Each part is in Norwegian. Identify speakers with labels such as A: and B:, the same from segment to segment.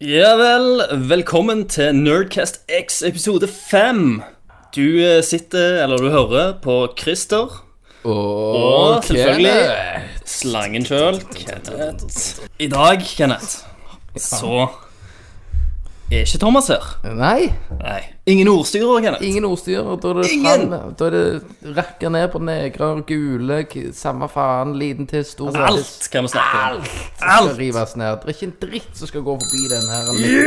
A: Ja vel, velkommen til Nerdcast X episode 5. Du eh, sitter, eller du hører, på Christer,
B: Og
A: Og selvfølgelig- slangen sjøl, Kenneth. I dag, Kenneth, så er ikke Thomas her.
B: Nei,
A: Nei. Ingen ordstyrer, Kenneth.
B: ingen ordstyr. Og da er det
A: Ingen!
B: fram- Da er det rakker ned på negre og gule, k- samme faen, liten til stor
A: Alt kan vi snakke om.
B: Alt! Skal rives ned. Det er ikke en dritt som skal gå forbi den her.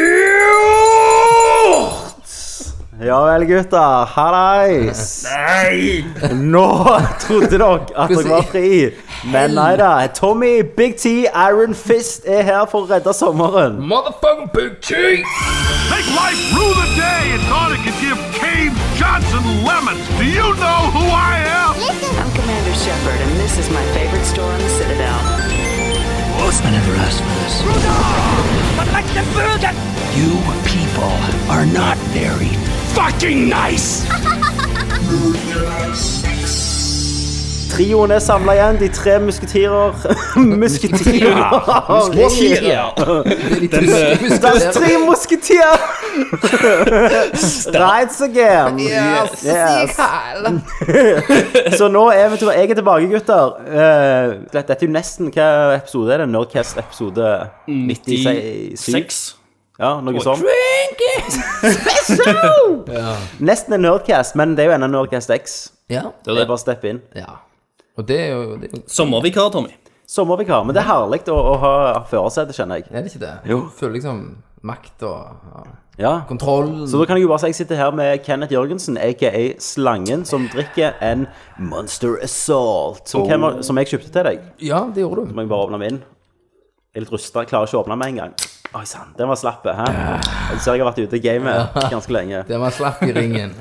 C: Ja vel, gutter. Hallais.
A: Nei!
C: Nå trodde dere at dere var fri, men nei da. Tommy, Big T, Iron Fist er her for å redde sommeren.
B: Motherfucking big cheese!
D: Make life rue the day and thought it could give Cave Johnson lemons. Do you know who I am?
E: I'm Commander Shepard, and this is my favorite store on the Citadel.
F: I never asked for this. You people are not very fucking nice.
C: Trioen er samla igjen, de tre musketerer. Musketerer!
B: Den
C: Das tre musketerer! Rides again. Yes. Så nå er vi til, jeg er tilbake, gutter. Eh, dette dette er jo nesten hva episode er det? Nerdcast episode
A: 96.
C: Ja, noe sånt. Nesten en Nerdcast, men det er jo ennå Nerdcast X.
B: Ja.
C: Det er bare å steppe inn.
B: ja. Og det er jo det er, jo-
A: Sommervikar, Tommy.
C: Sommervikar. Men det er herlig å, å ha førersete, kjenner jeg.
B: er det ikke det?
C: Jo.
B: Føler liksom makt og ja.
C: Ja.
B: kontroll.
C: Så da kan jeg jo bare si jeg sitter her med Kenneth Jørgensen, aka Slangen, som drikker en Monster Assault, som, Ken- som jeg kjøpte til deg.
B: Ja, det gjorde du.
C: Må jeg bare åpne den inn? Jeg er litt rusta, klarer ikke å åpne den med en gang. Oi sann, den var slapp. hæ? Jeg ser jeg har vært ute i gamet ganske lenge.
B: Den var slapp i ringen.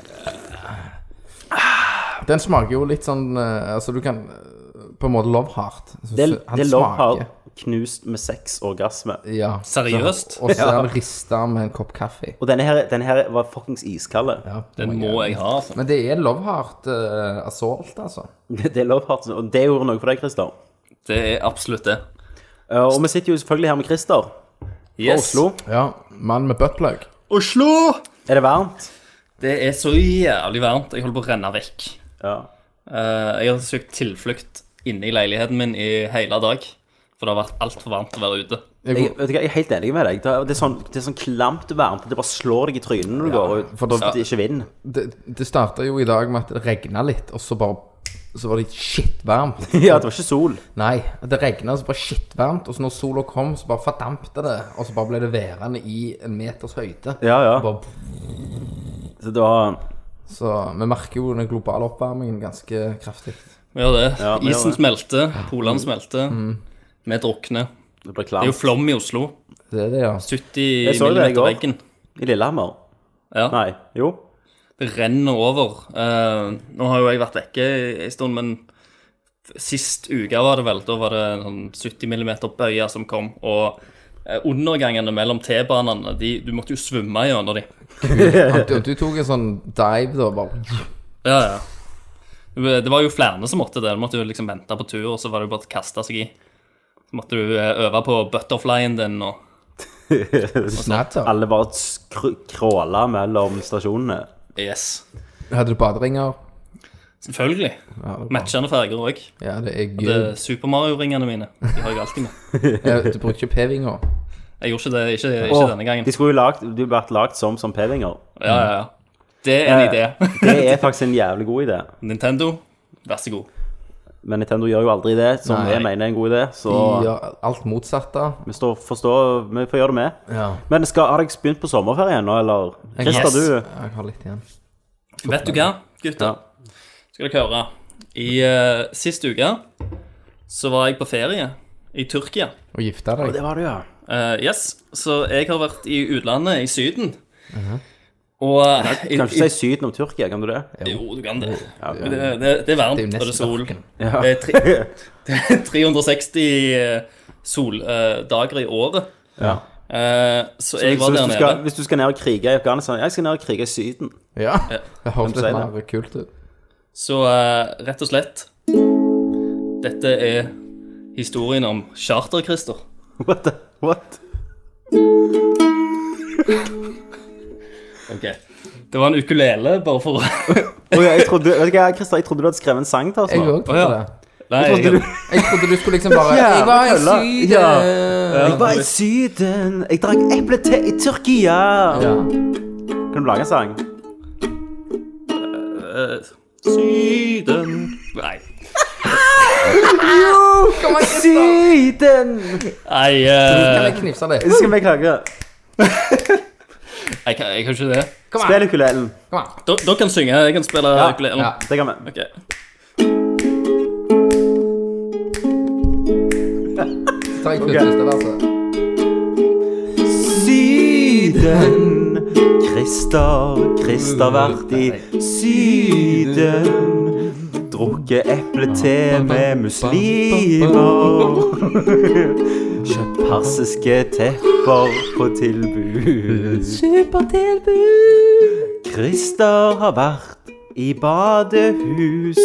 B: Den smaker jo litt sånn eh, Altså, du kan eh, på en måte love heart. Så
C: Det,
B: han
C: det er lov har
B: smaker.
C: knust med seks orgasme.
B: Ja.
A: Seriøst?
B: Og så er han rista med en kopp kaffe.
C: Og denne her, denne her var fuckings iskald.
B: Ja,
A: Den må jeg ha. altså.
B: Men det er love heart eh, assault, altså.
C: Det er lov har, og det gjorde noe for deg, Christer.
A: Det er absolutt det.
C: Eh, Og vi sitter jo selvfølgelig her med Christer. fra
A: Yes.
C: Oslo.
B: Ja. Mann med buttplug.
A: Oslo!
C: Er det varmt?
A: Det er så jævlig varmt. Jeg holder på å renne vekk.
C: Ja.
A: Eh, jeg har søkt tilflukt inne i leiligheten min i hele dag. For det har vært altfor varmt å være ute.
C: Jeg, vet du hva, jeg er helt enig med deg. Det er- Det er sånn, det er sånn klamt varmt. Det bare slår deg i trynet når du går ut.
B: for da-
C: det er ikke vind.
B: Det, det starta jo i dag med at det regna litt, og så bare så var det shit varmt.
C: Ja, det var ikke sol.
B: Nei, det regna så bare shit varmt, og så når sola kom, så bare fordampte det. Og så bare ble det værende i en meters høyde.
C: Ja, ja.
B: Bare
C: Så det var
B: Så vi merker jo den globale oppvarmingen ganske kraftig.
A: Vi gjør det.
C: Ja, vi gjør
A: Isen
C: det. Mm.
A: smelter, polene smelter. Vi drukner.
C: Det ble
A: Det er jo
C: klamt.
A: flom i Oslo.
B: Det er det, ja.
A: 70
C: så det i
A: millimeter
C: går.
A: veggen.
C: I Lillehammer.
A: Ja,
C: Nei. Jo.
A: det renner over. Eh, nå har jo jeg vært vekke en stund, men sist uke var det vel, da var det sånn 70 millimeter bøyer som kom. Og eh, undergangene mellom T-banene, de- du måtte jo svømme gjennom de.
B: Og du, du tok en sånn dive, da. Bare,
A: Ja, ja. Det var jo flere som måtte det. Du måtte jo liksom vente på tur, og så var det jo bare å kaste seg i. Så måtte du eh, øve på butterflyen din og
B: Snadder.
C: Alle bare skr- kråla mellom stasjonene.
A: Yes.
B: Hadde du baderinger?
A: Selvfølgelig.
B: Ja, det var-
A: Matchende farger òg.
B: ja, det
A: Det er
B: er gud.
A: Super Mario-ringene mine. De har jeg alltid med.
B: Ja, Du brukte ikke p-vinger.
A: Jeg gjorde ikke det, ikke, ikke denne
C: Og
A: gangen.
C: de skulle jo lagt, de vært lagt som, som pevinger.
A: Ja, ja, ja. Det er en
C: Eh.
A: idé.
C: Det er faktisk en jævlig god idé.
A: Nintendo, vær så god.
C: Men Nintendo gjør jo aldri det, som
B: Nei.
C: jeg mener er en god idé.
B: De
C: Så
B: gjør alt motsatte.
C: vi står, forstår, vi får gjøre det med.
B: Ja.
C: Men skal, har dere begynt på sommerferien nå, eller?
B: Jeg
C: Christer,
B: har,
C: du
B: jeg har litt igjen.
A: Vet du hva, gutter? Skal dere høre. I uh, sist uke så var jeg på ferie i Tyrkia.
B: Og gifta deg.
C: var du, ja.
A: Eh, yes, så jeg har vært i utlandet, i Syden. Og eh,
C: Du kan Mhm. ikke si Syden om Tyrkia, kan du det?
A: Jo, du kan det. Men det, det, det er varmt, og det
B: Det er jo
A: er
B: nesten
A: sol.
B: ørken.
A: Det er tre- det er 360 soldager eh, i året.
C: Ja.
A: Eh, så jeg
C: Så
A: var
C: hvis,
A: der
C: du skal,
A: nede.
C: hvis du skal ned og krige i Afghanistan Jeg skal ned og krige i Syden.
B: Ja. Det høres
C: sier
B: litt
C: det?
B: mer kult ut.
A: Så eh, rett og slett Dette er historien om Charter-Christer.
C: What? the- What?
A: Ok. Det var en ukulele, bare for å
C: Oi, jeg trodde, vet du hva, Christer, jeg trodde du hadde skrevet en sang til oss
B: Jeg
C: nå.
B: òg trodde
A: Å, ja.
B: det.
A: Nei,
C: trodde
A: jeg,
C: du-
B: Jeg trodde du skulle liksom bare
C: Jævla
B: Jeg var i
C: kølla.
B: Syden.
C: Ja.
B: Ja.
C: Jeg var i Syden, jeg drakk eplete i Tyrkia. Kan du lage en sang? Eh,
A: Syden Nei.
B: Kom an, Kristian.
C: Syden!
A: Nei,
B: Kan
A: eh,
B: jeg knipse litt?
C: Så skal vi klage.
A: jeg, kan, jeg kan ikke det.
B: Kom an.
C: Spill ukulelen.
B: Kom an.
A: Dere dere kan synge, jeg kan spille
C: Ja,
A: ukulelen.
B: ja.
C: Det kan vi.
A: Ok.
B: Så tar jeg kun siste verset.
C: Syden. Christer, Christer vært i Syden. Drukket eplete med muslimer. Kjøpt persiske tepper på tilbud. Supertilbud. Christer har vært i badehus.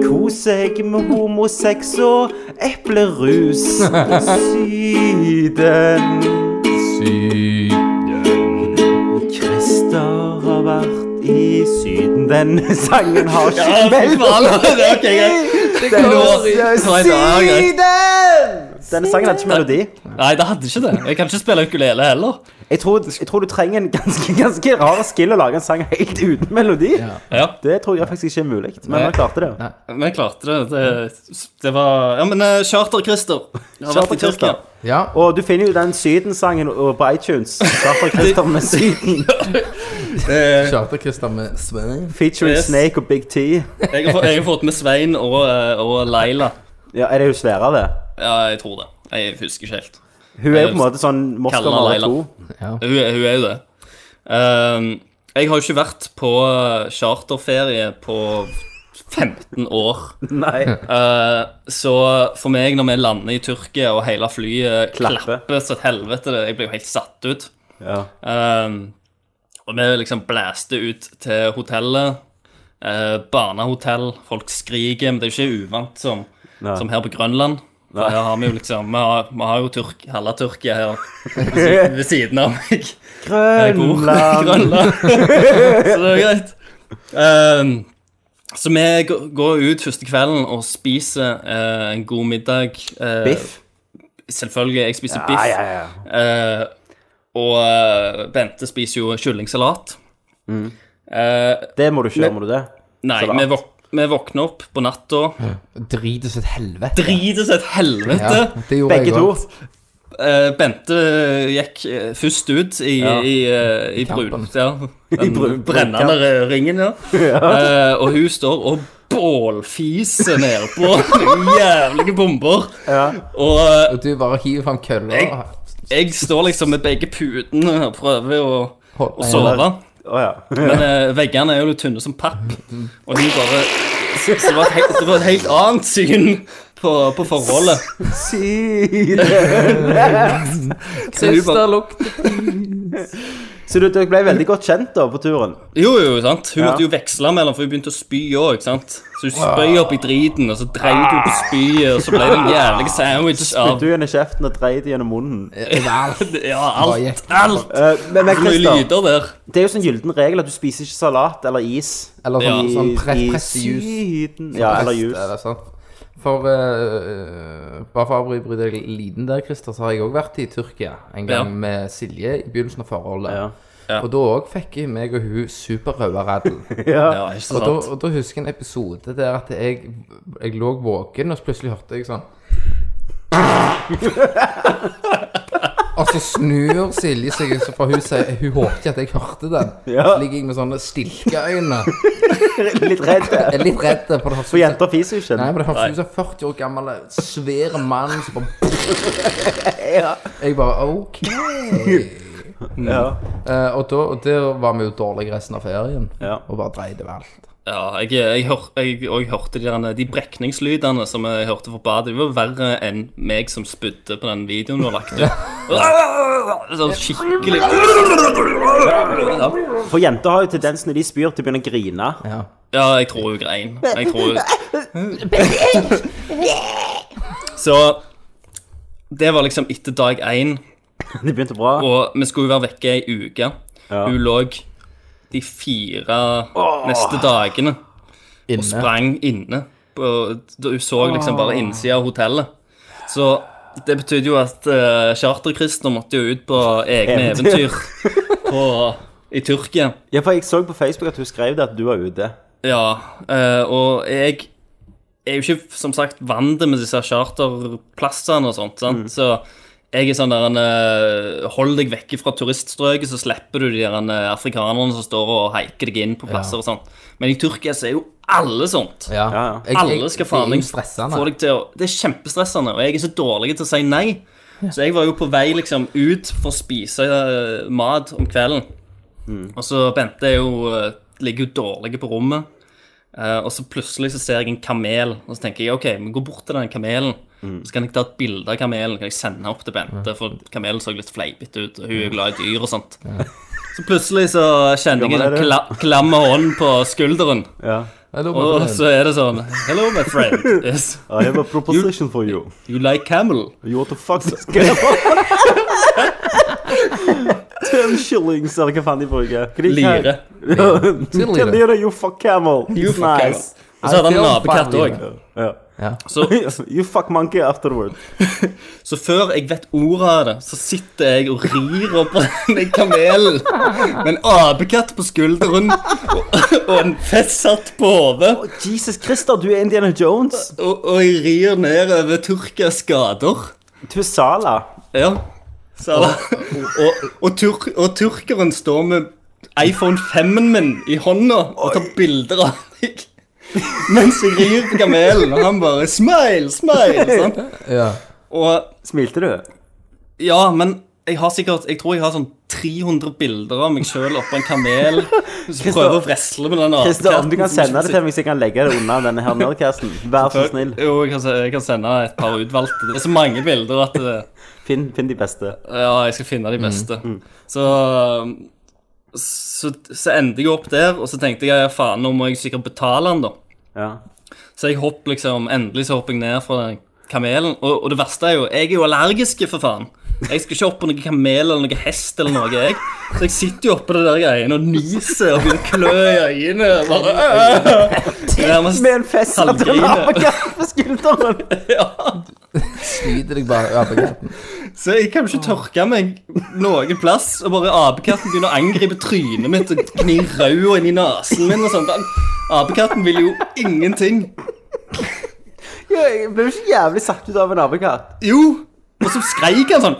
C: Kos seg med homosex og eplerus. Syden. Christer har vært i Syden. Denne sangen har
A: Ja,
C: ikke
A: Ah, fy faen. Det er ok, greit.
C: Den
A: går i-
C: er
A: Nei, det er greit.
C: Syden! Denne sangen hadde ikke melodi.
A: Nei, det hadde ikke det. Jeg kan ikke spille ukulele heller.
C: Jeg tror, jeg tror du trenger en ganske, ganske rar skill å lage en sang helt uten melodi.
A: Ja,
C: Det tror jeg faktisk ikke er mulig, men han klarte det.
A: men jeg klarte det. Det, det var Ja, men eh, Charter-Christer. Jeg har vært i Tyrkia.
C: Charter-Christer.
B: Ja.
C: Og du finner jo den Syden-sangen og- på iTunes. Derfor Christer med Syden.
B: Kjørte Kristian med Svein.
C: Featuring
A: Yes.
C: Snake og Big T.
A: Jeg har, fått- jeg har fått med Svein og, eh, og Laila.
C: Ja, er det jo svære, det?
A: Ja, jeg tror det. Jeg husker ikke helt.
C: Hun er jo på en måte sånn Moskva
A: Kaller
C: nummer
A: Leila.
C: to.
A: Hun, er- hun er jo det. Ehm, jeg har jo ikke vært på eh, charterferie på 15 år.
C: Nei.
A: Eh, så for meg, når vi lander i Tyrkia og hele flyet
C: Klapper.
A: klapper, så et helvete det, Jeg blir jo helt satt ut.
C: Ja.
A: Ehm, og vi liksom blæste ut til hotellet. eh, barnehotell. Folk skriker. Men det er jo ikke uvant som,
C: Nei.
A: som her på Grønland. For her har vi jo liksom Vi har, vi har jo Tyrk, halve Tyrkia her ved siden av meg. Jeg bor i
C: Grønland.
A: Grønland. så det er greit. Ehm, så vi gå- går ut første kvelden og spiser eh, en god middag. Eh,
C: Biff.
A: Selvfølgelig. Jeg spiser biff.
C: Ja, ja, ja.
A: Eh, og eh, Bente spiser jo kyllingsalat. Eh,
C: Det må du ikke gjøre, må du det?
A: nei,
C: Salat.
A: vi, våk vi våkner opp på natta.
B: Drites et helvete.
A: Drites et helvete!
B: Ja, det gjorde
C: Begge
B: jeg
C: to.
B: også.
A: Eh, Bente gikk eh, først ut i, i, eh, i brun...
B: kampen.
A: Ja, den
C: brun-
A: brennende rø- ringen, ja. Eh, og hun står og bålfiser nedpå jævlige bomber. Og eh,
B: Og du bare hiver fram kølla.
A: Jeg- jeg står liksom med begge putene og prøver å,
B: Hold-
A: å sove.
C: Å ja.
A: Men eh, veggene er jo litt tynne som papp, og hun bare Så det var et helt, det var et helt annet syn på, på forholdet.
C: Syden.
A: Så hun bare,
C: Så du, dere ble veldig godt kjent da på turen?
A: jo, jo, sant. Hun
C: Ja.
A: måtte jo veksle mellom, for hun begynte å spy òg, ikke sant. Så hun spøy opp i driten, og så dreit hun på spyet, og så ble det en jævlig sandwich av
C: Spytte gjennom kjeften og dreide gjennom munnen.
A: Ja, alt. Alt.
C: Eh, men, men
A: Så mye
C: Christer,
A: lyder der.
C: det er jo sånn gylden regel at du spiser ikke salat eller is.
B: Eller sånn,
A: Ja.
B: sånn pre Sånn
C: I- i
B: pressejus.
C: Syden. Ja, eller
B: Press,
C: jus.
B: er det sant? For eh, bare for å avbryte deg liten der, Christer, så har jeg òg vært i Tyrkia en gang
A: Ja.
B: med Silje i begynnelsen av forholdet.
C: Ja.
A: Ja.
B: Og da òg fikk jeg meg og hun superrøde raddel.
A: Ja, ikke
B: Og da,
A: sant.
B: og da husker jeg en episode der at jeg, jeg lå våken, og så plutselig hørte jeg sånn Og så snur Silje seg, så for hun, sier- hun håpet ikke at jeg hørte den.
C: Ja.
B: Så ligger jeg med sånne stilkeøyne.
C: Litt redd.
B: Jeg er litt redd, for det høres ut
C: For
B: som
C: jenter fiser jo ikke.
B: Nei, men det høres ut som en 40 år gammel svær mann som bare Jeg bare OK.
C: Ja.
B: Eh, og, da, og der var vi jo dårlige resten av ferien,
C: Ja.
B: og bare dreide ved alt.
A: Ja, jeg, jeg, hør, jeg, og jeg hørte de, derne- de brekningslydene som jeg hørte fra badet. Det var verre enn meg som spydde på den videoen du har lagt ut. Sånn skikkelig Ja,
C: For jenter har jo tendens når de spyr, til å begynne å grine.
A: jeg tror hun grein. Jeg tror Så det var liksom etter dag én.
C: Det begynte bra.
A: Og vi skulle jo være vekke ei uke.
C: Ja.
A: Hun lå de fire neste dagene og
B: Inne.
A: sprang inne. på- da Hun så liksom bare innsida av hotellet. Så det betydde jo at uh, charter-Christer måtte jo ut på egne
C: Eventyr.
A: eventyr på, i Tyrkia.
C: Ja, for jeg så på Facebook at hun skrev det at du var ute.
A: Ja, eh, og jeg er jo ikke som sagt vant til med disse charterplassene og sånt, sant? så jeg er sånn der en eh, Hold deg vekke fra turiststrøket, så slipper du de der en, eh, afrikanerne som står og heiker deg inn på plasser og sånt. Men i Tyrkia så er jo alle sånt.
B: Ja.
C: ja.
B: Jeg- jeg-
A: Alle skal faen
B: Det er
A: meg få
B: jo stressende.
A: deg til å Det er kjempestressende, og jeg er så dårlig til å si nei. Så jeg var jo på vei liksom ut for å spise eh, mat om kvelden.
C: Mm.
A: Og så Bente er jo, eh, ligger jo dårlig på rommet. Eh, og så plutselig så ser jeg en kamel, og så tenker jeg OK, vi går bort til den kamelen.
C: Mm.
A: Så kan jeg ta et bilde av kamelen kan jeg sende opp til Bente, for kamelen så litt fleipete ut. Og hun er glad i dyr og sånt. Så plutselig så kjenner jeg
C: Gammel er
A: en
C: du.
A: kla klam hånd på skulderen.
C: Ja.
B: Nei, da må
A: Og
B: du-
A: så er det sånn Hello, my friend. Yes.
C: I have a proposition for you.
A: You like camel?
C: You want to fuck this girl? Ten shillings, eller hva faen de bruker. Hva de-
A: Lire.
C: Ten lire, you fuck camel.
A: You
C: It's
A: fuck camel.
C: nice.
A: Og så hadde han en
B: I feel
A: apekatt
B: funny.
A: òg.
C: Ja.
A: Så,
C: You fuck monkey afterward.
A: så før jeg vet ordet av det, så sitter jeg og rir opp den kamelen med en apekatt på skulderen og, og en festsatt på hodet.
C: Oh, Jesus Christer, du er Indiana Jones.
A: Og, og jeg rir ned over Tyrkias gater.
C: Du er Sala.
A: Ja. Så, og, og, tur, og tyrkeren står med iPhone 5-en min i hånda og tar bilder av meg. Mens jeg rir på kamelen, og han bare 'smile, smile'. Sant?
B: Ja.
A: Og
C: Smilte du?
A: Ja, men jeg har sikkert Jeg tror jeg har sånn 300 bilder av meg sjøl oppå en kamel som prøver å wrestle med den
C: Christer, om
A: apekatten
C: du kan
A: som
C: sende det
A: sitter-
C: til meg, så jeg kan legge det unna denne her nerdcasten. Vær så snill.
A: Jo, jeg kan, se- jeg kan sende et par utvalgte. Det er så mange bilder at eh, det,
C: Finn, finn de beste.
A: Ja, jeg skal finne de
C: Mm.
A: beste. Så, så Så endte jeg opp der, og så tenkte jeg ja, faen, nå må jeg sikkert betale den, da.
C: Ja.
A: Så jeg hopp liksom, endelig så hopper jeg ned fra den kamelen. Og, og det verste er jo, jeg er jo allergisk, for faen. Jeg skal ikke opp på noen kamel eller noen hest eller noe, jeg. Så jeg sitter jo oppå det der greiene og nyser og blir klø i øynene. Bare, øh. Nærmest
C: Med en fest at du
A: halvgriner.
C: har på kaff på skulderen.
B: Skyter deg bare i apekatten.
A: Så jeg kan jo ikke tørke meg noen plass, og bare apekatten begynner å angripe trynet mitt og gni rauda inn i nesen min og sånt. Han- Apekatten vil jo ingenting.
C: Ja, Jeg ble jo ikke jævlig satt ut av en apekatt.
A: Jo! Og så skreik han sånn.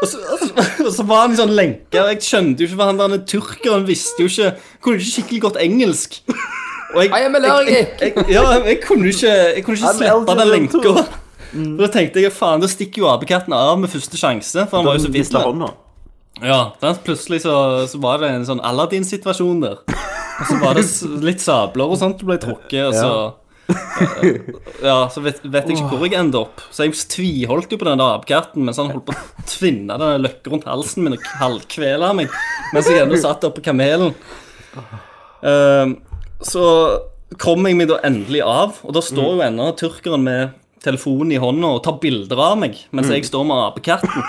A: Og så, og, så, og så var han i sånn lenke. og Jeg skjønte jo ikke hva han der tyrkeren visste jo ikke Kunne ikke skikkelig godt engelsk. Og jeg,
B: I am allergic.
A: Jeg, jeg, ja, jeg kunne ikke, jeg kunne ikke
C: I'm
A: slippe den
C: eligible too.
A: lenka. Og Da tenkte jeg faen, da stikker jo apekatten av med første sjanse. For han var jo så
C: Viste
A: vidt
C: hånda.
A: ja, da plutselig så, så var det en sånn Aladdin-situasjon der. Og så var det s- litt sabler og sånt som ble trukket, og så eh, Ja, så vet, vet jeg ikke hvor jeg endte opp. Så jeg tviholdt jo på den der apekatten mens han holdt på å tvinne den løkka rundt halsen min og halvkvele meg mens jeg ennå satt oppe på kamelen. Ehm, så kom jeg meg da endelig av, og da står jo ennå tyrkeren med telefonen i hånda og tar bilder av meg mens jeg står med apekatten.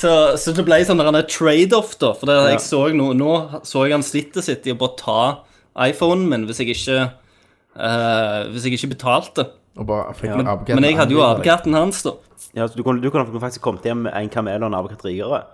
A: Så, så det ble sånn der en trade-off, da. For det, jeg så nå, nå så jeg han sitter sitt i å bare ta iPhonen min hvis jeg ikke eh, Hvis jeg ikke betalte.
B: Og bare fikk apekatten.
A: Men jeg hadde jo apekatten hans, da.
C: Ja, så du kunne, du kunne faktisk kommet hjem med en kamel og en apekatt rikere.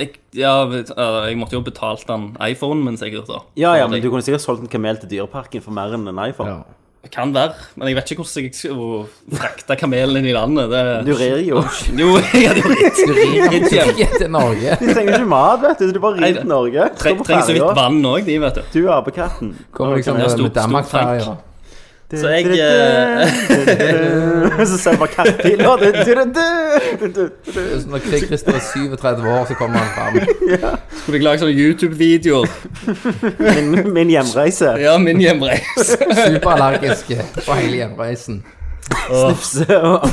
A: Jeg, ja, vet- eh, jeg måtte jo ha betalt den iPhonen min, sikkert. da
C: Ja, ja, men Sånn du kunne sikkert solgt en kamel til Dyreparken for mer enn en iPhone.
B: Ja.
A: Kan være, men jeg vet ikke hvordan jeg skal frakte kamelen inn i landet.
C: Du
A: Det...
C: rir jo.
A: Jo, jeg hadde jo rett.
B: Du rir
A: Helt
B: den
A: jævlig.
B: ikke til Norge.
C: Du trenger ikke mat, vet du. Du bare rir
A: Nei,
C: til Norge. Står
A: Tre-
C: på
A: Trenger så
C: ferja.
A: vidt vann òg, de, vet du.
C: Du er apekatten.
B: Kommer liksom
A: Ja, stor-
B: med Danmark-ferja.
A: stor Så jeg eh,
C: Så ser jeg bare kattbiler.
B: Så Når Christer er 37 år, så kommer han fram.
A: skulle jeg lage sånne YouTube-videoer.
C: Min, min hjemreise.
A: Ja, min hjemreise.
B: Superallergiske på hele hjemreisen.
C: Snufse og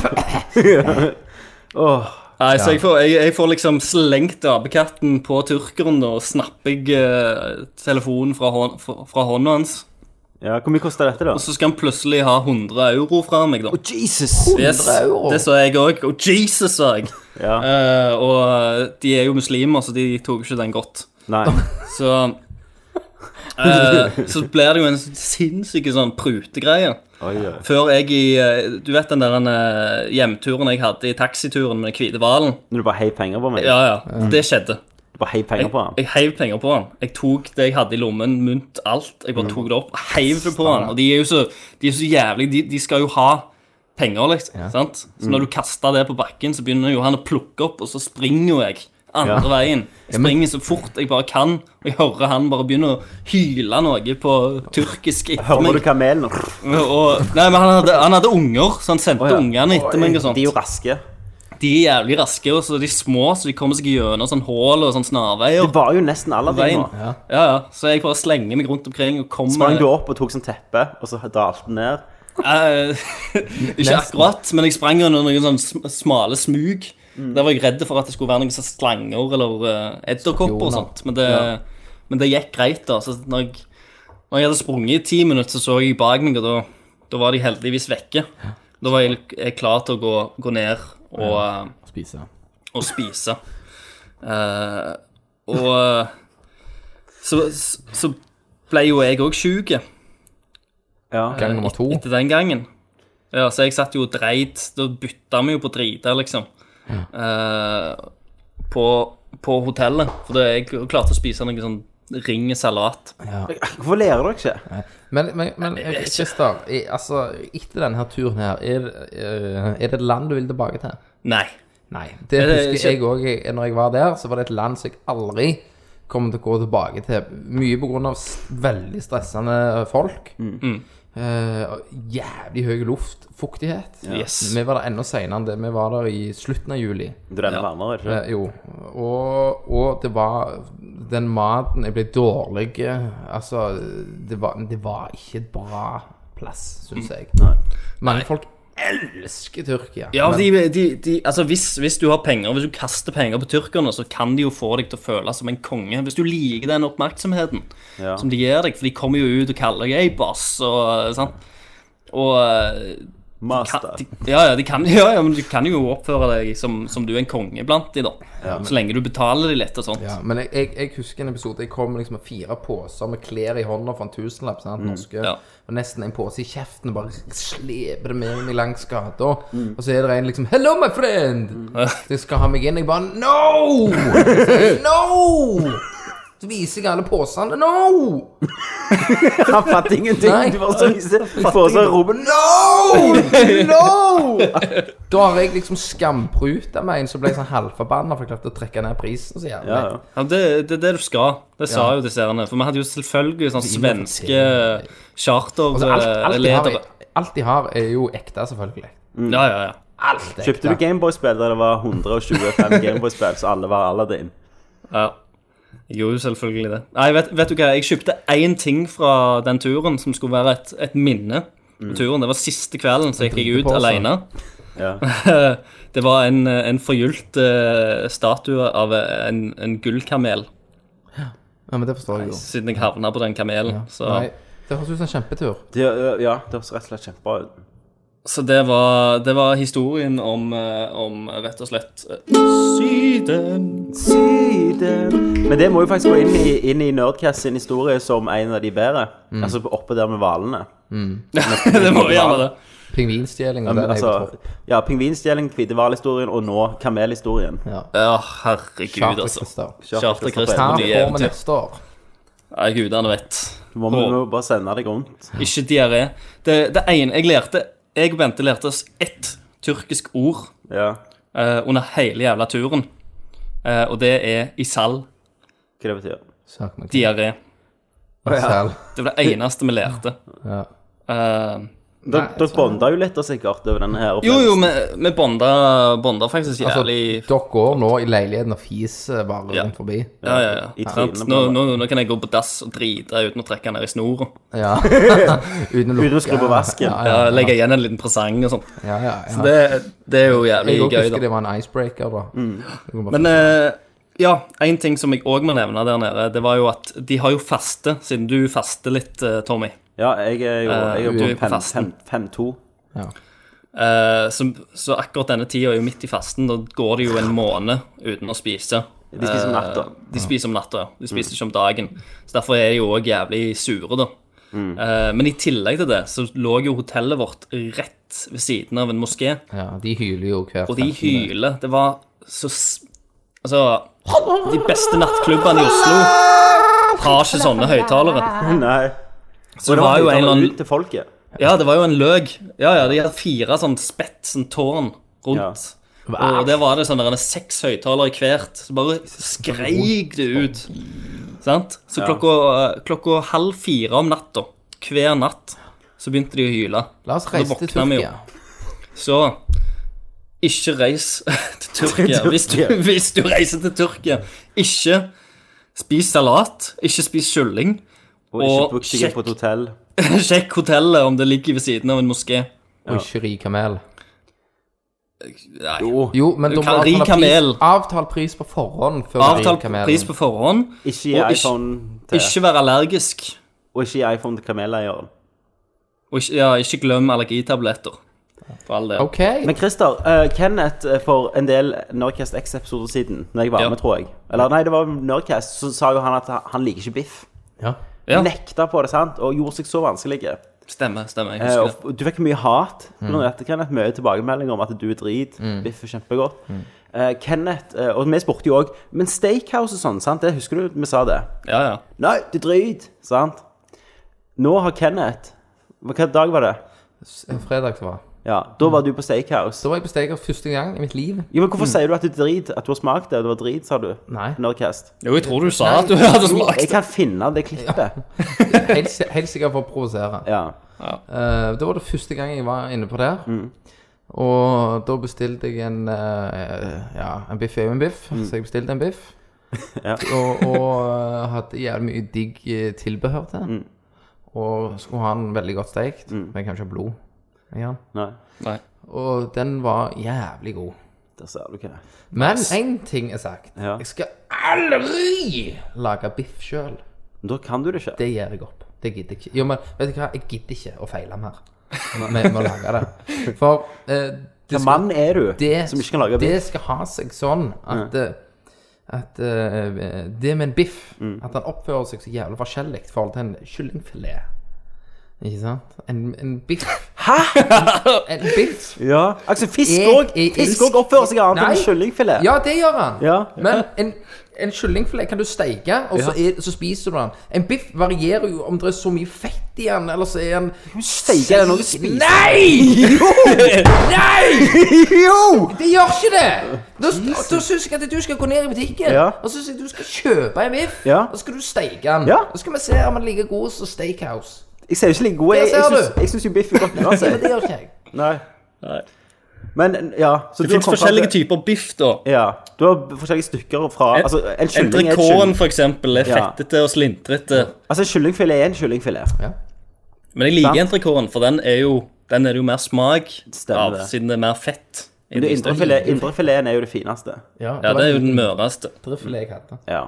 C: Åh.
A: Nei, så jeg får, jeg, jeg får liksom slengt apekatten på tyrkeren, da, og snapper jeg eh, telefonen fra, hånd, fra, fra hånda hans.
C: Ja, Hvor mye koster dette, da?
A: Og så skal han plutselig ha 100 euro fra meg, da.
C: Jesus!
A: Yes,
B: 100 euro.
A: det sa jeg òg. Og Jesus, sa jeg.
C: Ja,
A: Eh, og de er jo muslimer, så de tok jo ikke den godt.
C: nei.
A: Så eh, Så blir det jo en sinnssyk sånn prutegreie.
C: Oi, oi.
A: Før jeg i eh, Du vet den der eh, hjemturen jeg hadde i taxituren med den hvite hvalen?
C: Når du bare heiv penger på meg?
A: Ja, ja. Det skjedde.
C: Du bare heiv penger
A: Jeg,
C: på ham?
A: jeg heiv penger på han. Jeg tok det jeg hadde i lommen, mynt, alt. Jeg
C: Mm.
A: bare tok det opp og heiv det på han. Og de er jo så, de er så jævlig de, de skal jo ha penger, liksom. Sant? Så
C: Mm.
A: når du kaster det på bakken, så begynner jo han å plukke opp, og så springer jo jeg andre
C: Ja.
A: veien. Jeg springer så fort jeg bare kan, og jeg hører han bare begynne å hyle noe på turkisk etter
C: Hører
A: meg.
C: du kamelen?
A: Og, nei, men han hadde, han hadde unger, så han sendte
C: Å, ja.
A: ungene etter meg og sånt.
C: De er jo raske.
A: De er jævlig raske, og så er de små, så de kommer seg gjennom sånn hull og sånn snarveier.
C: Det var jo nesten Aladdin
A: Veien.
C: nå.
A: Ja. ja, Så jeg bare slenger meg rundt omkring og kommer
C: Sprang du opp og tok sånn teppe, og så dalte den ned?
A: Eh, Ikke akkurat, men jeg sprang under noen sånn sm- smale smug. Der var jeg redd for at det skulle være noen sånn slanger eller eh, edderkopper og
B: Skorpioner.
A: sånt. Men det, men det gikk greit, da. Så når jeg, når jeg hadde sprunget i ti minutter, så så jeg bak meg, og da, da var de heldigvis vekke. Da var jeg, jeg klar til å gå, gå ned og eh,
B: Spise.
A: og spise. Eh, og eh, så, så ble jo jeg òg sjuk etter
C: Ja.
B: Gang nummer to.
A: den gangen. Ja, så jeg satt jo og dreit. Da bytta vi jo på driter, liksom. Eh, på, på hotellet. For det, jeg klarte å spise noe sånn ring salat.
C: Eh, Hvorfor ler dere ikke?
B: Men, men, men Christer, i- altså, etter denne turen her, er, eh, er det et land du vil tilbake til?
A: Nei.
B: Nei. Det
A: Er det
B: husker jeg
A: ikke-
B: òg. Når jeg var der, så var det et land som jeg aldri kommer til å gå tilbake til. Mye pga. veldig stressende folk.
A: Mm.
B: Eh, og jævlig høy luftfuktighet.
A: Yes.
B: Vi var der enda seinere enn det. Vi var der i slutten av juli.
C: Du renner varmere, ikke
B: Eh, jo. Og, og det var Den maten Jeg ble dårlig eh, Altså, det var, det var ikke et bra plass, syns
A: Mm.
B: jeg. Mange folk elsker Tyrkia.
A: Ja,
B: men-
A: de, de, de, altså hvis, hvis du har penger, hvis du kaster penger på tyrkerne, så kan de jo få deg til å føle som en konge. Hvis du liker den oppmerksomheten
C: Ja.
A: som de gir deg, for de kommer jo ut og kaller deg ei boss og sånn. Og eh, kan,
C: Master.
A: de, ja, ja, de kan, ja, ja, men du kan jo oppføre deg som, som du er en konge blant de, da. så lenge du betaler de litt og sånt.
B: Ja, men jeg, jeg, jeg husker en episode Jeg kom liksom med fire påser med klær i hånda for en tusenlapp. Sant?
C: Mm,
B: Norske.
A: ja.
B: Og nesten en pose i kjeften og bare sleper det med meg langs gata.
C: Mm.
B: Og så er det en liksom 'Hello, my friend!' De skal ha meg inn. Jeg bare 'No!' no! Så viser jeg alle posene. 'No!'
C: Han fatt ingenting.
B: Nei.
C: Du bare så viser på seg Robin.
B: No! No! Da har jeg liksom skamprut av meg en som ble sånn halvforbanna for jeg klarte å trekke ned prisen så jævlig.
C: Ja, ja.
A: Ja, det det er det du skal. Det sa jo disse herrene. For vi hadde jo selvfølgelig sånn svenske eh,
B: Altså, alt, alt, de har, Mm.
A: charterledere.
B: alt de har, er jo ekte, selvfølgelig.
A: Ja, ja, ja.
B: Alt er
C: Kjøpte du
B: ekte.
C: Gameboy-spill der det var 125 Gameboy-spill, så alle var Aladdin?
A: Ja. Jeg gjorde jo selvfølgelig det. Nei, vet, vet du hva, jeg kjøpte én ting fra den turen som skulle være et, et minne.
B: Mm.
A: på turen. Det var siste kvelden, så gikk jeg ut
B: dritepose.
A: alene.
C: Ja.
A: det var en, en forgylt eh, statue av en, en gullkamel,
B: Ja, men det forstår jeg jo.
A: siden jeg havna på den kamelen. Så,
B: Nei, det høres ut som en kjempetur.
C: Det, ø, ja, det høres rett og slett kjempebra ut.
A: så det, var, det var historien om, eh, om rett og slett eh, Syden.
C: Syden Men det må jo faktisk gå inn i, inn i Nerdcast sin historie som en av de bedre. Altså oppe der med hvalene.
A: det var jo gjerne det.
B: Pingvinstjeling og
C: Men
B: det er jo
C: Altså,
B: topp.
C: ja, pingvinstjeling, hvite hval-historien og nå kamelhistorien.
A: Ja, herregud,
B: Charter
A: altså.
B: Christer.
A: Charter-Christer
B: Ta
A: på
B: den
A: nye
B: på med
A: eventyr.
B: neste år.
A: Nei, gudene vet.
C: Du må, vi må jo bare sende deg rundt.
A: Ikke diaré. Det, det ene jeg lærte Jeg og Bente lærte oss ett tyrkisk ord
C: Ja.
A: eh, under hele jævla turen. Eh, og det er isal
C: Hva det betyr.
B: Snakk med
A: diaré.
B: Christer.
A: Det var det eneste vi lærte.
B: Altså, Ja.
A: Eh,
C: Dere dere bonda jo litt da, sikkert over denne her.
A: jo, jo,
C: opplevelsen.
A: vi, vi bonda, bonda faktisk
B: Altså,
A: jævlig
B: dere går nå i leiligheten og fiser bare
A: Ja.
B: rundt forbi.
A: ja, ja, ja.
C: I
A: Sant?
C: trynet på
A: Nå, nå,
C: hverandre.
A: nå kan jeg gå på dass og drite uten å trekke ned i snora.
B: Ja. Uten å
C: Uten å skru på vasken.
B: Ja,
A: Ja, legge igjen en liten presang og sånn.
B: ja, ja, ja.
A: Det, det er jo jævlig
B: Jeg
A: gøy,
B: også
A: da. Mm.
B: husker det var en icebreaker, da. Du kan bare-
A: Men eh, ja, en ting som jeg òg må nevne der nede, det var jo at de har jo faste, siden du faster litt, eh, Tommy.
C: Ja, jeg er jo jeg
A: Eh, du
C: er
A: er på
C: på
A: fasten.
C: 5-2.
B: Ja.
A: Eh, så, så akkurat denne tida er jo midt i fasten. Da går det jo en måned uten å spise.
C: De spiser om
A: Eh,
C: natta.
A: De spiser om natta, ja. Mm. De spiser ikke om dagen. Så derfor er de jo òg jævlig sure, da. Eh, men i tillegg til det så lå jo hotellet vårt rett ved siden av en moské,
B: ja, de hyler jo hver
A: og de
B: 15.
A: hyler. Det var så s- Altså De beste nattklubbene i Oslo har ikke sånne høyttalere.
C: Nei.
A: Så det var jo en eller annen
C: Ut til folket.
A: Ja, det var jo en løk. Ja, ja, de hadde fire sånn spett, sånn tårn rundt. Og der var det sånn der en seks høyttalere i hvert. Så bare skreik det ut. Sant? Så klokka, eh, klokka halv fire om natta, hver natt, så begynte de å hyle.
B: La oss
A: Da
B: reise til
A: våkner vi
B: Tyrkia.
A: jo. Så ikke reis til Tyrkia. Hvis du, hvis du reiser til Tyrkia, ikke spis salat, ikke spis kylling.
C: Og ikke
A: Og
C: bruk deg inn på et hotell.
A: Sjekk hotellet om det ligger ved siden av en moské.
B: Og ikke ri kamel.
A: Nei.
B: Jo, men
A: Du
B: da
A: kan
B: må
A: ri
B: avtale pris,
A: kamel.
B: avtal pris på forhånd før du rir
A: Avtal
B: kamelen.
A: pris på forhånd.
C: Ikke gi
A: Og ikke-
C: iPhone til
A: Ikke være allergisk.
C: Og ikke gi iPhone til kameleieren.
A: Og ikke, ja, ikke glem allergitabletter. For all del.
B: OK.
C: Men Christer, eh, Kenneth eh, for en del Nerdcast X-episoder siden, når jeg var
A: Ja.
C: med, tror jeg Eller nei, det var Nerdcast, så sa jo han at han- han liker ikke biff.
B: Ja.
A: Ja.
C: Nekta på det, sant? Og gjorde seg så vanskelig. Eh,
A: Stemmer. stemmer, jeg
C: og
A: husker det.
C: f- du fikk mye hat. Mm. Dette, Kenneth, Mye tilbakemeldinger om at du er drit.
B: Mm.
C: Biff er kjempegodt. Eh, Kenneth, eh, og vi spurte jo òg Men steakhouse og sånn, sant? Det husker du vi sa det?
A: Ja, ja.
C: Nei, du er drit! Sant? Nå har Kenneth Hvilken dag var det?
B: S- Fredag så var det.
C: Ja, Da var du på steakhouse.
B: Da var jeg på Steger første gang i mitt liv.
C: Jo, men Hvorfor sier du at det er drit? At du har smakt det, og det var drit, sa du?
B: Mm. Nei.
C: Nerdcast.
A: Jo, jeg tror du sa at du hadde
C: Jeg
A: smakt.
C: kan finne det klippet.
B: Helt, si- helt sikkert for å provosere.
C: Ja.
B: Eh, da var det første gang jeg var inne på der.
C: Mm.
B: Og da bestilte jeg en eh, Ja, en biff er jo en biff, så jeg bestilte en biff.
C: Mm. Ja.
B: Og, og eh, hadde jævlig mye digg eh, tilbehør til
C: Mm.
B: den. Og skulle ha den veldig godt steikt, men jeg kan ikke ha blod. i den.
C: Nei,
A: Nei.
B: Og den var jævlig god.
C: der ser du ikke det.
B: Men én ting er sagt.
C: Ja.
B: Jeg skal aldri lage biff sjøl.
C: Men da kan du det ikke.
B: Det gir jeg opp. Det gidder jeg ikke. Jo, men vet du hva? Jeg gidder ikke å feile mer med, med å lage det. For eh, det,
C: Hvilken mann er du
B: det-
C: som ikke kan lage biff?
B: det skal ha seg sånn at, eh, at eh, det med en biff
C: Mm.
B: At han oppfører seg så jævlig forskjellig i forhold til en kyllingfilet. Ikke sant? En, en biff Hæ?! En biff
C: Ja. Altså, fisk
B: Jeg-
C: òg
B: jeg- jeg-
C: Fisk òg oppfører seg annet enn
B: Nei.
C: en kyllingfilet.
B: Ja, det gjør han.
C: Ja.
B: Men en, en kyllingfilet kan du steike, og så, er, så spiser du den. En biff varierer jo om det er så mye fett i den, eller så er den
C: Steiker det når du spiser?
B: Nei!
C: Jo!
B: Nei!
C: jo!
B: Det gjør ikke det! Da, da syns jeg at du skal gå ned i butikken,
C: Ja.
B: og så syns jeg du skal kjøpe en biff,
C: Ja.
B: og så skal du steike den.
C: Ja.
B: Så skal vi se om den er like god som Steakhouse.
C: Jeg ser jo ikke like god Jeg,
B: Der ser
C: jeg,
B: du.
C: syns- jeg syns jo biff er godt
B: Ja, men
C: uansett.
B: det gjør ikke jeg.
C: Nei. Men ja så
A: Det fins forskjellige typer biff, da.
C: Ja. Du har forskjellige stykker fra Altså, en kylling er en
A: Entrecôten,
C: kylling.
A: for eksempel, er
C: Ja.
A: fettete og slintrete.
C: Altså, en kyllingfilet er en kyllingfilet.
A: Men jeg liker entrecôten, for den er jo den er det jo mer smak
C: Stemmer
A: av,
C: det.
A: siden det er mer fett. i
C: Men det
A: de stykkene.
C: indrefilet- Indrefileten er jo det fineste.
A: Ja, det er jo den møreste.
B: indrefilet jeg hadde.
C: Ja.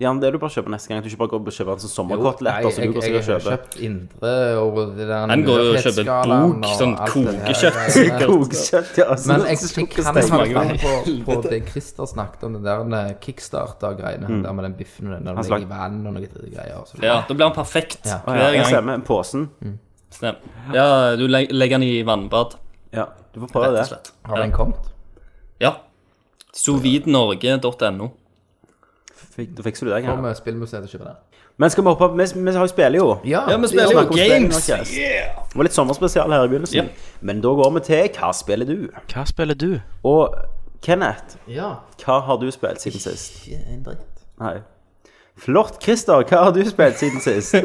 C: ja, men det er du bare kjøper neste gang. At du ikke bare går og kjøper en sånn
B: Jo,
C: sommerkoteletter som
B: nei,
C: du går og
B: jeg-
C: skal
B: Jeg
C: kjøpe.
B: har kjøpt indre og det der
A: Den går jo og kjøper
B: fettskalaen
A: bok,
B: og
A: sånn
B: alt det der
A: kokekjøtt,
B: greiene.
A: sikkert.
C: Kokekjøtt, ja. altså.
B: Men jeg, jeg kan
C: Kokesteik.
B: falle
A: jo
B: på, på det Christer snakket om, det der kickstarter-greiene.
C: Mm.
B: Der med den biffen og den der
C: smakte-
B: ligger i vann og noe dritt greier. og så-
A: Ja, Da blir den perfekt
B: Ja.
C: Å, ja,
A: hver
C: jeg
A: gang.
C: stemmer. Posen.
A: Stem. Ja, du le- legger den i vannbad,
C: Ja, du får prøve
A: rett
C: det.
A: og slett.
B: Har den kommet?
A: Ja. Sovidnorge.no.
C: Fikk, da fikser du det.
B: Kom
C: Kan.
B: med spillmuseet og kjøp den.
C: Men skal vi hoppe opp? Vi, vi har jo spiller jo.
A: Ja, vi
C: Vi
A: spiller
C: snakker
A: jo
C: om spilling
A: games.
C: nå, Kjæs. Det var litt sommerspesial her i begynnelsen.
A: Ja.
C: Men da går vi til Hva spiller du?
G: Hva spiller du?
C: Og Kenneth,
B: ja.
C: hva har du spilt siden sist?
B: Ikke en dritt.
C: Nei. Flott, Christer, hva har du spilt siden sist?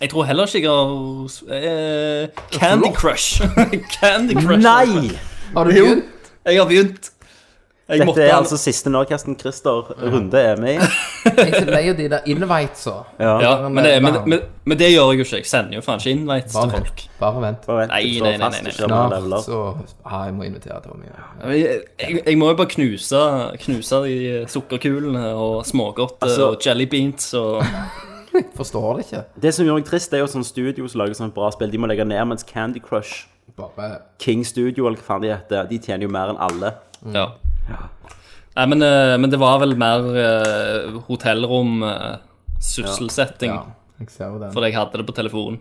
A: Jeg tror heller ikke jeg har eh, Candy Crush. Candy Crush.
C: Nei!
B: Har du begynt?
A: Jeg har begynt. Jeg
C: Dette
A: måtte
C: er altså siste Nordkasten Christer Runde er med i.
B: Jeg er så lei av de der invitesa.
A: ja,
C: sånn
A: men, det, men, men, men det gjør jeg jo ikke. Jeg sender jo faen ikke invites til
B: Bare
A: folk.
B: vent. Bare vent.
C: Bare vent,
A: Nei,
C: jeg
A: nei,
C: står
A: nei,
C: fast,
A: nei, nei.
C: ikke om han leveler.
B: Snart så Ja, jeg må invitere Tommy. Ja.
A: Jeg, jeg, jeg må jo bare knuse, knuse de sukkerkulene og smågodt
C: Altså-
A: og jelly beans og
B: Jeg forstår det ikke.
C: Det som gjør meg trist, det er jo sånn studio som lager sånne bra spill. De må legge ned, mens Candy Crush,
B: Bare
C: King Studio eller hva faen de heter, de tjener jo mer enn alle.
A: Ja. Nei, men, eh, men det var vel mer eh, hotellrom, eh, sysselsetting,
B: Ja, jeg ser jo den.
A: fordi jeg hadde det på telefonen.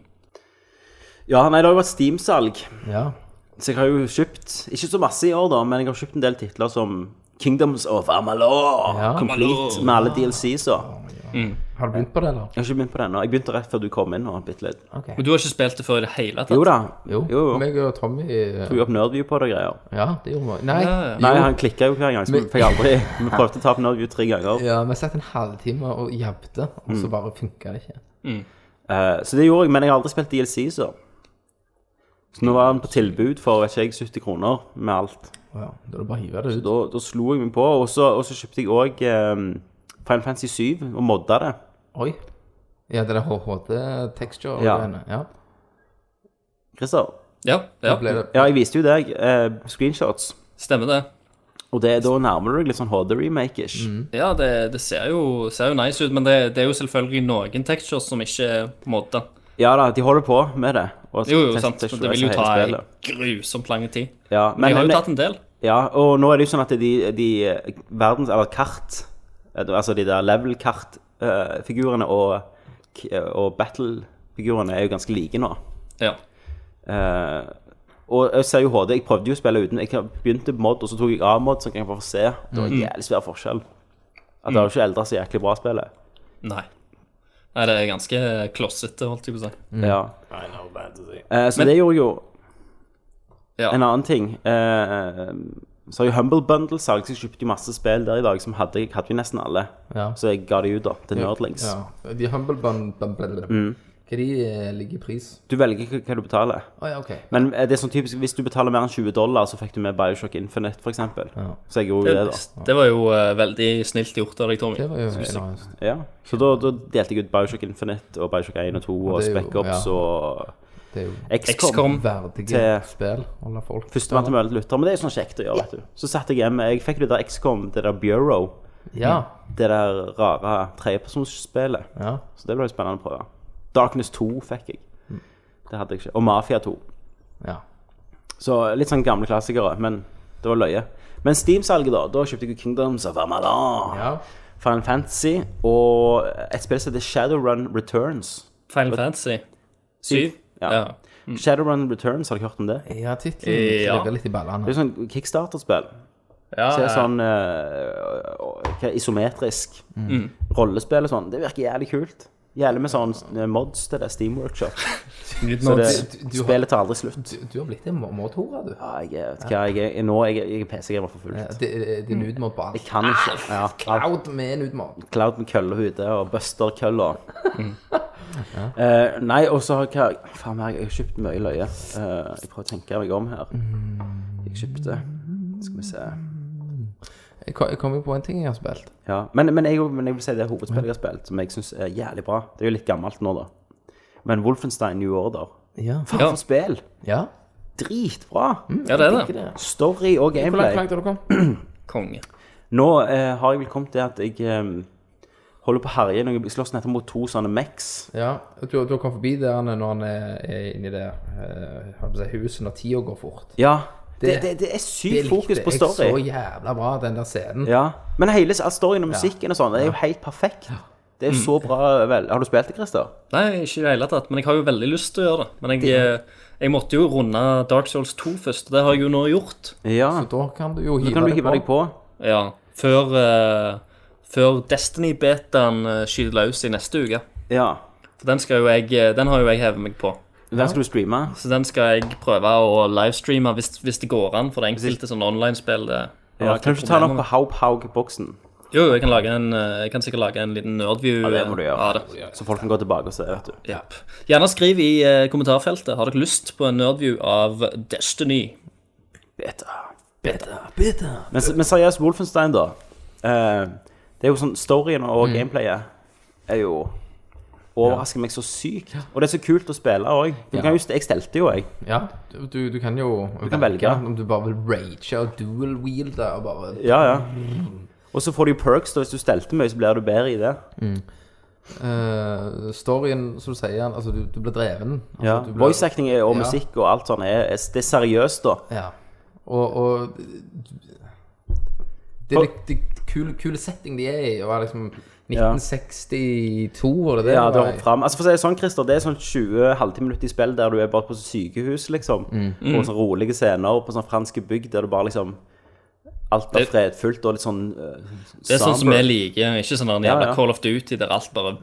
C: Ja, nei, det har jo vært Steam-salg,
B: Ja.
C: så jeg har jo kjøpt Ikke så masse i år, da, men jeg har kjøpt en del titler som Kingdoms of Amalur,
B: Ja.
C: complete med alle DLC-er.
B: Har du begynt på det, eller?
C: Jeg har ikke begynt på det ennå. Jeg begynte rett før du kom inn. og bitte litt.
B: Ok.
A: Men du har ikke spilt det før i det hele tatt?
C: Jo da.
B: Jo,
C: jo.
B: meg og Tommy eh,
C: Tok jo opp Nerdview på det og greier.
B: Ja, det gjorde vi. Nei.
A: Ja, ja.
C: Nei, han klikka jo hver gang, så vi
B: Men-
C: fikk aldri Vi prøvde å ta opp Nerdview tre ganger.
B: Ja, vi satt en halvtime og jabbte, og
C: Mm.
B: så bare funka det ikke.
C: Eh, så det gjorde jeg, men jeg har aldri spilt DLC, så. Så nå var han på tilbud for vet ikke jeg, 70 kroner med alt.
B: Ja, da er det bare å hive det ut.
C: Da, da slo jeg meg på, og så, og så kjøpte jeg òg Final Fantasy 7 og modda det.
B: Oi. Ja, det er HHD-texture og
C: Ja.
B: greiene. Ja.
C: Christer?
A: Ja, ja.
B: Da ble det
C: Ja, jeg viste jo deg eh, screenshots,
A: stemmer det.
C: og det, da nærmer du deg litt sånn HD-remake-ish.
A: Ja, det, det ser, jo, ser jo nice ut, men det, det er jo selvfølgelig noen textures som ikke er på en måte.
C: Ja da, de holder på med det. og
A: Jo, jo,
C: test-
A: sant.
C: test-
A: men Det vil jo
C: hele
A: ta ei
C: spillet.
A: grusomt lang tid.
C: ja,
A: Men jeg har jo
C: men-
A: tatt en del.
C: Ja, og nå er det jo sånn at de, de verdens, eller kart, altså de der level-kart-figurene og, eh, og battle-figurene er jo ganske like nå.
A: Ja.
C: Eh, og jeg ser jo HD, jeg prøvde jo å spille uten, jeg begynte på mod, og så tok jeg av mod, så kan jeg bare få se. Det
A: Mm.
C: var en jævlig svær forskjell. At det har jo ikke eldre så jæklig bra spillet.
A: Nei. Nei, det er ganske klossete, holdt jeg på å si.
B: Mm.
C: Ja. Eh, så det gjorde jeg jo.
A: Ja.
C: En annen ting, eh, så har jo Humble Bundle salg, så jeg kjøpte jo masse spill der i dag, som hadde, hadde vi nesten alle.
B: Ja.
C: Så jeg ga det ut da, til Nerdlings.
B: Ja. De humble bun... bun- bun- bun-
C: Mm.
B: Hva de eh, ligger i pris?
C: Du velger hva- hva du betaler.
B: Å ja, OK.
C: Men eh, det er sånn typisk, hvis du betaler mer enn 20 dollar, så fikk du med Bioshock Infinite, for eksempel.
B: Ja.
C: Så jeg gjorde jo det, da.
A: Det var jo eh, veldig snilt gjort av deg, Tommy.
B: Det var jo helt nice.
C: Ja. Så da, da delte jeg ut Bioshock Infinite og Bioshock 1 og 2 og
B: det er jo-
C: Spec Ops
B: ja.
C: og
B: Det er jo
C: XCOM.
A: XCOM.
B: verdige
C: Til-
B: spill å la folk
C: Førstemann til mølle til lytter, men det er jo sånn kjekt å gjøre, vet du. Så satt jeg hjemme, jeg fikk det der XCOM, det der Bureau,
B: Ja.
C: det der rare trepersonsspillet.
B: ja.
C: Så det ble jo spennende å prøve. Darkness 2 fikk jeg. Det hadde jeg ikke. Og Mafia 2.
B: ja.
C: Så litt sånn gamle klassikere, men det var løye. Men Steam-salget, da. Da kjøpte jeg jo Kingdoms of Amalur.
B: Ja.
C: Final Fantasy og et spill som heter Shadowrun Returns.
A: Final Fantasy 7.
C: Ja.
A: Ja.
C: Shadowrun Returns, har dere hørt om det?
B: ja tittelen
A: Ja.
B: klirrer litt i
C: Det er
B: ballene.
C: jo sånn kickstarterspill.
A: Ja,
C: Så det er
A: ja.
C: sånn eh, hva- isometrisk rollespill og sånn. Det virker jævlig kult. Jævlig med sånn eh, mods til det, Steam Workshop. Så det,
B: du- du har-
C: spillet tar aldri slutt.
B: Du, du har blitt en mordhore, du.
C: Ja, jeg, vet ikke hva, jeg, er- nå er jeg, jeg er PC-gamer for fullt.
B: Det, eh, det er nudemord på
C: Jeg
B: alt.
C: kan ikke. Ja, alt.
B: Out med nudemord.
C: Cloud med kølle ute og Buster kølla. Mm. Eh, nei, og så har jeg Faen, jeg har kjøpt mye løye. Eh, jeg prøver å tenke meg om her. Jeg kjøpte Skal vi se.
B: Jeg kom- jeg kom jo på en ting jeg har spilt.
C: Ja. Men, men, jeg, men jeg vil si det er hovedspillet jeg har spilt, som jeg syns er jævlig bra. Det er jo litt gammelt nå, da. Men Wolfenstein New Order.
B: Ja.
C: Faen,
A: Ja.
C: for spill!
B: ja.
C: Dritbra!
A: ja, det er det.
C: Story og
B: Hvor langt
C: gameplay.
B: langt har du kommet?
A: Konge.
C: Nå eh, har jeg vel kommet til at jeg eh, holder på å herje. når Jeg slåss nettopp mot to sånne Mex.
B: Ja, og du, du har kommet forbi der han er- når han er, er inni det eh, holdt på å si, huset når tida går fort.
C: Ja. Det,
B: Det-
C: det, det er
B: Det
C: sykt
B: likte
C: fokus på
B: Jeg så
C: story.
B: jævla bra, den der scenen.
C: Ja. Men hele s- storyen og musikken og sånn, det er jo helt perfekt. Det er jo så bra vel. Har du spilt det, Christer?
A: Nei, ikke i det hele tatt. Men jeg har jo veldig lyst til å gjøre det. Men jeg, eh, jeg måtte jo runde Dark Souls 2 først. og Det har jeg jo nå gjort.
C: Ja.
B: Da kan du jo
C: Så
B: hive,
C: kan du hive deg på.
A: Ja. Før, eh, før Destiny-betaen eh, skyter løs i neste uke.
C: Ja.
A: For den, skal jo jeg, eh, den har jo jeg hevet meg på.
C: Den skal du streame.
A: Så den skal jeg prøve å livestreame hvis, hvis det går an for det enkelte sånn online-spill. det har
C: Ja,
A: vært
C: kan du
A: litt
C: ikke ta den opp
A: problemer
C: på Haug Haug-boksen,
A: med. Jo, jo, jeg kan, lage en, eh, jeg kan sikkert lage en liten nerdview eh,
C: Ja, det må du gjøre.
A: av det.
C: så folk kan gå tilbake og se? vet du
A: Japp. Gjerne skriv i eh, kommentarfeltet. Har dere lyst på en nerdview av Destiny?
C: Beta. Men, se- men seriøst, Wolfenstein, da. Eh, det er jo sånn Storyen
B: Mm.
C: og gameplayet er jo Overrasker meg så sykt. Og det er så kult å spille òg.
B: Ja.
C: Jeg stelte jo, jeg.
B: Ja, du, du, du kan jo Du
C: kan velge.
B: Om du bare vil rage og dual-wielde og bare
C: Ja, ja. Og så får du jo perks, da. Hvis du stelte mye, så blir du bedre i det.
B: Eh, storyen, som du sier, altså du, du blir dreven. Altså,
C: Ja.
B: du blir-
C: Voice acting er- og
B: Ja.
C: musikk og alt sånn er, er, det er seriøst, da.
B: Ja. Og, og Det er litt- det er kul, kul setting de er i. Og er liksom 1962, var det det?
C: Ja, det
B: var?
C: hopper fram. Altså for å si det sånn, Christer, det er sånn 20 halvtimeminutter i spill der du er bare på sykehus, liksom.
B: Mm.
A: Mm.
C: På sånne rolige scener på sånn franske bygd der du bare liksom Alt er
A: Det-
C: fredfullt og litt sånn eh,
A: Det er sånn som
C: somber.
A: vi liker. Ikke sånn der en
C: Ja,
A: jævla
C: ja.
A: Call of Duty der alt bare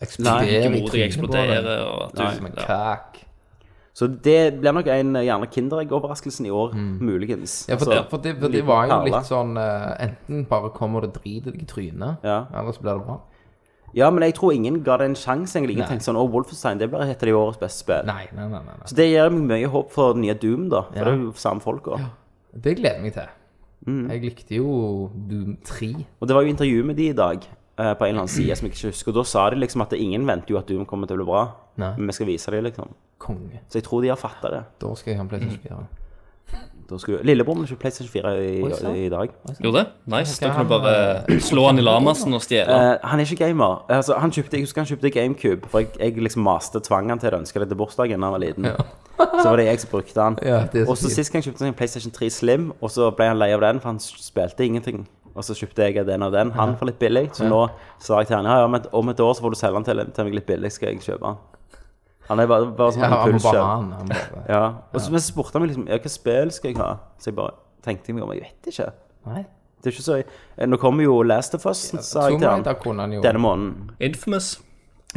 B: Eksploderer i
A: ikke mot deg
B: trynet på deg.
A: eksploderer. Og at
B: Som en
A: du, ja.
B: kak.
C: Så det blir nok en eh, gjerne Kinderegg-overraskelsen i år, muligens.
B: Mm. Ja, for,
C: Altså,
B: det, for, det, for det
C: liten
B: var jo
C: perle.
B: litt sånn eh, Enten bare kommer det drit i deg i trynet,
C: Ja.
B: ellers blir det bra.
C: Ja, men jeg tror ingen ga det en sjanse, egentlig. Ingen
B: Nei.
C: tenkte sånn Å, Wolfenstein, det blir et av de årets beste spill.
B: Nei, nei, nei. nei, nei.
C: Så det gir meg mye håp for nye Doom, da. For
B: Ja.
C: det er jo samme folka.
B: Det gleder jeg meg til.
C: Mm.
B: Jeg likte jo Doom 3.
C: Og det var jo intervju med de i dag eh, på en eller annen side som jeg ikke husker. Og da sa de liksom at ingen venter jo at Doom kommer til å bli bra,
B: Nei.
C: men vi skal vise dem, liksom.
B: Konge.
C: Så jeg tror de har fatta det.
B: Da skal jeg ha en
C: Mm.
B: PlayStation 4.
C: Da skulle... Lillebror må ikke PlayStation 4 i,
B: Oi, sant.
C: i dag.
A: Gjorde det? Nice. Da kan du
B: eh,
A: bare slå han i lamasen og stjele.
C: Eh, han er ikke gamer. Altså, han kjøpte, jeg husker han kjøpte GameCube, for jeg, jeg liksom maste tvang han til å ønske det til bursdagen da han var liten. så var det jeg som brukte han.
B: Ja, det er så
C: og så
B: fint.
C: sist gang kjøpte han en PlayStation 3 Slim, og så ble han lei av den, for han spilte ingenting. Og så kjøpte jeg den og den. Han for litt billig, så nå sa jeg til han ja, ja, om, et, om et år så får du selge den til, til meg litt billig, skal jeg kjøpe den. Han er bare, bare sånn
B: Ja, han må bare
C: impulskjøp.
B: ha den. Han bare,
C: Ja. Og så men så spurte han meg liksom ja, hva spill skal jeg ha. Så jeg bare tenkte meg om, jeg vet ikke.
B: Nei.
C: Det er ikke så eh, Nå kommer jo Last of Us, sa jeg
B: Tomb
C: til han.
B: Raider kunne han jo.
C: Denne måneden.
A: Infamous.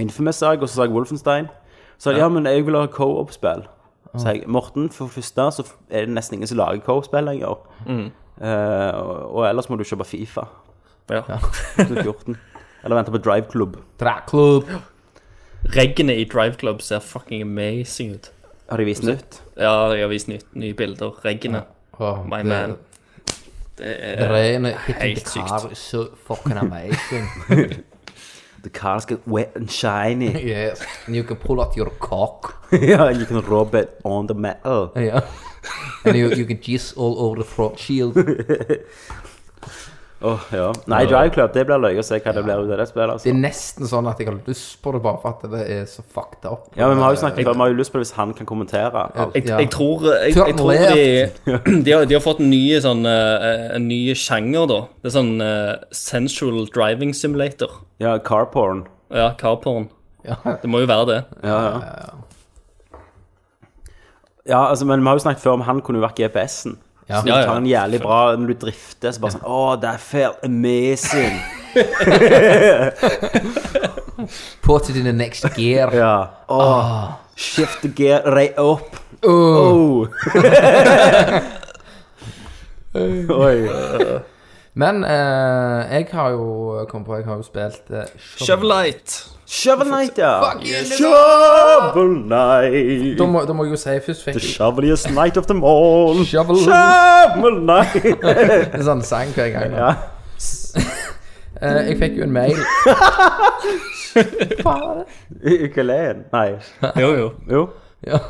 C: Infamous sa jeg, og så sa jeg Wolfenstein. Så sa jeg, ja, men jeg vil ha co-op-spill. Så sa jeg, Morten, for det første så er det nesten ingen som lager co-op-spill lenger. Eh, og, og ellers må du kjøpe Fifa.
A: Ja.
C: 2014. Eller vente på Drive Club.
B: Draclub.
A: Reggene i Drive Club ser fucking amazing ut.
C: Har de vist nytt?
A: Ja, jeg har vist nye, nye bilder. Reggene.
B: Oh,
A: My man. Det
B: Det
A: er
B: er en
A: helt sykt.
B: Har, så fucking amazing.
C: The cars get wet and shiny.
B: yes. And you can pull out your cock.
C: ja, you can rub it on the metal.
B: Yeah. And you, you can jizz all over the front shield.
C: Åh, ja. Nei, Drive Club, det blir løye å se hva det blir ut av det spillet.
B: Det
C: altså.
B: er nesten sånn at jeg har lyst på det bare for at det er så fucked up.
C: Ja, men Vi har jo snakket før, vi har jo lyst på det hvis han kan kommentere. alt.
A: jeg,
B: Ja.
A: jeg tror, eh, jeg, jeg
B: Turn
A: tror de, de, har, de har fått en ny, sånn, eh, en ny sjanger, da. Det er sånn eh, sensual driving simulator.
C: Ja, carporn.
A: Ja, carporn.
B: Ja.
A: Det må jo være det.
C: Ja, ja. Ja, altså, men vi har jo snakket før om han kunne jo vært GPS-en.
B: Ja.
C: Så du
A: Ja, ja.
C: tar en jævlig bra når du drifter, så bare sånn Å, det felt amazing!
B: På til dine next gear.
C: Ja. Å, shift the gear right up. Oh. Oi.
B: Men eh, jeg har jo kommet på, jeg har jo spilt eh,
A: Shovelite.
C: Shovel Knight, ja.
B: Fuck you,
C: Shovel Knight.
B: Da må, da må jeg jo si først fikk
C: The
B: jeg
C: shoveliest night of them all.
B: Shovel.
C: Shovel Knight.
B: en sånn sang hver gang.
C: Ja.
B: Eh, jeg fikk jo en mail. Faen.
C: Ukulelen. Nei.
A: Jo, jo.
C: Jo.
B: ja.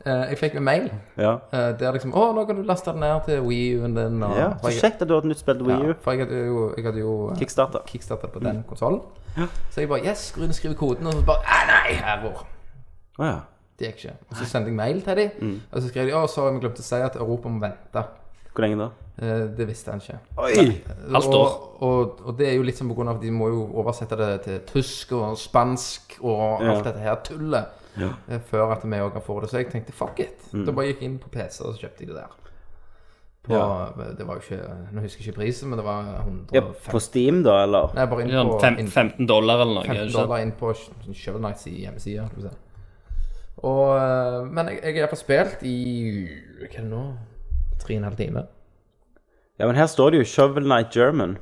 B: Eh, jeg fikk en mail
C: Ja.
B: eh, der liksom Å, nå kan du laste den ned til Wii-en din. Og,
C: ja. Så kjekt at du har et nytt spill til Wii
B: Ja,
C: U.
B: for jeg hadde jo, jeg hadde jo eh,
C: Kickstarter. Mm.
B: kickstarter på den konsollen. Så jeg bare Yes, skru inn og skriv koden. Og så bare «Ah, Nei, error.
C: Å ja.
B: Det gikk ikke. Og så sendte jeg mail til dem,
C: Mm.
B: og så skrev de Å, sorry, vi glemte å si at Europa må vente.
C: Hvor lenge da?
B: Eh, det visste han ikke.
C: Oi!
A: Halvt år.
B: Og, og, og det er jo litt sånn på grunn av at de må jo oversette det til tysk og spansk og alt dette her tullet. eh, Før at vi òg får det. Så jeg tenkte fuck it.
C: Mm.
B: Da bare gikk jeg inn på PC og så kjøpte jeg det der. På, Det var jo ikke Nå husker jeg ikke prisen, men det var 150
C: Ja, på Steam, da, eller?
B: Nei, bare inn
A: Ja,
B: på
A: fem,
B: inn-
A: 15 dollar eller noe. er det
B: 15
A: ikke sant?
B: dollar inn på Shovel Knights hjemmeside. Skal vi se. Og, eh, men jeg, jeg har iallfall spilt i Hva er det nå? Tre og en halv time.
C: Ja, men her står det jo Shovel Night German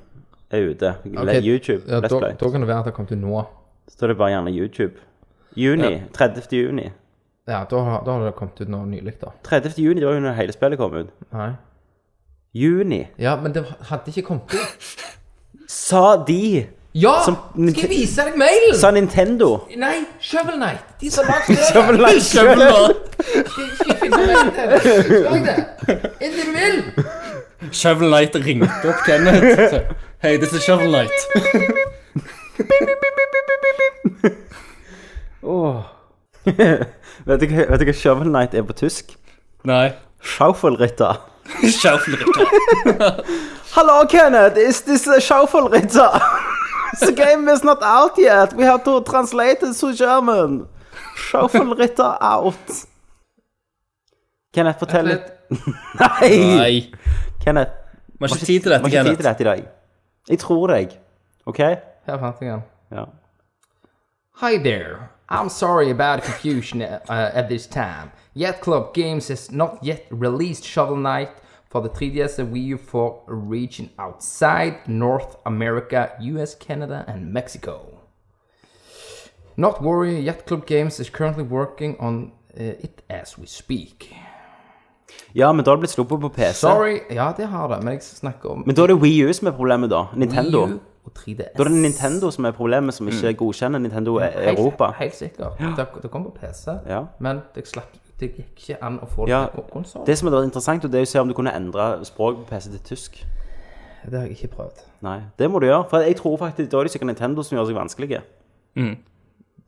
C: er ute.
B: Ok,
C: YouTube.
B: Ja, da,
C: Let's Play.
B: da kan det være at det kom til nå.
C: Står det bare gjerne YouTube. Juni. 30. juni.
B: Ja, da, har- da har det kommet ut noe nylig, da.
C: 30. juni, det var jo når hele spillet kom ut.
B: Nei.
C: Juni.
B: Ja, men det hadde ikke kommet ut.
C: Sa de!
B: Ja!
C: Som-
B: skal jeg vise deg mailen?
C: Sa Nintendo!
B: Nei, Shovel Knight. De som lagde det. Skal
C: Shovel Night German!
A: Shovel-
B: jeg finne meg det? Lag det. Inntil du vil.
A: Shovel Knight ringte opp Kenneth. Hei, this is Shovel Knight.
C: Åh. vet, du, hva- vet du hva Shovel Knight er på tysk?
A: Nei.
C: Schaufelritter.
A: Schaufelritter.
C: Hello, Kenneth. Is this a Schaufelritter? the game is not out yet. We have to translate it to German. Schaufelritter out. Kenneth, fortell litt. Nei!
A: Nei.
C: Kenneth,
A: Vi har ikke tid til
C: vi har
A: dette,
C: ikke tid til
A: Kenneth.
C: dette i dag. Jeg tror deg. OK?
B: Her fant jeg den.
C: Ja.
B: Hi there. I'm sorry about confusion uh, at this time. Yet Club Games has not yet released Shovel Knight for the 3DS and Wii U for a region outside North America, US, Canada, and Mexico. Not worry, Yet Club Games is currently working on uh, it as we speak.
C: ja, men da har det blitt sluppet på PC.
B: Sorry, ja, det har det, men jeg snakker om
C: Men da er det Wii U som er problemet, da. Nintendo.
B: Wii U og 3DS.
C: Da er det Nintendo som er problemet, som ikke godkjenner Nintendo e-
B: Helt-
C: Europa.
B: Helt sikkert. Det, det kom på PC,
C: Ja.
B: men det, slapp, det gikk ikke an å få det
C: Ja,
B: på konsoll.
C: Det som hadde vært interessant, og det er å se om du kunne endre språk på PC til tysk.
B: Det har jeg ikke prøvd.
C: Nei, det må du gjøre. For jeg tror faktisk da er det sikkert Nintendo som gjør seg vanskelige.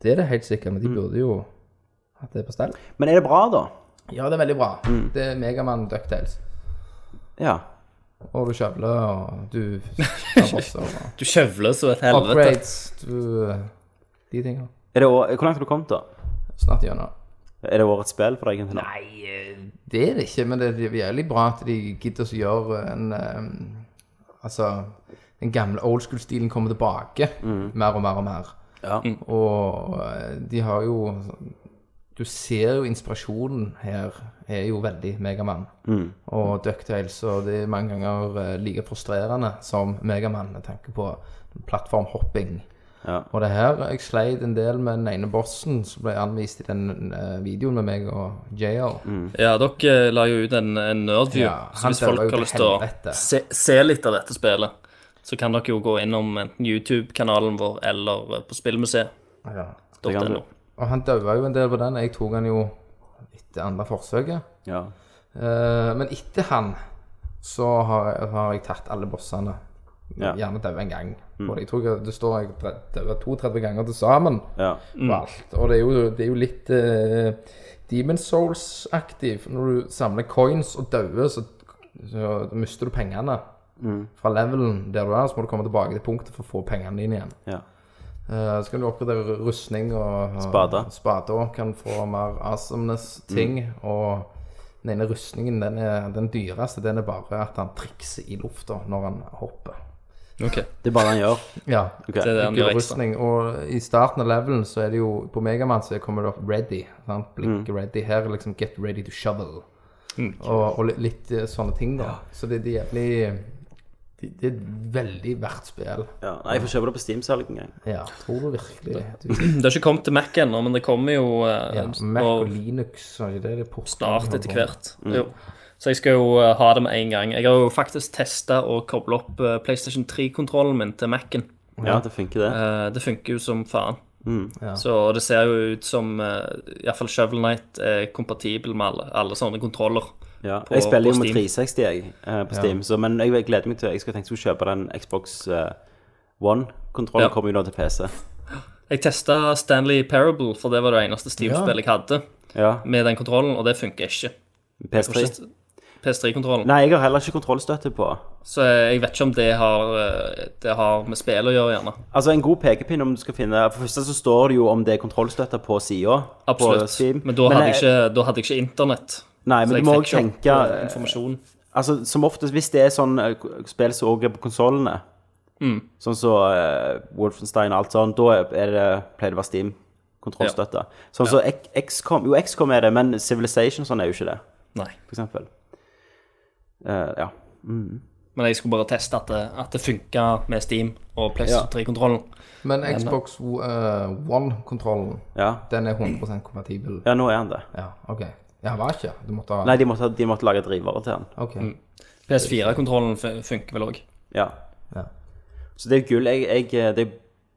B: Det er det helt sikkert, men de burde jo hatt det på stell.
C: Men er det bra, da?
B: Ja, det er veldig bra. Det er Megamann Ducktails.
C: Ja.
B: Og du kjøvler, og du tar bosser og
A: Du kjøvler så et helvete.
B: upgrades. Du eh, De tingene.
C: Er det, å- hvor langt har du kommet, da?
B: Snart gjennom.
C: Er det årets spill for deg? Nei.
B: eh, Det er det ikke, men det er jævlig bra at de gidder å gjøre en eh, Altså, den gamle old school-stilen kommer tilbake mer og mer og mer.
C: Ja.
B: Og eh, de har jo Du ser jo inspirasjonen her er jo veldig Megamann. Og Ducktails, og det er mange ganger eh, like frustrerende som Megamann med tanke på plattformhopping.
C: Ja.
B: Og det her, jeg sleit en del med den ene bossen som ble anvist i den eh, videoen med meg og JL.
A: Ja, dere eh, la jo ut en, en nerdview.
B: Ja,
A: så
B: han
A: hvis
B: døde
A: folk
B: jo
A: har
B: til
A: lyst til å
B: helvete.
A: se, se litt av dette spillet, så kan dere jo gå innom enten YouTube-kanalen vår eller eh, på spillmuseet.no.
B: Ja.
C: Det kan du.
B: Og han døde jo en del på den. Jeg tok han jo etter andre forsøket.
C: Ja.
B: Eh, men etter han så har, har jeg tatt alle bossene.
C: Ja.
B: Gjerne døde en gang. Og jeg tror jeg- det står jeg døde 32 ganger til sammen.
C: ja.
B: Og alt. Og det er jo, det er jo litt eh, Demon Souls-aktiv. Når du samler coins og dauer, så, så mister du pengene. Fra levelen der du er, så må du komme tilbake til punktet for å få pengene dine igjen.
C: ja.
B: Eh, så kan du oppgradere rustning og og
C: Spader.
B: spader kan få mer awesomeness-ting.
A: Mm.
B: Og den ene rustningen, den, er, den dyreste, den er bare at han trikser i lufta når han hopper.
A: Ok,
C: Det er bare det han gjør.
B: Ja.
C: Ok.
A: det er det han gjør ekstra.
B: Rustning, og i starten av levelen så er det jo På Megaman så kommer det opp 'ready'.
A: Mm.
B: Sant? Blink 'ready'. Her er liksom 'get ready to shovel'. Og, og litt, litt eh, sånne ting, da. Så det, det er jævlig det, det er et veldig verdt spill.
C: Ja. Nei, jeg får kjøpe det på Steam-salg en gang.
B: Ja, tror du virkelig du
A: Det har ikke kommet til Mac ennå, men det kommer jo eh,
B: Ja, Mac og
A: og
B: Linux, er ikke det det porter?
A: snart etter hvert. Jo. Så jeg skal jo eh, ha det med en gang. Jeg har jo faktisk testa å koble opp eh, PlayStation 3-kontrollen min til Mac-en.
C: Ja, det funker, det.
A: Eh, det funker jo som faen. Så det ser jo ut som uh, iallfall Shovel Knight er kompatibel med alle, alle sånne kontroller.
C: Ja.
A: på-
C: jeg spiller
A: på
C: jo med
A: Steam.
C: 360 jeg, eh, på Steam, så, men jeg gleder meg til Jeg skulle tenkt jeg skulle kjøpe den Xbox eh, One-kontrollen.
A: Ja.
C: Kommer jo nå til PC.
A: Jeg testa Stanley Parable, for det var det eneste Steam-spillet jeg hadde
C: Ja.
A: med den kontrollen, og det funker ikke.
C: PS3.
A: Ikke PS3-kontrollen.
C: Nei, jeg har heller ikke kontrollstøtte på.
A: Så jeg vet ikke om det har, eh, det har med spillet å gjøre, gjerne.
C: Altså, en god pekepinn om du skal finne For det første så står det jo om det er kontrollstøtte på sida.
A: Absolutt. Men da hadde, jeg ikke, da hadde jeg ikke internett.
C: Nei, men
A: så
C: du
A: jeg
C: må
A: fikk
C: også
A: ikke
C: tenke
A: opp, eh, informasjon.
C: Altså, som oftest, hvis det er sånn eh, k- spill som også er på konsollene,
A: Mm.
C: sånn som eh, Wolfenstein og alt sånn, da er det, pleier det å være Steam-kontrollstøtte. Sånn som X- XCOM Jo, XCOM er det, men Civilization og sånn er jo ikke det,
A: Nei.
C: for eksempel. Eh, ja.
A: Men jeg skulle bare teste at det, at det funka med Steam og PlayStation 3-kontrollen.
B: Men Xbox eh, One-kontrollen,
C: ja.
B: den er 100 kompatibel?
C: Ja, nå er han det.
B: Ja, OK. Ja, var ikke? Du måtte ha
C: Nei, de måtte, de måtte lage drivere til han.
B: OK.
A: PS4-kontrollen fun- funker vel òg.
C: Ja.
B: Ja.
C: Så det er jo gull. Jeg, jeg Det er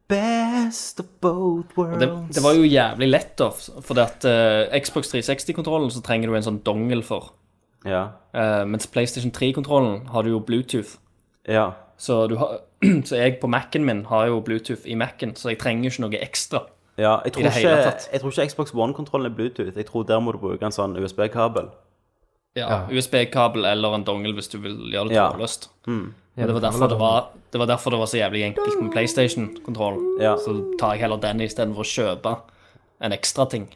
C: best of both worlds.
A: Det, det var jo jævlig lett, da. For det at eh, Xbox 360-kontrollen så trenger du en sånn dongel for.
C: Ja.
A: Eh, mens PlayStation 3-kontrollen har du jo Bluetooth.
C: ja.
A: Så, du har, så jeg på Mac-en min har jo Bluetooth i Mac-en, så jeg trenger ikke noe ekstra.
C: Ja, jeg, tror
A: det hele
C: ikke,
A: tatt.
C: jeg tror ikke Xbox One-kontrollen er Bluetooth. Jeg tror der må du bruke en sånn USB-kabel.
A: Ja, USB-kabel eller en dongel hvis du vil gjøre det
C: Ja. Mm.
A: trådløst. Men Det var, derfor det, var, det var derfor det var så jævlig enkelt med PlayStation-kontroll.
C: Ja.
A: Så tar jeg heller den istedenfor å kjøpe en ekstra ting.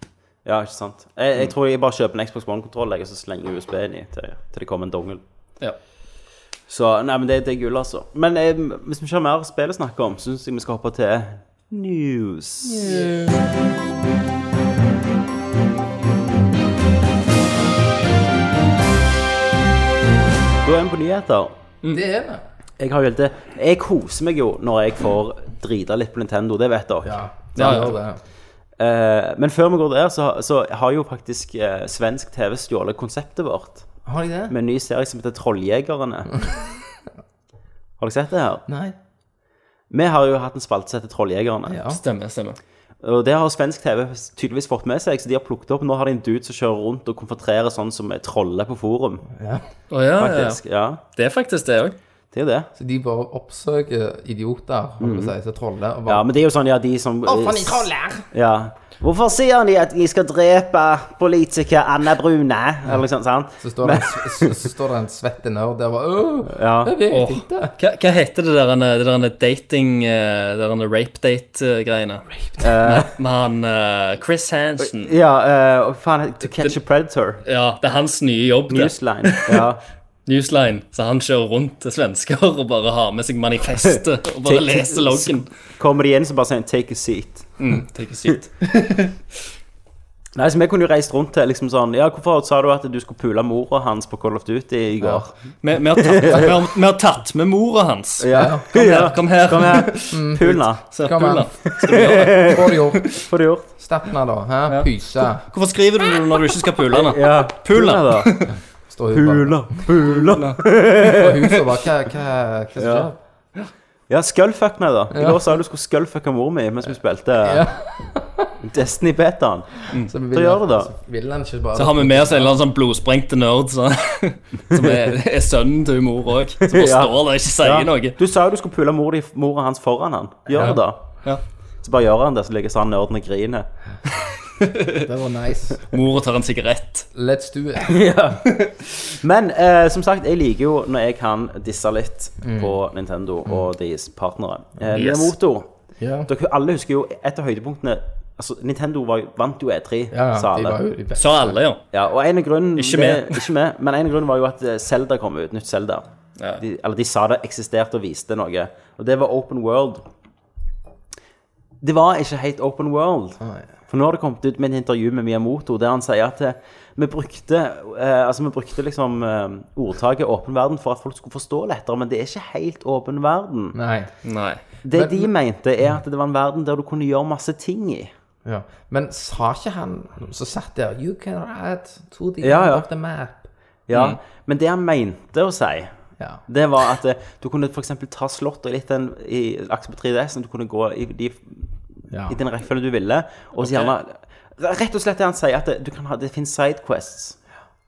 C: Ja, ikke sant? Jeg, jeg tror jeg bare kjøper en Xbox One-kontroll jeg, og så slenger jeg USB-en i til, til det kommer en dongel.
A: Ja.
C: Så nei, men det, det er gull, altså. Men eh, hvis vi ikke har mer spill å snakke om, syns jeg vi skal hoppe til news. Da er vi på nyheter.
B: Det er det.
C: Jeg har jo helt det. Jeg koser meg jo når jeg får drita litt på Nintendo, det vet dere.
B: Ja, det
A: Ja, ja.
B: gjør det.
C: Eh, men før vi går der, så, så har jo faktisk eh, svensk TV stjålet konseptet vårt
B: Har de det?
C: med en ny serie som heter Trolljegerne. har dere sett det her?
B: Nei.
C: Vi har jo hatt en spalte som heter Trolljegerne.
B: Ja.
A: Stemmer, stemmer.
C: Og det har svensk TV tydeligvis fått med seg, så de har plukket opp. Nå har de en dude som kjører rundt og konfronterer sånn som er troller på forum.
A: Å ja, ja, ja.
C: Faktisk. Ja,
A: Det er faktisk det òg.
C: det er jo det.
B: Så de bare oppsøker idioter, holdt på å si, så troller, og
C: Ja,
B: bare
C: men det er jo sånn, ja, de som
B: troller!
C: Ja. Hvorfor sier de at de skal drepe politiker Anna Brune? Eller noe sånt, sant?
B: Så står det en, s- s- så står det en svette nerd der og bare Åh,
C: Ja.
B: jeg vet
A: Åh.
B: ikke.
A: Hva, hva heter det der, det der dating eh, Det der rape-date-greiene? eh, Med han eh, Chris Hansen.
C: Ja, eh, faen, To Catch a Predator.
A: Ja, det er hans nye jobb, det.
C: Newsline. Ja.
A: Newsline. Så han kjører rundt til svensker og bare har med seg manifestet og bare
C: Take-
A: leser loggen.
C: Kommer de inn, så bare sier de, 'take a seat'.
A: Mm, take a seat.
C: Nei, så Vi kunne jo reist rundt til liksom sånn Ja, hvorfor sa du at du skulle pule mora hans på Call of Duty i går?
A: Vi, vi, har tatt, vi, har, vi har tatt med mora hans.
C: Ja.
A: Kom her, kom her.
C: Kom her. Pulna.
A: Så,
B: Kom her.
A: Ulla,
B: Hva har du gjort?
C: Få det gjort.
B: Stepna, da. Hæ? Pyse.
A: Hvorfor skriver du det når du ikke skal pule henne?
C: Ja.
A: Pulna.
C: da.
B: Står hun bare
C: Pula.
B: på huset og bare Hva, hva, hva som skjer?
C: Ja, skullfuck meg, da. I går sa du skulle skullfucke mor mi mens vi spilte Destiny Betaen.
B: Så
C: Så
B: vil
C: gjør det, da.
B: Vil han ikke bare
A: Så har vi med oss en eller annen sånn blodsprengte nerd så, som er, er sønnen til mor òg. Som bare
C: Ja.
A: står der og ikke sier
C: Ja.
A: noe.
C: Du sa jo du skulle pule mor di- mora hans foran han. Gjør det, da.
A: Ja.
C: Så bare gjør han det, så ligger sånn nerden og griner.
B: Det var nice.
A: Mora tar en sigarett.
B: Let's do it.
C: Men eh, som sagt, jeg liker jo når jeg kan disse litt på Nintendo og deres partnere. Eh,
A: Mm. Yes.
C: Miyamoto.
B: Ja.
C: Dere alle husker jo et av høydepunktene Altså, Nintendo var, jo- vant jo E3,
B: Ja,
C: sa
B: de
C: alle.
B: var jo de beste.
A: Sa alle, ja.
C: Ja, og en av grunnen
A: Ikke med.
C: det- ikke med, men en av grunnen var jo at eh, Zelda kom ut. Nytt Zelda.
A: Ja.
C: De, eller de sa det eksisterte og viste noe. Og det var Open World. Det var ikke helt Open World. For nå har det kommet ut med et intervju med Miyamoto der han sier at eh, vi brukte, eh, altså vi brukte liksom eh, ordtaket åpen verden for at folk skulle forstå lettere, men det er ikke helt åpen verden.
B: Nei.
A: Nei.
C: Det
B: Men-
C: de mente, er at det var en verden der du kunne gjøre masse ting i.
B: Ja. Men sa ikke han som satt der You can write to the
C: Ja,
B: end
C: ja.
B: of the map.
C: Ja,
B: Mm.
C: Men det han mente å si,
B: Ja.
C: det var at eh, du kunne f.eks. ta slottet litt den i akse på 3DS, og du kunne gå i de
B: ja.
C: i den rekkefølgen du ville. Og så gjerne Rett og slett det han sier, at det, du kan ha, det finnes sidequests.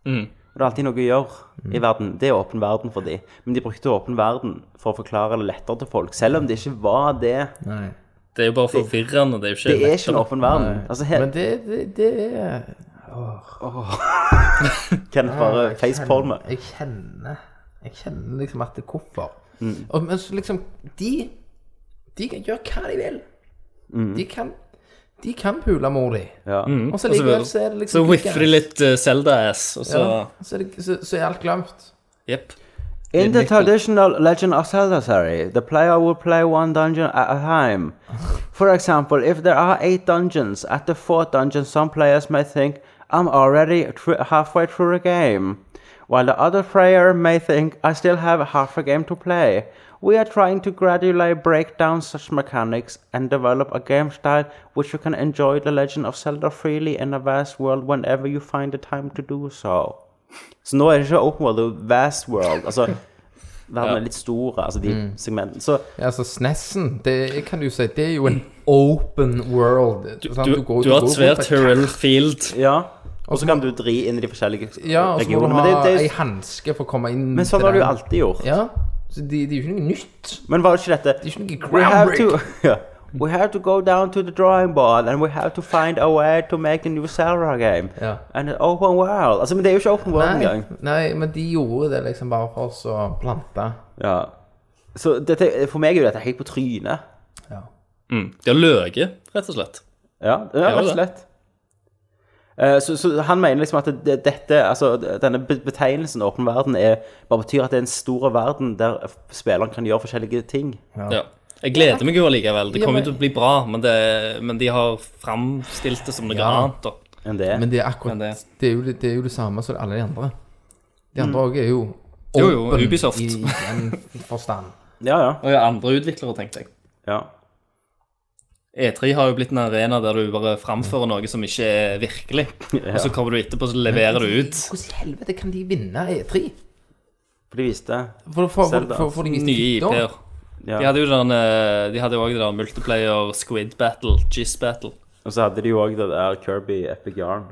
B: Mm.
C: Og det er alltid noe å gjøre i verden. Det er åpen verden for de. Men de brukte åpen verden for å forklare det lettere til folk. Selv om det ikke var det.
B: Nei.
A: Det er jo bare forvirrende. Det er jo ikke
C: Det er ikke en åpen verden. Altså, her,
B: Men det, det, det er
C: Kenneth bare facepalme.
B: Jeg kjenner Jeg kjenner liksom at det er hvorfor.
C: Mm.
B: Og, men så liksom De De kan gjøre hva de vil.
C: Mm.
B: De kan De kan pule mor di.
C: Ja.
B: Og så likevel så er det
A: Så
B: liksom
A: whiffer de litt eh, Zelda-ass, og så
B: Ja, så, er det, så, så er alt glemt.
A: Jepp.
C: In the traditional Legend of Zelda series, the player will play one dungeon at a time. For example, if there are eight dungeons, at the fourth dungeon, some players may think, I'm already thr- halfway through the game, while the other player may think, I still have half a game to play. We are trying to gradually break down such mechanics and develop a game style which you can enjoy The Legend of Zelda freely in a vast world whenever you find the time to do so. Så nå er det ikke Open World, det er Vast World. Altså, verden er litt stor, altså de
B: Mm.
C: segmentene. Så
B: Ja, altså Snessen, det kan du si, det er jo en open world.
A: Du,
B: sant?
A: du,
B: Sånn, går-
A: du har
B: går
A: et
B: rundt
A: svært
B: et
A: Hyrule Field.
C: ja. Og så kan du dri inn i de forskjellige
B: Ja, og så må du
C: regionene.
B: ha
C: Men, det,
B: ei
C: det,
B: hanske for å komme inn
C: men sånn har du jo alltid gjort.
B: Ja, så det, det er jo ikke noe nytt.
C: Men var det ikke dette
B: Det er ikke noe
C: We have
B: groundbreak.
C: to, ja. We have to go down to the drawing board and we have to find a way to make a new Zelda game.
B: Ja.
C: And an open world. Altså, men det er jo ikke open world
B: Nei,
C: engang.
B: nei, men de gjorde det liksom bare for oss å plante.
C: Ja. Så dette, for meg er jo dette helt på trynet.
B: Ja.
A: Mm. De har løyet, rett og slett.
C: Ja,
A: jo
C: ja rett og
A: det.
C: slett. Eh, Så, så han mener liksom at det, dette, altså denne be- betegnelsen åpen verden er, bare betyr at det er en stor verden der f- spilleren kan gjøre forskjellige ting.
A: Ja. Jeg gleder meg jo allikevel. Det
B: Ja,
A: kommer
B: men-
A: jo til å bli bra, men, det, men de har framstilt det som noe
B: Ja.
A: annet. Da.
C: enn det.
B: Men det er akkurat
A: Men
B: det.
A: det-
B: er jo, det er jo det samme som alle de andre. De andre òg er jo
A: Jo, jo,
B: åpen
A: Ubisoft.
B: i den forstand.
C: Ja, ja.
A: Og ja, andre utviklere, tenkte jeg.
C: ja.
A: E3 E har jo blitt en arena der du bare framfører noe som ikke er virkelig. Og så kommer du etterpå og leverer det ut.
B: Hvordan i helvete kan de vinne E3?
C: For de viste
B: For, for, for,
C: Zelda.
B: for, for de
A: Nye IP-er.
C: ja.
A: De hadde jo den, eh, de hadde jo også det der multiplayer squid battle, jizz battle.
C: Og så hadde de jo òg det der Kirby Epic Yarn.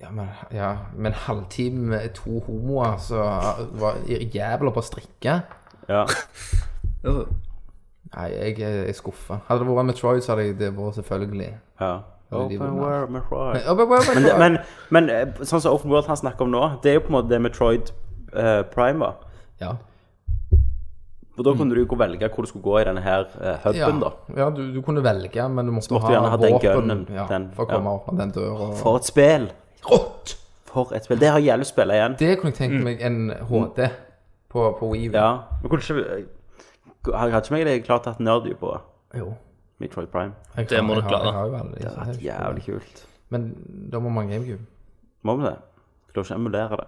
B: Ja, men, ja, men halvtime med to homoer som var jævla på å strikke
C: Ja.
B: Nei, jeg er skuffa. Hadde det vært Metroid, så hadde jeg det vært selvfølgelig.
C: ja.
B: Hadde de
C: Open
B: vunnet.
C: World Metroid.
B: Ja, men- men- men-
C: Men, det- men, men eh, sånn som Open World han snakker om nå, det er jo på en måte det Metroid eh, Prime var.
B: ja.
C: For da kunne du jo gå og velge hvor du skulle gå i denne her eh,
B: Mm. Ja,
C: huben, da.
B: ja du, du kunne velge, men du måtte,
C: måtte du
B: ha,
C: gjerne ha den
B: våpen
C: gunnen,
B: ja,
C: den-
B: for å
C: ja.
B: komme opp av den døra.
C: For et spill!
B: Rått!
C: For et spill. Det har jævlig spill igjen.
B: Det kunne jeg tenkt meg en HD på, på Wii.
C: Ja. Men kunne ikke Hadde hadde ikke meg egentlig klart tatt nerdy på
B: Jo.
C: Metroid Prime?
B: Jeg
A: Det må
B: jeg
A: du
B: har-
A: klare.
B: jeg har jo alle disse her.
C: Jævlig kult.
B: Men da må man GameCube.
C: Må vi det? Klarer ikke å emulere det.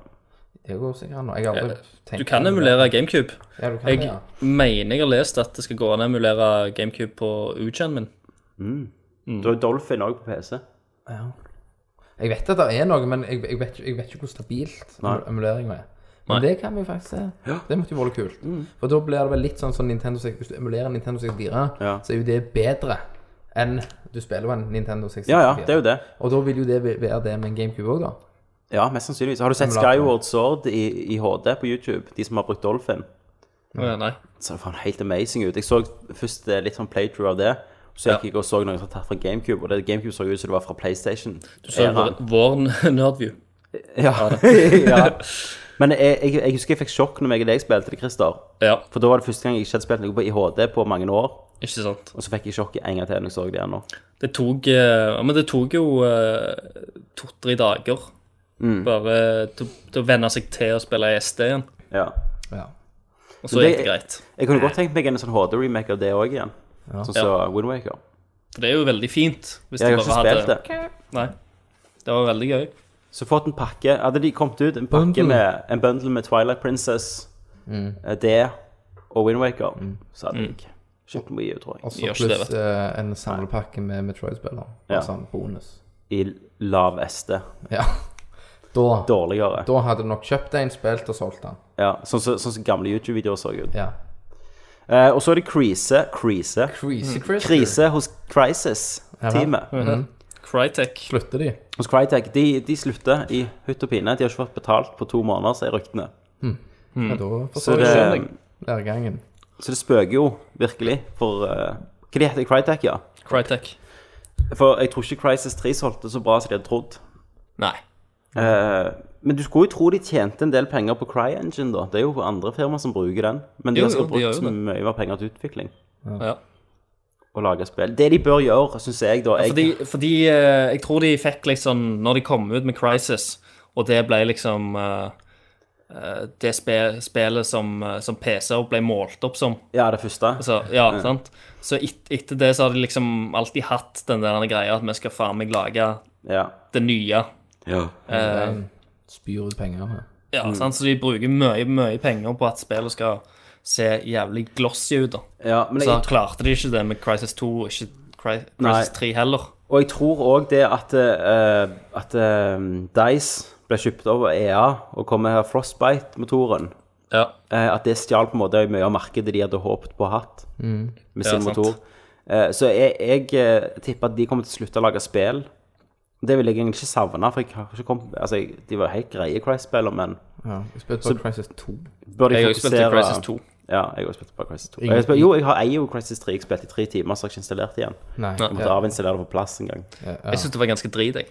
B: Det går sikkert an. og Jeg har aldri tenkt
A: Du kan emulere GameCube.
B: Ja, du kan det,
A: Jeg
B: ja.
A: mener jeg har lest at det skal gå an å emulere GameCube på Ugen min.
C: Du har jo Dolphin òg på PC.
B: ja. Jeg vet at det er noe, men jeg, jeg, vet, ikke- jeg vet ikke hvor stabilt
C: Nei.
B: emuleringa er. Men
A: Nei.
B: det kan vi jo faktisk se. Det måtte jo være kult.
C: Mm.
B: For da blir det vel litt sånn som Nintendo 64. Hvis du emulerer Nintendo 64,
C: Ja.
B: så er jo det bedre enn du spiller på en Nintendo 64.
C: Ja, ja, det er jo det.
B: Og da vil jo det være det med en GameCube òg, da.
C: Ja, mest sannsynligvis. Har du sett
B: Emulator.
C: Skyward Sword i, i HD på YouTube? De som har brukt Dolphin?
A: Å, ja, Nei.
C: ser faen helt amazing ut. Jeg så først eh, litt sånn playthrough av det. Så gikk jeg og så noen som var tatt fra GameCube, og det GameCube så ut som det var fra PlayStation.
A: Du så vår, vår nerdview.
C: Ja. ja. Men jeg, jeg, jeg husker jeg fikk sjokk når jeg og deg spilte det, Christer.
A: Ja,
C: For da var det første gang jeg ikke hadde spilt noe på IHD på mange år.
A: ikke sant.
C: Og så fikk jeg sjokk en gang til når jeg så det igjen nå.
A: Det tok eh, ja, Men det tok jo eh, to-tre dager
C: Mm.
A: bare til, til å venne seg til å spille SD igjen.
C: Ja.
B: Ja.
A: Og så
C: Men
A: gikk
C: det-
A: det greit.
C: Jeg kunne godt tenkt meg en sånn HD-remake av det òg igjen. Sånn som
A: Ja.
C: Wind Windwaker.
A: For det er jo veldig fint. Hvis
C: Jeg
A: de
C: har ikke
A: bare
C: spilt
A: hadde...
C: det.
A: Nei. Det var veldig gøy.
C: Så fått en pakke Hadde de kommet ut en pakke
B: Bundle.
C: med En bundle med Twilight Princess, eh, det og Windwaker, så hadde
A: Mm.
C: jeg kjøpt mye, tror jeg.
B: Og så
A: Gjør ikke det,
B: pluss
A: vet
B: eh, en samlepakke med Metroid-spillere.
C: Ja.
B: Ja. Sånn bonus.
C: I lav SD.
B: Ja. Da, da.
C: Dårligere.
B: hadde du nok kjøpt en, spilt og solgt den.
C: Ja, sånn som sånn som gamle YouTube-videoer så ut.
B: Ja.
C: Eh, og så er det Crease Crease.
B: Crazy Chris.
C: Krise hos Crisis-teamet.
A: Mm. Crytek.
B: Slutter de?
C: Hos Crytek. De, de slutter i hutt og pine. De har ikke fått betalt på to måneder, sier ryktene.
B: Ja, da
C: Så
B: forstår
C: det,
B: jeg læregangen.
C: så det spøker jo virkelig for eh, Hva de heter Crytek, ja?
A: Crytek.
C: For jeg tror ikke Crisis 3 solgte så bra som de hadde trodd.
A: Nei.
C: Eh, men du skulle jo tro de tjente en del penger på CryEngine, da. Det er jo andre firmaer som bruker den. Men de
A: Jo,
C: har
A: jo,
C: sikkert
A: de
C: brukt
A: gjør jo
C: så
A: det.
C: mye mer penger til utvikling
A: Ja.
C: og lage spill. Det de bør gjøre, syns jeg, da jeg,
A: Fordi, fordi eh, jeg tror de fikk liksom Når de kom ut med Crisis, og det ble liksom eh, eh, Det spe- spillet som, eh, som PC-er ble målt opp som.
C: Ja, det første.
A: Altså, ja, sant? Så et, etter det så har de liksom alltid hatt den der greia at vi skal faen meg lage
C: ja.
A: det nye.
C: ja.
A: Eh,
B: Spyr ut penger. ja.
A: ja, sant? Så de bruker mye, mye penger på at spillet skal se jævlig glossy ut. da.
C: men
A: Så
C: jeg,
A: klarte de ikke det med Crisis 2 og ikke Cry-
C: Nei.
A: Crisis 3 heller.
C: og jeg tror òg det at, eh, at eh, Dice ble kjøpt over EA og kom med her Frostbite-motoren.
A: Ja,
C: Eh, at det stjal på en måte mye av markedet de hadde håpet på å ha hatt med
A: Ja,
C: sin
A: sant.
C: motor. Eh, så jeg, jeg eh, tipper at de kommer til å slutte å lage spill. Det vil jeg egentlig ikke savne, for jeg har ikke kommet, altså, jeg, de var helt greie Cry-spillere, men
B: Ja. Jeg spilte på Crisis 2.
C: bør de
A: jeg har jo spilt
C: fokusere
A: Crisis 2.
C: Ja, jeg har også spilt bare Crisis 2. Jeg har spilt, jo, jeg har jeg er jo Crisis 3. Jeg spilte i tre timer, så har jeg ikke installert igjen.
B: Nei.
C: Jeg måtte avinstallere det på plass en gang.
A: Jeg syns det var ganske drit, jeg.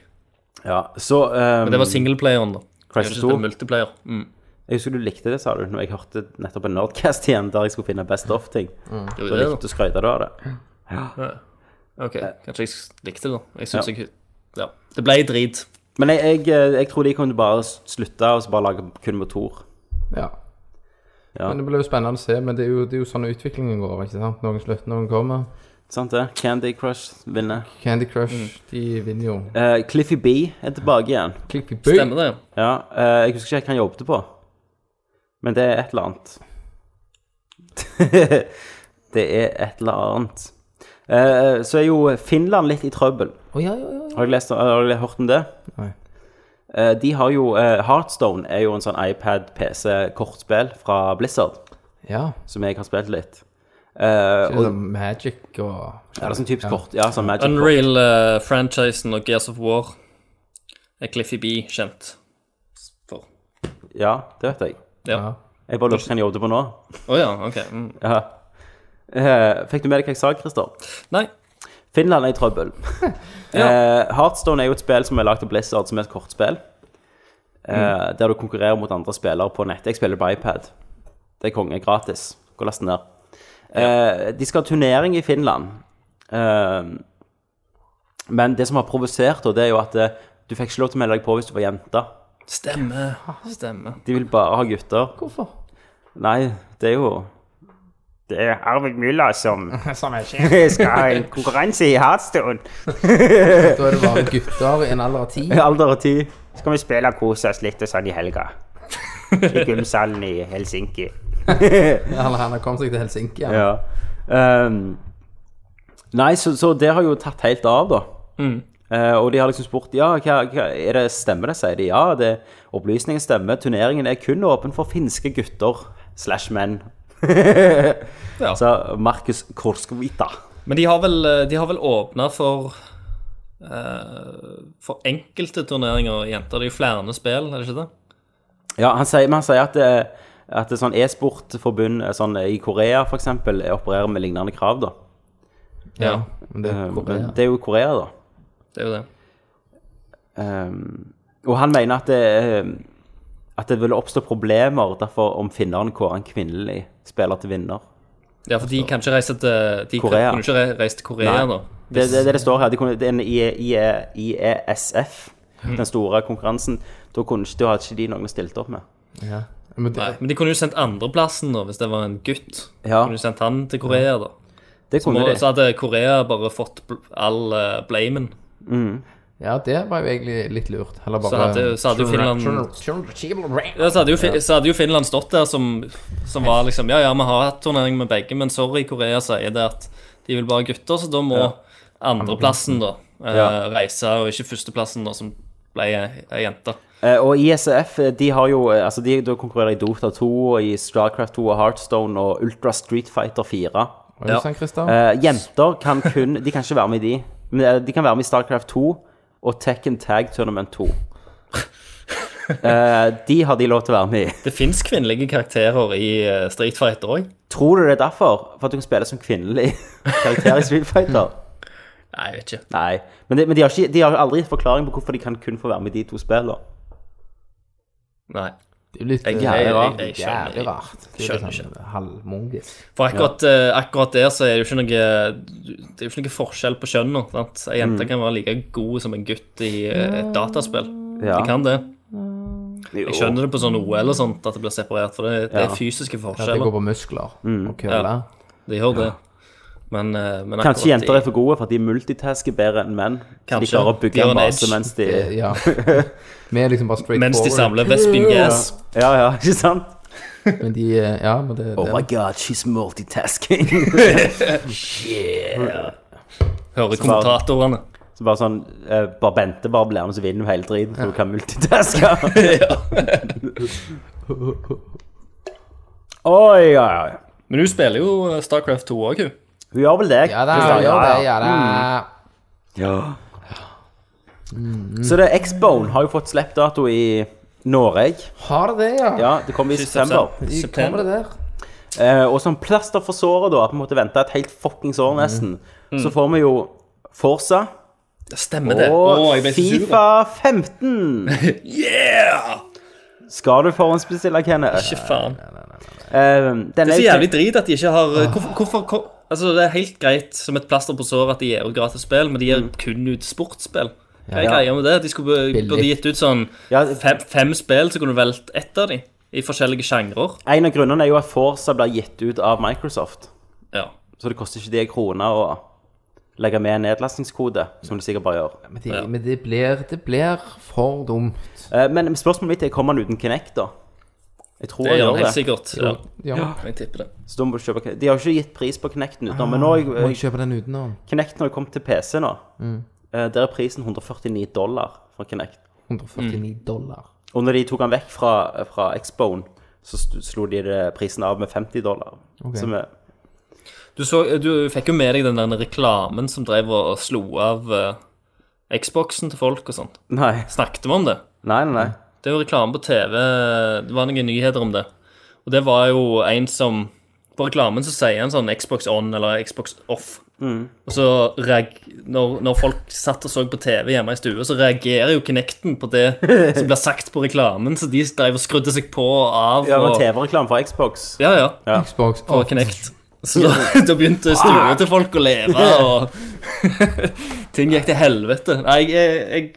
C: Ja, så eh,
A: Men det var singleplayeren, da.
C: Crysis
A: Jeg synes
C: 2.
A: det er multiplayer. Mm.
C: Jeg husker du likte det, sa du, når jeg hørte nettopp en Nerdcast igjen der jeg skulle finne best of-ting.
A: Gjorde
C: Da
A: Mm. det, da?
C: likte du skrøyta du av det.
A: Ok, kanskje jeg s- likte det, da. Jeg synes jeg Ja. Det ble drit.
C: Men jeg, jeg, eh, jeg tror de kunne bare s- slutte og så bare lage kun motor.
B: Ja.
C: Ja.
B: Men Det blir jo spennende å se, men det er jo, det er jo sånn utviklingen går. ikke sant? Noen slutter, noen kommer.
C: Sant det? Candy Crush vinner.
B: Candy Crush, de vinner jo.
C: Eh, Cliffy B er tilbake igjen.
B: Clippy Boo.
A: Stemmer det?
C: Ja, eh, jeg husker ikke helt hva han jobbet på, men det er et eller annet. det er et eller annet. Eh, så er jo Finland litt i trøbbel.
B: Å, ja, ja, ja, ja.
C: Har jeg, lest, har jeg hørt om det?
B: Nei.
C: Eh, de har jo eh, Heartstone er jo en sånn iPad-PC-kortspill fra Blizzard,
B: ja.
C: som jeg har spilt litt. Eh,
B: Det er
C: og,
B: sånn Magic og
C: ja, det er sånn typisk kort. Ja, sånn Magic kort.
A: Unreal-franchisen eh, og Gears of War er Cliffy B kjent for.
C: Ja, det vet jeg.
A: Ja.
C: Jeg bare lurer på hva han jobbet på nå.
A: Å ja, OK. Mm.
C: Ja. Eh, fikk du med deg hva jeg sa, Christer?
A: Nei.
C: Finland er i trøbbel. Eh, Heartstone er jo et spill som er lagd av Blizzard, som er et kortspill. Eh, Der du konkurrerer mot andre spillere på nettet. Jeg spiller på iPad. Det er konge. Gratis. Gå og last den ned. Eh, de skal ha turnering i Finland. Eh, men det som har provosert, da, det er jo at eh, du fikk ikke lov til å melde deg på hvis du var jente.
A: Stemme. Stemme.
C: De vil bare ha gutter.
B: Hvorfor?
C: Nei, det er jo Det er Arvid Mylla som
B: Som er kjent.
C: skal ha en konkurranse i Heartstone.
B: Da er det bare gutter i en alder av ti.
C: I alder av ti.
G: Så kan vi spille og kose oss litt og sånn i helga. I gymsalen i Helsinki.
B: Eller han har kommet seg til Helsinki. Ja.
C: Ja. Ehm, nei, så, så det har jo tatt helt av, da. Eh, og de har liksom spurt ja, hva, hva, er det stemmer det, sier de. Ja, det, opplysningen stemmer. Turneringen er kun åpen for finske gutter slash menn.
A: Ja.
C: Så Markus Korskvita.
A: Men de har vel, eh, de har vel åpna for eh, for enkelte turneringer jenter. Det er jo flere spill, er det ikke det?
C: Ja, han sier, men han sier at, det, at det sånn e-sportforbund eh, sånn, i Korea f.eks. opererer med lignende krav, da.
A: Ja.
B: Men det er
C: Eh,
B: Korea.
C: Men det er jo Korea, da.
A: Det er jo det.
C: Um, og han mener at det, um, at det ville oppstå problemer derfor om finneren kårer en kvinnelig spiller til vinner.
A: Ja, for de kan ikke reise til De
C: Korea.
A: kunne ikke re- reise til Korea,
C: Nei.
A: da.
C: Det er det, det, det står her. De kunne, det er en E, IE IE IESF, E
A: Mm.
C: den store konkurransen. Da, kunne ikke, da hadde ikke de noen stilt opp med.
B: Ja. Men det,
A: Nei, men de kunne jo sendt andreplassen, da, hvis det var en gutt.
C: Ja.
A: Kunne jo sendt han til Korea, da.
C: Det
A: Må,
C: kunne de.
A: så hadde Korea bare fått bl- all eh, blamen.
B: ja, det var jo egentlig litt lurt. Heller bare
A: Så hadde- så hadde jo Finland- Ja, så hadde jo, Fi- så hadde jo Finland stått der som, som var liksom Ja, ja, vi har hatt turnering med begge, men sorry, Korea sier det at de vil bare ha gutter, så da må andreplassen, da, eh,
C: Ja.
A: reise, og ikke førsteplassen, da, som ble ei ei jente.
C: Eh, og ISF eh, de har jo eh, altså de, da konkurrerer i Dota 2 og i Starcraft 2 og Heartstone og Ultra Street Fighter 4.
B: Var det sant, Christer?
C: Eh, jenter kan kun De kan ikke være med i de. Men eh, de kan være med i Starcraft 2 og Tekken Tag Tournament 2. Eh, de har de lov til å være med i.
A: Det fins kvinnelige karakterer i eh, Street Fighter òg.
C: Tror du det er derfor? For at du kan spille som kvinnelig karakter i Street Fighter?
A: Nei, jeg vet ikke.
C: Nei. Men, de, men de, har ikke, de har aldri gitt forklaring på hvorfor de kan kun få være med i de to spillene.
A: Nei.
B: Det er jo litt
A: Jeg-
B: eh,
A: jeg- jeg-
B: rart.
A: jeg skjønner-
B: Jævlig rart. Det er
A: skjønner
B: litt sånn halvmongisk.
A: For akkurat, eh, akkurat der så er det jo ikke noe Det er jo ikke noe forskjell på kjønnene. sant? Ei jente kan være like god som en gutt i eh, et dataspill.
C: Ja.
A: De kan det.
C: Jo.
A: Jeg skjønner det på sånn OL og sånt, at det blir separert, for det, det er fysiske
B: Ja, det går
A: forskjeller.
B: på muskler
A: Mm.
B: og køller.
A: De gjør det. Men, eh, men akkurat
C: Kanskje jenter er for gode for at de multitasker bedre enn menn. Så de
A: Kanskje.
C: klarer å
A: De
C: bygge
A: har
C: en
A: en
C: base
A: edge.
C: mens de
B: Eh, Ja. Vi er liksom bare straight
A: Mens de
B: forward.
A: samler Vespin Gas.
C: Ja, ja, ikke sant?
B: Men de eh, Ja, men det, det
C: Oh my god, she's multitasking.
A: Hører kommentatorene.
C: Så bare sånn eh, Bare Bente bare blir med, så vinner hun hele driten, for hun kan multitaske. Oi, oi, oi.
A: Men hun spiller jo eh, Starcraft 2 òg, hun.
C: Hun gjør vel det?
B: Ja da,
C: Kristian?
B: ja da,
A: Mm.
B: ja da.
A: Mm,
C: Så det er X-Bone har jo fått slippdato i Norge.
B: Har det, ja.
C: Ja, det kommer i september.
B: Kommer det der?
C: Eh, og som plaster for såret, da, at vi måtte vente et helt fuckings år nesten, så får vi jo Forsa
A: Det stemmer, Mm. det.
C: og
A: Å, jeg ble så sur.
C: Fifa 15.
A: Yeah!
C: Skal du forhåndsbestille, Kenneth?
A: Ikke faen.
C: Eh, den
A: Det er
C: er
A: så jævlig drit at de ikke har eh, Hvorfor, hvorfor hvor- Altså, Det er helt greit som et plaster på såret at de gir ut gratis spill, men de gir kun ut sportsspill. Hva er
C: Mm. Ja.
A: greia med det? De skulle be-
B: Billig.
A: burde gitt ut sånn
C: Ja,
A: fem, fem spill, så kunne du valgt ett av de i forskjellige sjangrer.
C: En av grunnene er jo at Forsa blir gitt ut av Microsoft.
A: Ja.
C: Så det koster ikke de kroner å legge med en nedlastingskode, som du sikkert bare gjør.
B: Men, det, men det, blir, det blir for dumt.
C: Eh, Men spørsmålet mitt er kommer han uten Kinect, da? Jeg tror
A: Det
C: han
A: gjør
C: gjør
A: det helt
C: det.
A: sikkert. Ja.
B: Ja.
A: Jeg tipper det.
C: Så da må du kjøpe Kinect. De har jo ikke gitt pris på Kinecten utenom, men nå
B: Ah, Må
C: er
B: jeg kjøpe den utenom?
C: Kinecten har jo kommet til PC nå. Eh, Der er prisen 149 dollar for Kinect.
B: 149
A: Mm.
B: dollar.
C: Og når de tok han vekk fra, fra Xbone, så st- slo de det- prisen av med 50 dollar. Som er
A: Du, så, du fikk jo med deg den der reklamen som drev og og slo av eh, Xboxen til folk og sånt.
C: Nei,
A: Snakket vi om det?
C: nei, nei. nei.
A: Det er jo reklame på TV. Det var noen nyheter om det. Og det var jo en som På reklamen så sier han sånn Xbox on eller Xbox off. Og så reag, når, når folk satt og så på TV hjemme i stua, så reagerer jo Kinecten på det som blir sagt på reklamen, så de drev og skrudde seg på og av.
C: Ja, men
A: og,
C: TV-reklame for Xbox.
A: ja, ja,
B: Xbox.
A: på Kinect. Så da, da begynte stua til folk å leve, og ting gikk til helvete. Nei, jeg, jeg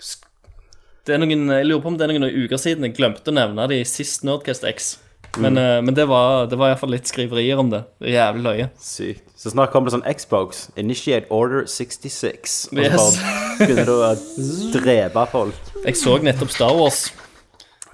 A: sk- det er noen, Jeg lurer på om det er noen uker siden jeg glemte å nevne det i sist Nerdcast X. Men, eh, men det var, det var iallfall litt skriverier om det. Det er Jævlig løye.
C: Sykt. Så snart kommer det sånn Xbox. Initiate Order 66. Og så
A: Yes.
C: bare begynner du å drepe folk.
A: Jeg så nettopp Star Wars,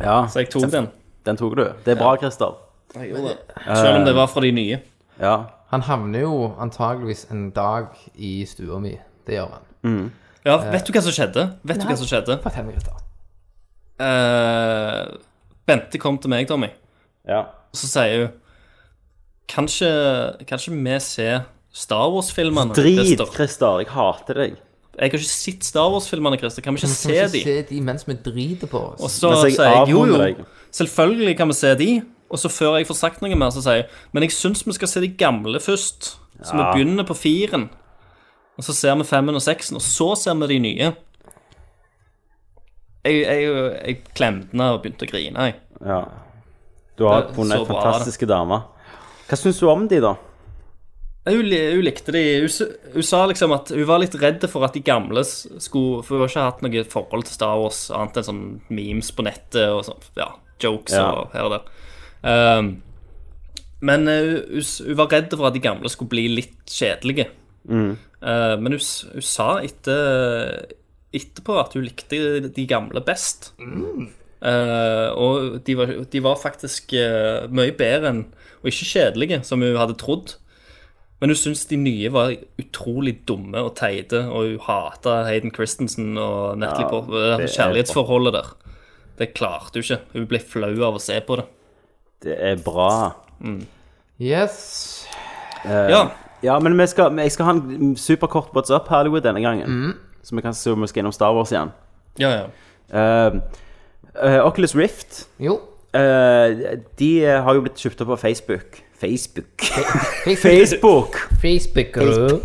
C: Ja,
A: så jeg tok den.
C: den tok du. Det er bra, Christer.
A: Selv om det var fra de nye.
C: Ja.
B: Han havner jo antageligvis en dag i stua mi. Det gjør han.
A: Ja, vet du hva som skjedde? Vet du hva som skjedde?
B: Fortell meg, gutter.
A: Eh, Bente kom til meg, Tommy.
C: ja.
A: Og så sier hun Kanskje, kanskje vi ser Star Wars-filmene?
C: Drit,
A: Christer?»
C: Christer. Jeg hater deg.
A: Jeg har ikke sett Star Wars-filmene, Christer. Kan vi ikke
B: Kan vi
A: se
B: ikke
A: de?
B: se de mens vi driter på
A: Og
B: oss?
A: så
C: Mens jeg
A: sier jeg jo,
C: avhåndrer deg.
A: jo. Selvfølgelig kan vi se de. Og så før jeg får sagt noe mer, så sier jeg Men jeg syns vi skal se de gamle først. Så vi begynner på firen. Og så ser vi femmen og seksen, og så ser vi de nye. Jeg, jeg, jeg klemte henne og begynte å grine. Jeg.
C: Ja. Du har
A: Det er
C: funnet
A: så bra,
C: fantastiske damer. Hva syns du om de, da?
A: Nei, Hun, li- hun likte de hun, s- hun sa liksom at hun var litt redd for at de gamle s- skulle For hun har ikke hatt noe forhold til Star Wars annet enn sånn memes på nettet og sånn. Ja, jokes
C: Ja.
A: og her og der. Ehm, men eh, hun, hun s- hun var redd for at de gamle skulle bli litt kjedelige. Eh, men hun, s- hun sa etter, etterpå at hun likte de gamle best. Eh, og de var, de var faktisk eh, mye bedre enn Og ikke kjedelige, som hun hadde trodd. Men hun syntes de nye var utrolig dumme og teite, og hun hata Hayden Christensen og Natalie
C: Ja,
A: Portman. Det
C: det er
A: Kjærlighetsforholdet der. Det klarte hun ikke. Hun ble flau av å se på det.
C: Det er bra.
B: Yes.
A: Ja,
C: Ja, men vi skal, jeg skal ha en superkort what's up Hollywood denne gangen.
A: Mm.
C: Så vi kan se om vi skal innom Star Wars igjen.
A: ja, ja.
C: Eh, eh, Oculus Rift
B: Jo.
C: Eh, de har jo blitt kjøpt opp av Facebook. Facebook.
B: Facebook.
C: Facebook!
B: Facebook.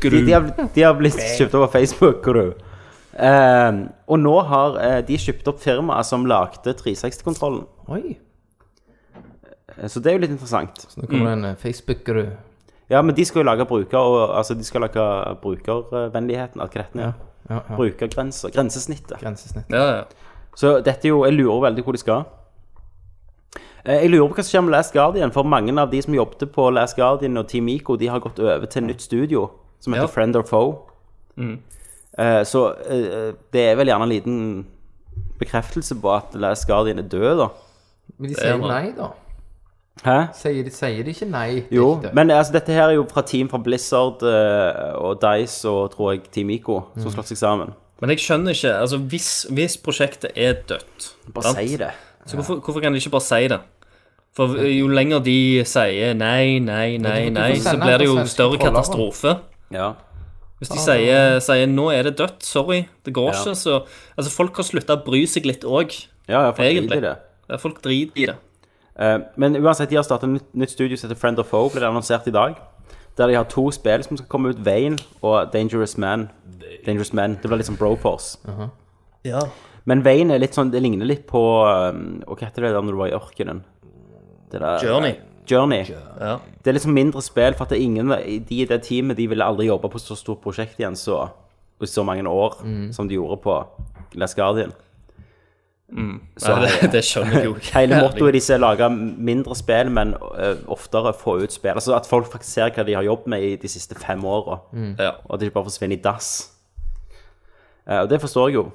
C: De, de, har, de har blitt kjøpt opp av Facebook. hvor du. Eh, og nå har eh, de kjøpt opp firmaet som lagde 360-kontrollen.
B: Oi.
C: Eh, Så det er jo litt interessant.
B: Så nå kommer det en eh, Facebook-gru.
C: Ja, men de skal jo lage bruker, og, altså, de skal lage brukervennligheten. Alt gretten, ja.
B: Ja, ja.
C: Brukergrenser. Grensesnittet.
B: Grensesnitt.
A: ja, ja.
C: Så dette er jo Jeg lurer veldig hvor de skal. Eh, Jeg lurer på hva som skjer med Last Guardian, for mange av de som jobbet på Last Guardian og Team Ico, de har gått over til nytt studio som heter
A: Ja. Mm.
C: Friend or Foe. Eh, Så eh, det er vel gjerne en liten bekreftelse på at Last Guardian er død, da.
B: Men de
A: er
B: sier jo
A: bra.
B: nei, da.
C: Hæ?
B: Sier de, sier de ikke nei? det er
C: Jo,
B: ikke det.
C: men altså, dette her er jo fra team fra Blizzard eh, og Dice og tror jeg Team Ico,
A: Mm.
C: som har slått seg sammen.
A: Men jeg skjønner ikke. altså Hvis, hvis prosjektet er dødt
C: Bare
A: sant?
C: si det.
A: Så hvorfor, hvorfor kan de ikke bare si det? For jo lenger de sier nei, nei, nei,
B: du får
A: nei, så
B: sende
A: blir det jo
B: på svenske
A: større
B: trollere.
A: katastrofe.
C: Ja.
A: Hvis de sier, sier 'nå er det dødt, sorry, det går
C: Ja.
A: ikke', så Altså, folk har slutta å bry seg litt òg.
C: Ja, ja, for
A: Egentlig.
C: egentlig det.
A: Folk driter i det.
C: Eh, men uansett, de har startet et nytt, nytt studio som heter Friend of Foe, ble det annonsert i dag. Der de har to spill som skal komme ut, Vane og Dangerous Man. Dangerous Man, Det blir litt sånn Broforce. Men Vane er litt sånn, det ligner litt på um, Og hva heter det der når du var i ørkenen? Det der-
A: Journey.
C: Journey.
A: Ja.
C: Det er liksom mindre spill, for at det er ingen de i det teamet de ville aldri jobbe på så stort prosjekt igjen så, i så mange år
A: Mm.
C: som de gjorde på Last Guardian.
A: Nei, det, det skjønner jeg jo ikke.
C: Hele mottoet deres er å lage mindre spill, men eh, oftere få ut spill. Altså At folk faktisk ser hva de har jobbet med i de siste fem åra,
A: Ja.
C: og at de ikke bare forsvinner i dass. Eh, og det forstår jeg jo.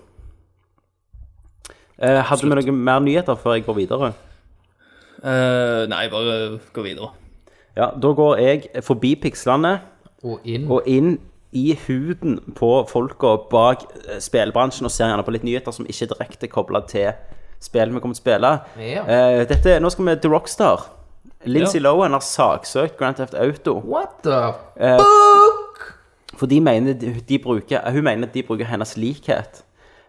C: Eh, hadde vi noen mer nyheter før jeg går videre?
A: Eh, nei, bare gå videre.
C: Ja, Da går jeg forbi pikslene
B: Og inn.
C: og inn i huden på folka bak eh, spillbransjen og ser gjerne på litt nyheter som ikke er direkte kobla til spillet vi kommer til å spille.
B: Ja.
C: Eh, dette, nå skal vi til Rockstar. Lindsay
A: Ja.
C: Lohan har saksøkt Grand Theft Auto.
B: What the
C: For de mener de de bruker, eh, hun mener at de bruker hennes likhet.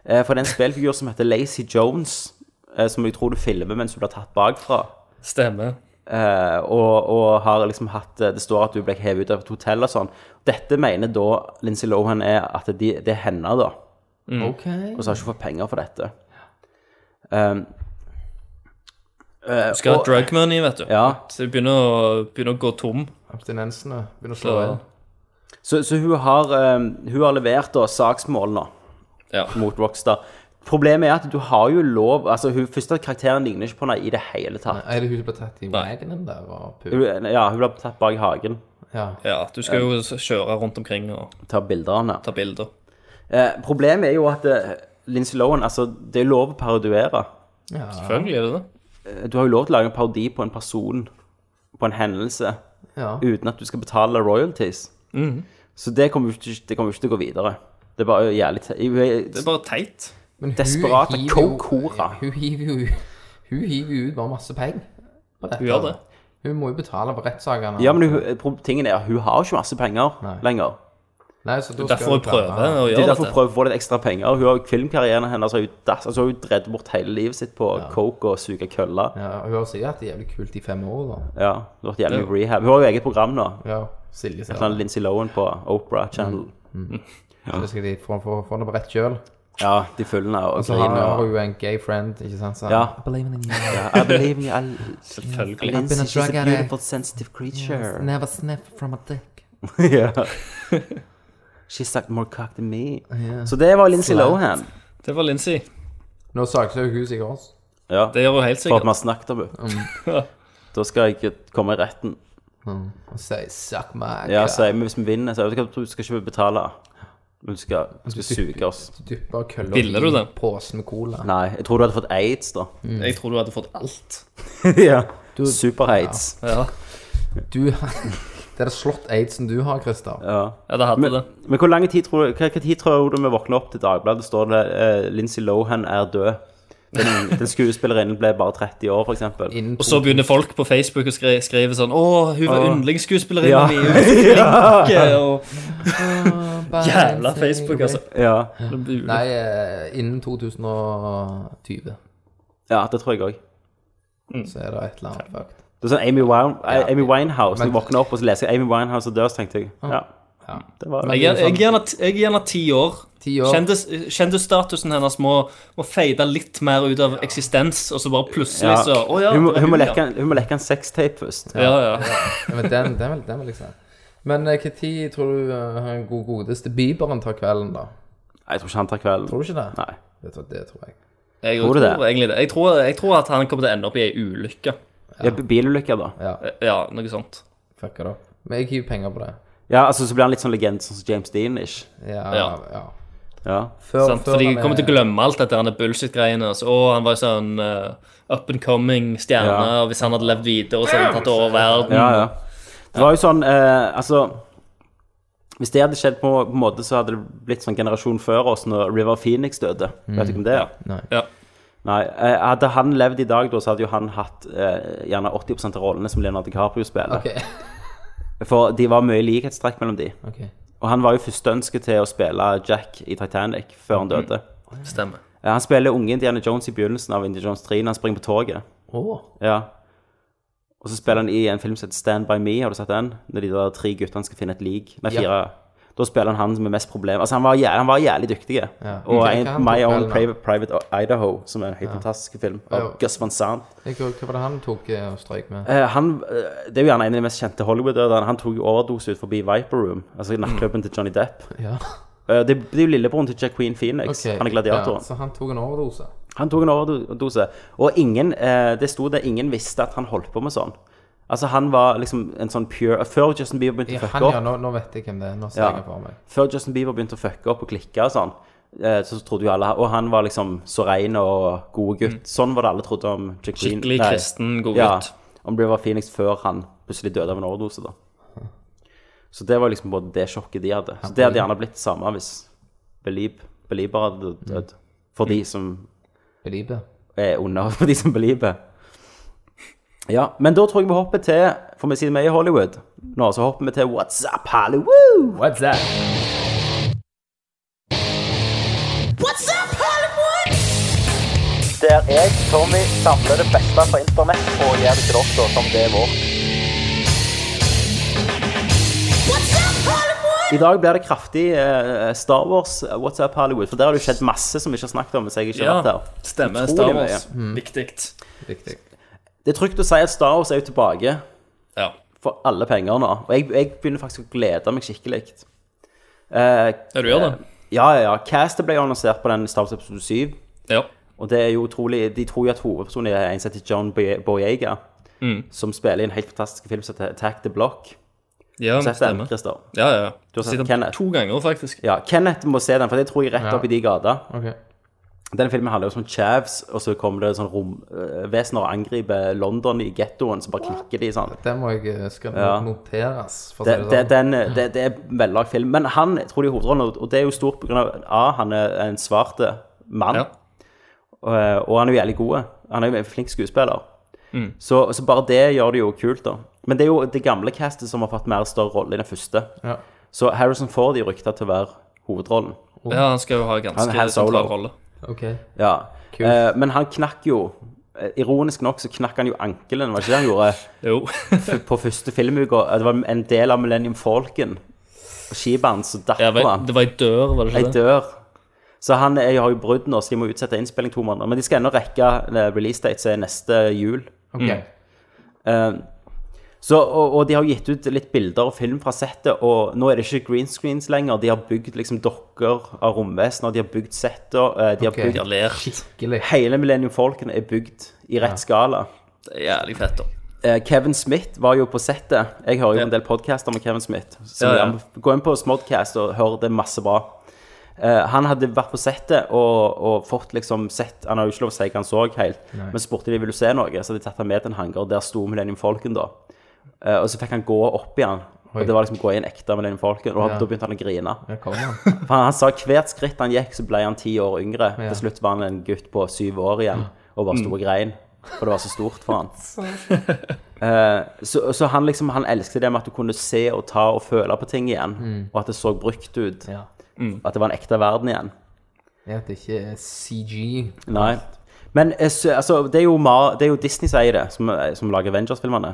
C: Eh, for det er en spillfigur som heter Lacey Jones, eh, som jeg tror du filmer mens hun blir tatt bakfra.
A: Stemmer.
C: Eh, og, og har liksom hatt eh, Det står at du ble hevet ut av et hotell og sånn. Dette mener da Lindsay Lohan er at de, det er henne, da.
B: OK.
C: Og så har hun ikke fått penger for dette. Um,
A: Du skal ha drug money, vet du.
C: eh, Ja.
A: Så du begynner å, begynner å gå tom.
B: Abstinensene eh, begynner å slå
A: Så,
B: inn.
C: så så hun, har, um, hun har levert da saksmål nå
A: ja.
C: mot Rockstar. Problemet er at du har jo lov Altså, hun første karakteren ligner ikke på henne i det hele tatt.
B: Er det hun som ble tatt i magnen der og pu...
C: Hun, ja, hun ble tatt bak hagen.
B: Ja.
A: ja, du skal jo kjøre rundt omkring og
C: Ta bilder av henne.
A: ta bilder.
C: Eh, problemet er jo at eh, Lindsay Lohan Altså, det er lov å parodiere.
A: Selvfølgelig er det det.
C: Du har jo lov til å lage en parodi på en person, på en hendelse,
B: ja.
C: uten at du skal betale royalties.
B: Mhm.
C: Så det kommer jo ikke, det kommer jo ikke til å gå videre. Det er bare jævlig te- Hun
A: Det
C: er
A: er bare teit.
B: Men hun
C: Desperate
B: hiver jo-
C: kokora.
B: Hun hiver jo Hun hiver jo ut bare masse penger. på dette.
A: Hun gjør det.
B: Hun må jo betale for rettssakene.
C: Ja, men hun, pro- tingen er hun har jo ikke masse penger
B: Nei.
C: lenger.
B: Nei, så da skal
A: Derfor
B: hun
A: jeg prøver eh,
B: klare-
A: å
C: Det er
A: gjøre
C: derfor hun
A: dette.
C: prøver å få litt ekstra penger. Hun har jo Filmkarrieren hennes har jo dass, altså hun dredd bort hele livet sitt på coke og suge køller.
B: Ja, og hun har sikkert hatt det jævlig kult i fem år, da.
C: Ja, det har vært jævlig mye rehab. Hun har jo eget program nå.
B: Ja, Mhm. Silje sier
C: Et eller
B: det.
C: annet Lindsay Lohan på Opera Channel.
B: Så skal de få få- få det på rett kjøl.
C: Ja, de følger henne og
B: Så har
C: griner.
B: har
C: og-
B: hun jo en gay friend, ikke sant? Så
C: Ja.
B: I believe in you.
C: I believe in you. I-
A: Selvfølgelig.
B: I've been a
C: Lindsay, she's
B: drug
C: a
B: addict.
C: beautiful, sensitive creature.
B: Never sniff from a dick.
C: Ja. She sucked more cock than me. Så det var Lindsay
B: Slut.
C: Lohan.
A: Det var Lincy.
B: Nå saksøker hun sikkert oss.
C: Ja,
A: Det gjør hun helt
C: for at vi har
A: sikkert.
C: snakket om henne. Da skal jeg komme i retten.
B: Og sier 'suck my
C: Ja,
B: cock».
C: så jeg, men Hvis vi vinner, så jeg, vet ikke, du skal ikke betale. Men du skal, Altså, du skal suge oss.
B: Dypper køller
A: Ville du
B: i
A: det?
B: posen med cola.
C: Nei, jeg tror du hadde fått aids, da.
A: Jeg tror du hadde fått alt.
C: ja. Super-aids.
A: Ja,
B: Du Det er det slått aidsen du har, Christer.
A: ja det hadde
C: Men,
A: det.
C: men hvor lange tid tror du, hva, hva tid tror du vi våkner opp til Dagbladet? Står det eh, Lindsay Lohan er død. Den, den skuespillerinnen ble bare 30 år, for eksempel.
B: Innen
A: Og så begynner folk på Facebook å skri skrive sånn Å, hun var
C: Ja.
A: yndlingsskuespillerinna mi. Hun var flink, og Jævla Facebook, altså.
C: Ja.
B: Nei, eh, innen 2020
C: ja, det tror jeg òg.
B: så er det et eller annet fucked.
C: Det er sånn Amy, Wine, Amy Winehouse. Når jeg
B: Men-
C: våkner opp og så leser jeg Amy Winehouse er død, så tenkte jeg ja. Det var
A: Jeg er- jeg er gjerne t- jeg er gjerne ti år.
B: Ti år.
A: Kjendis- Kjendisstatusen hennes må, må fade litt mer ut av eksistens, og så bare plutselig så Å ja.
C: hun,
A: det
C: må-
A: var
C: hun, må
A: ja.
C: lekke en, hun må lekke en sextape først.
A: Ja, ja.
B: Ja, men den, den, vil, den vil jeg si. Men eh, hva tid tror du eh, han god godeste Biberen tar kvelden, da?
C: Nei, jeg tror ikke han tar kvelden.
B: Tror du ikke det?
C: Nei.
B: Det tror, det tror jeg.
A: Jeg
C: Tror
A: tror,
C: du det?
A: egentlig det. Jeg tror, jeg tror at han kommer til å ende opp i ei ulykke.
C: Ja. Bilulykker, da. Ja.
A: Ja, noe sånt.
B: Fucker det opp. Men jeg hiver penger på det.
C: altså Så blir han litt sånn legende, sånn som James Dean-ish.
B: Ja. ja.
A: Ja.
C: Ja.
B: Før,
A: Sant? For de
B: han er-
A: kommer til å glemme alt dette denne bullshit-greiene. Så, å, han var jo sånn eh, up and coming stjerne,
C: Ja.
A: og hvis han hadde levd videre, så hadde han tatt over verden.
C: ja, ja. Det var jo sånn eh, Altså Hvis det hadde skjedd på på en måte, så hadde det blitt sånn generasjon før oss når River Phoenix døde. Vet du ikke om det? er?
B: Nei.
A: Ja.
C: Nei, eh, Hadde han levd i dag, da, så hadde jo han hatt eh, gjerne 80 av rollene som Leonardo DiCaprio spiller.
B: Ok.
C: For de var mye likhetstrekk mellom de.
B: ok.
C: Og han var jo første ønske til å spille Jack i Titanic før han døde.
A: Stemmer.
C: Eh, Han spiller unge Indiana Jones i begynnelsen av Indiana Jones 3 når han springer på toget.
B: Åh,
C: Ja. Og så spiller han i en film som heter Stand By Me, har du sett den? Når de der tre guttene skal finne et lik. Nei,
B: Ja.
C: fire. Da spiller han han som er mest problem. Altså, han var, jæ- han var jævlig dyktig. Og
B: Ok, hva
C: en,
B: han
C: My
B: tok
C: Own
B: vel da?
C: Private, Private Idaho, som er en helt fantastisk film, av
B: Ja.
C: Gus Van Sant.
B: Jeg, hva var det han tok eh, og strøyk med?
C: Eh, han, eh, det er jo gjerne en av de mest kjente Hollywood-dødene. Han tok jo overdose ut forbi Viper Room, altså nattklubben til Johnny Depp.
B: Ja.
C: Eh, det, det er jo lillebroren til Jack Queen Phoenix.
B: Ok,
C: Han er gladiatoren.
B: Ja, så han tok en overdose.
C: Han tok en overdose, og ingen, eh, det sto det ingen visste at han holdt på med sånn. Altså, han var liksom en sånn pure Før Justin Bieber begynte
B: Ja,
C: å
B: han,
C: fucke
B: ja,
C: opp,
B: nå, nå vet jeg hvem det er. Nå ser
C: Ja.
B: jeg for meg.
C: Før Justin Bieber begynte å fucke opp og klikke og sånn, eh, så trodde jo alle Og han var liksom så ren og god gutt. Sånn var det alle trodde om Jack Green.
A: Mm. Skikkelig
C: nei,
A: kristen, god
C: Ja,
A: gutt.
C: om River Phoenix før han plutselig døde av en overdose, da. Så det var liksom både det sjokket de hadde. Så det hadde gjerne blitt det samme hvis Belieb Belieber hadde
A: Mm.
C: dødd. For de som
B: Believe det.
C: er under for de som belieber. Ja, men da tror jeg vi hopper til, for vi sier vi er i Hollywood nå, så hopper vi til What's Up Hollywood!
B: What's that?
C: Der jeg, Tommy, samler det beste fra internett og gjør det til dere som det er vårt. I dag blir det kraftig eh, Star Wars eh, What's Up Hollywood, for der har det jo skjedd masse som vi ikke har snakket om hvis jeg ikke
A: Ja,
C: har vært der.
A: stemmer.
C: Utrolig
A: Star
C: mye. Mm.
A: Wars. Viktig.
B: Riktig.
C: Det er trygt å si at Star Wars er jo tilbake.
A: Ja.
C: for alle penger nå. Og jeg, jeg begynner faktisk å glede meg skikkelig. Eh,
A: ja, du gjør det.
C: ja, ja, ja. Castet ble jo annonsert på den i Star Wars episode 7.
A: Ja.
C: Og det er jo utrolig De tror jo at hovedpersonen er en som heter John Boy- Boyega. Som spiller i en helt fantastisk film som heter Attack the Block.
A: Mm. ja
C: Så heter den,
A: stemmer.
C: Christer.
A: Ja, ja. Du
C: har sett Kenneth.
A: to ganger, faktisk.
C: Ja, Kenneth må se den, for det tror jeg er rett opp i de gata.
B: Ok.
C: Den filmen handler jo om sånn chavs, og så kommer det sånn romvesener og angriper London i gettoen, så bare knekker de sånn.
B: Den må jeg eh, skal noteres. For å si
C: det, det,
B: sånn.
C: den, det, det er vellagt film. Men han jeg tror de hovedrollen, og det er jo stort pga. A, han er en svart eh, mann,
A: Ja.
C: og, eh, og han er jo jævlig god. Han er jo en flink skuespiller.
B: Mm.
C: Så, så bare det gjør det jo kult, da. Men det er jo det gamle castet som har fått mer større rolle i den første.
B: sånn. Ja.
C: Så Harrison Ford er rykta til å være hovedrollen.
A: Ja, han skal jo ha
C: Oh. Han er Han
A: ganske
C: Solo.
A: sentral rolle.
B: Ok.
C: Ja.
B: Kult.
C: Eh, men han knakk jo eh, Ironisk nok så knakk han jo ankelen, var det ikke det han gjorde?
A: Jo.
C: F- På første filmuka. Det var en del av Millennium Falcon. Og skipet hans, så datt
A: Ja,
C: på
A: vel,
C: han.
A: det var ei dør, var det
C: Jeg
A: ikke det?
C: dør. Så han er, har jo brudd nå, så de må utsette innspilling to måneder. Men de skal ennå rekke eh, release date, som er neste jul.
B: Ok.
C: Eh, så, og, og de har gitt ut litt bilder og film fra settet, og nå er det ikke green screens lenger. De har bygd liksom dokker av romvesener, de har bygd setter, eh, de har
B: Ok.
C: bygd
A: Ja, lert.
B: Skikkelig.
C: Hele Millennium Falcon er bygd i rett skala.
A: Det er Jævlig fett, da.
C: Eh, Kevin Smith var jo på settet. Jeg hører jo
A: Ja.
C: en del podcaster med Kevin Smith. Så
A: Ja, ja.
C: jeg- Gå inn på Smodcast og hør det er masse bra. Eh, han hadde vært på settet og, og fått liksom sett Han har jo ikke lov å si hva han så helt, men spurte de ville du se noe, så hadde de tatt han med til en hangar, og der sto Millennium Falcon, da. Eh, og så fikk han gå opp igjen.
B: Oi.
C: Og det var liksom gå i en ekte Millennium Falcon, og da begynte han å grine.
B: Der kommer han.
C: For han, han sa hvert skritt han gikk, så ble han ti år yngre.
B: Ja.
C: Til slutt var han en gutt på syv år igjen og bare sto og grein. For det var så stort for han. Eh, så, så han liksom, han elsket det med at du kunne se og ta og føle på ting igjen. Og at det så brukt ut.
B: Mm. Ja.
C: At det var en ekte verden igjen.
B: Det at det ikke er CG.
C: Nei. Men eh, så- altså, det, er jo Mar det er jo Disney som eier det, som, eh, som lager Avengers-filmene.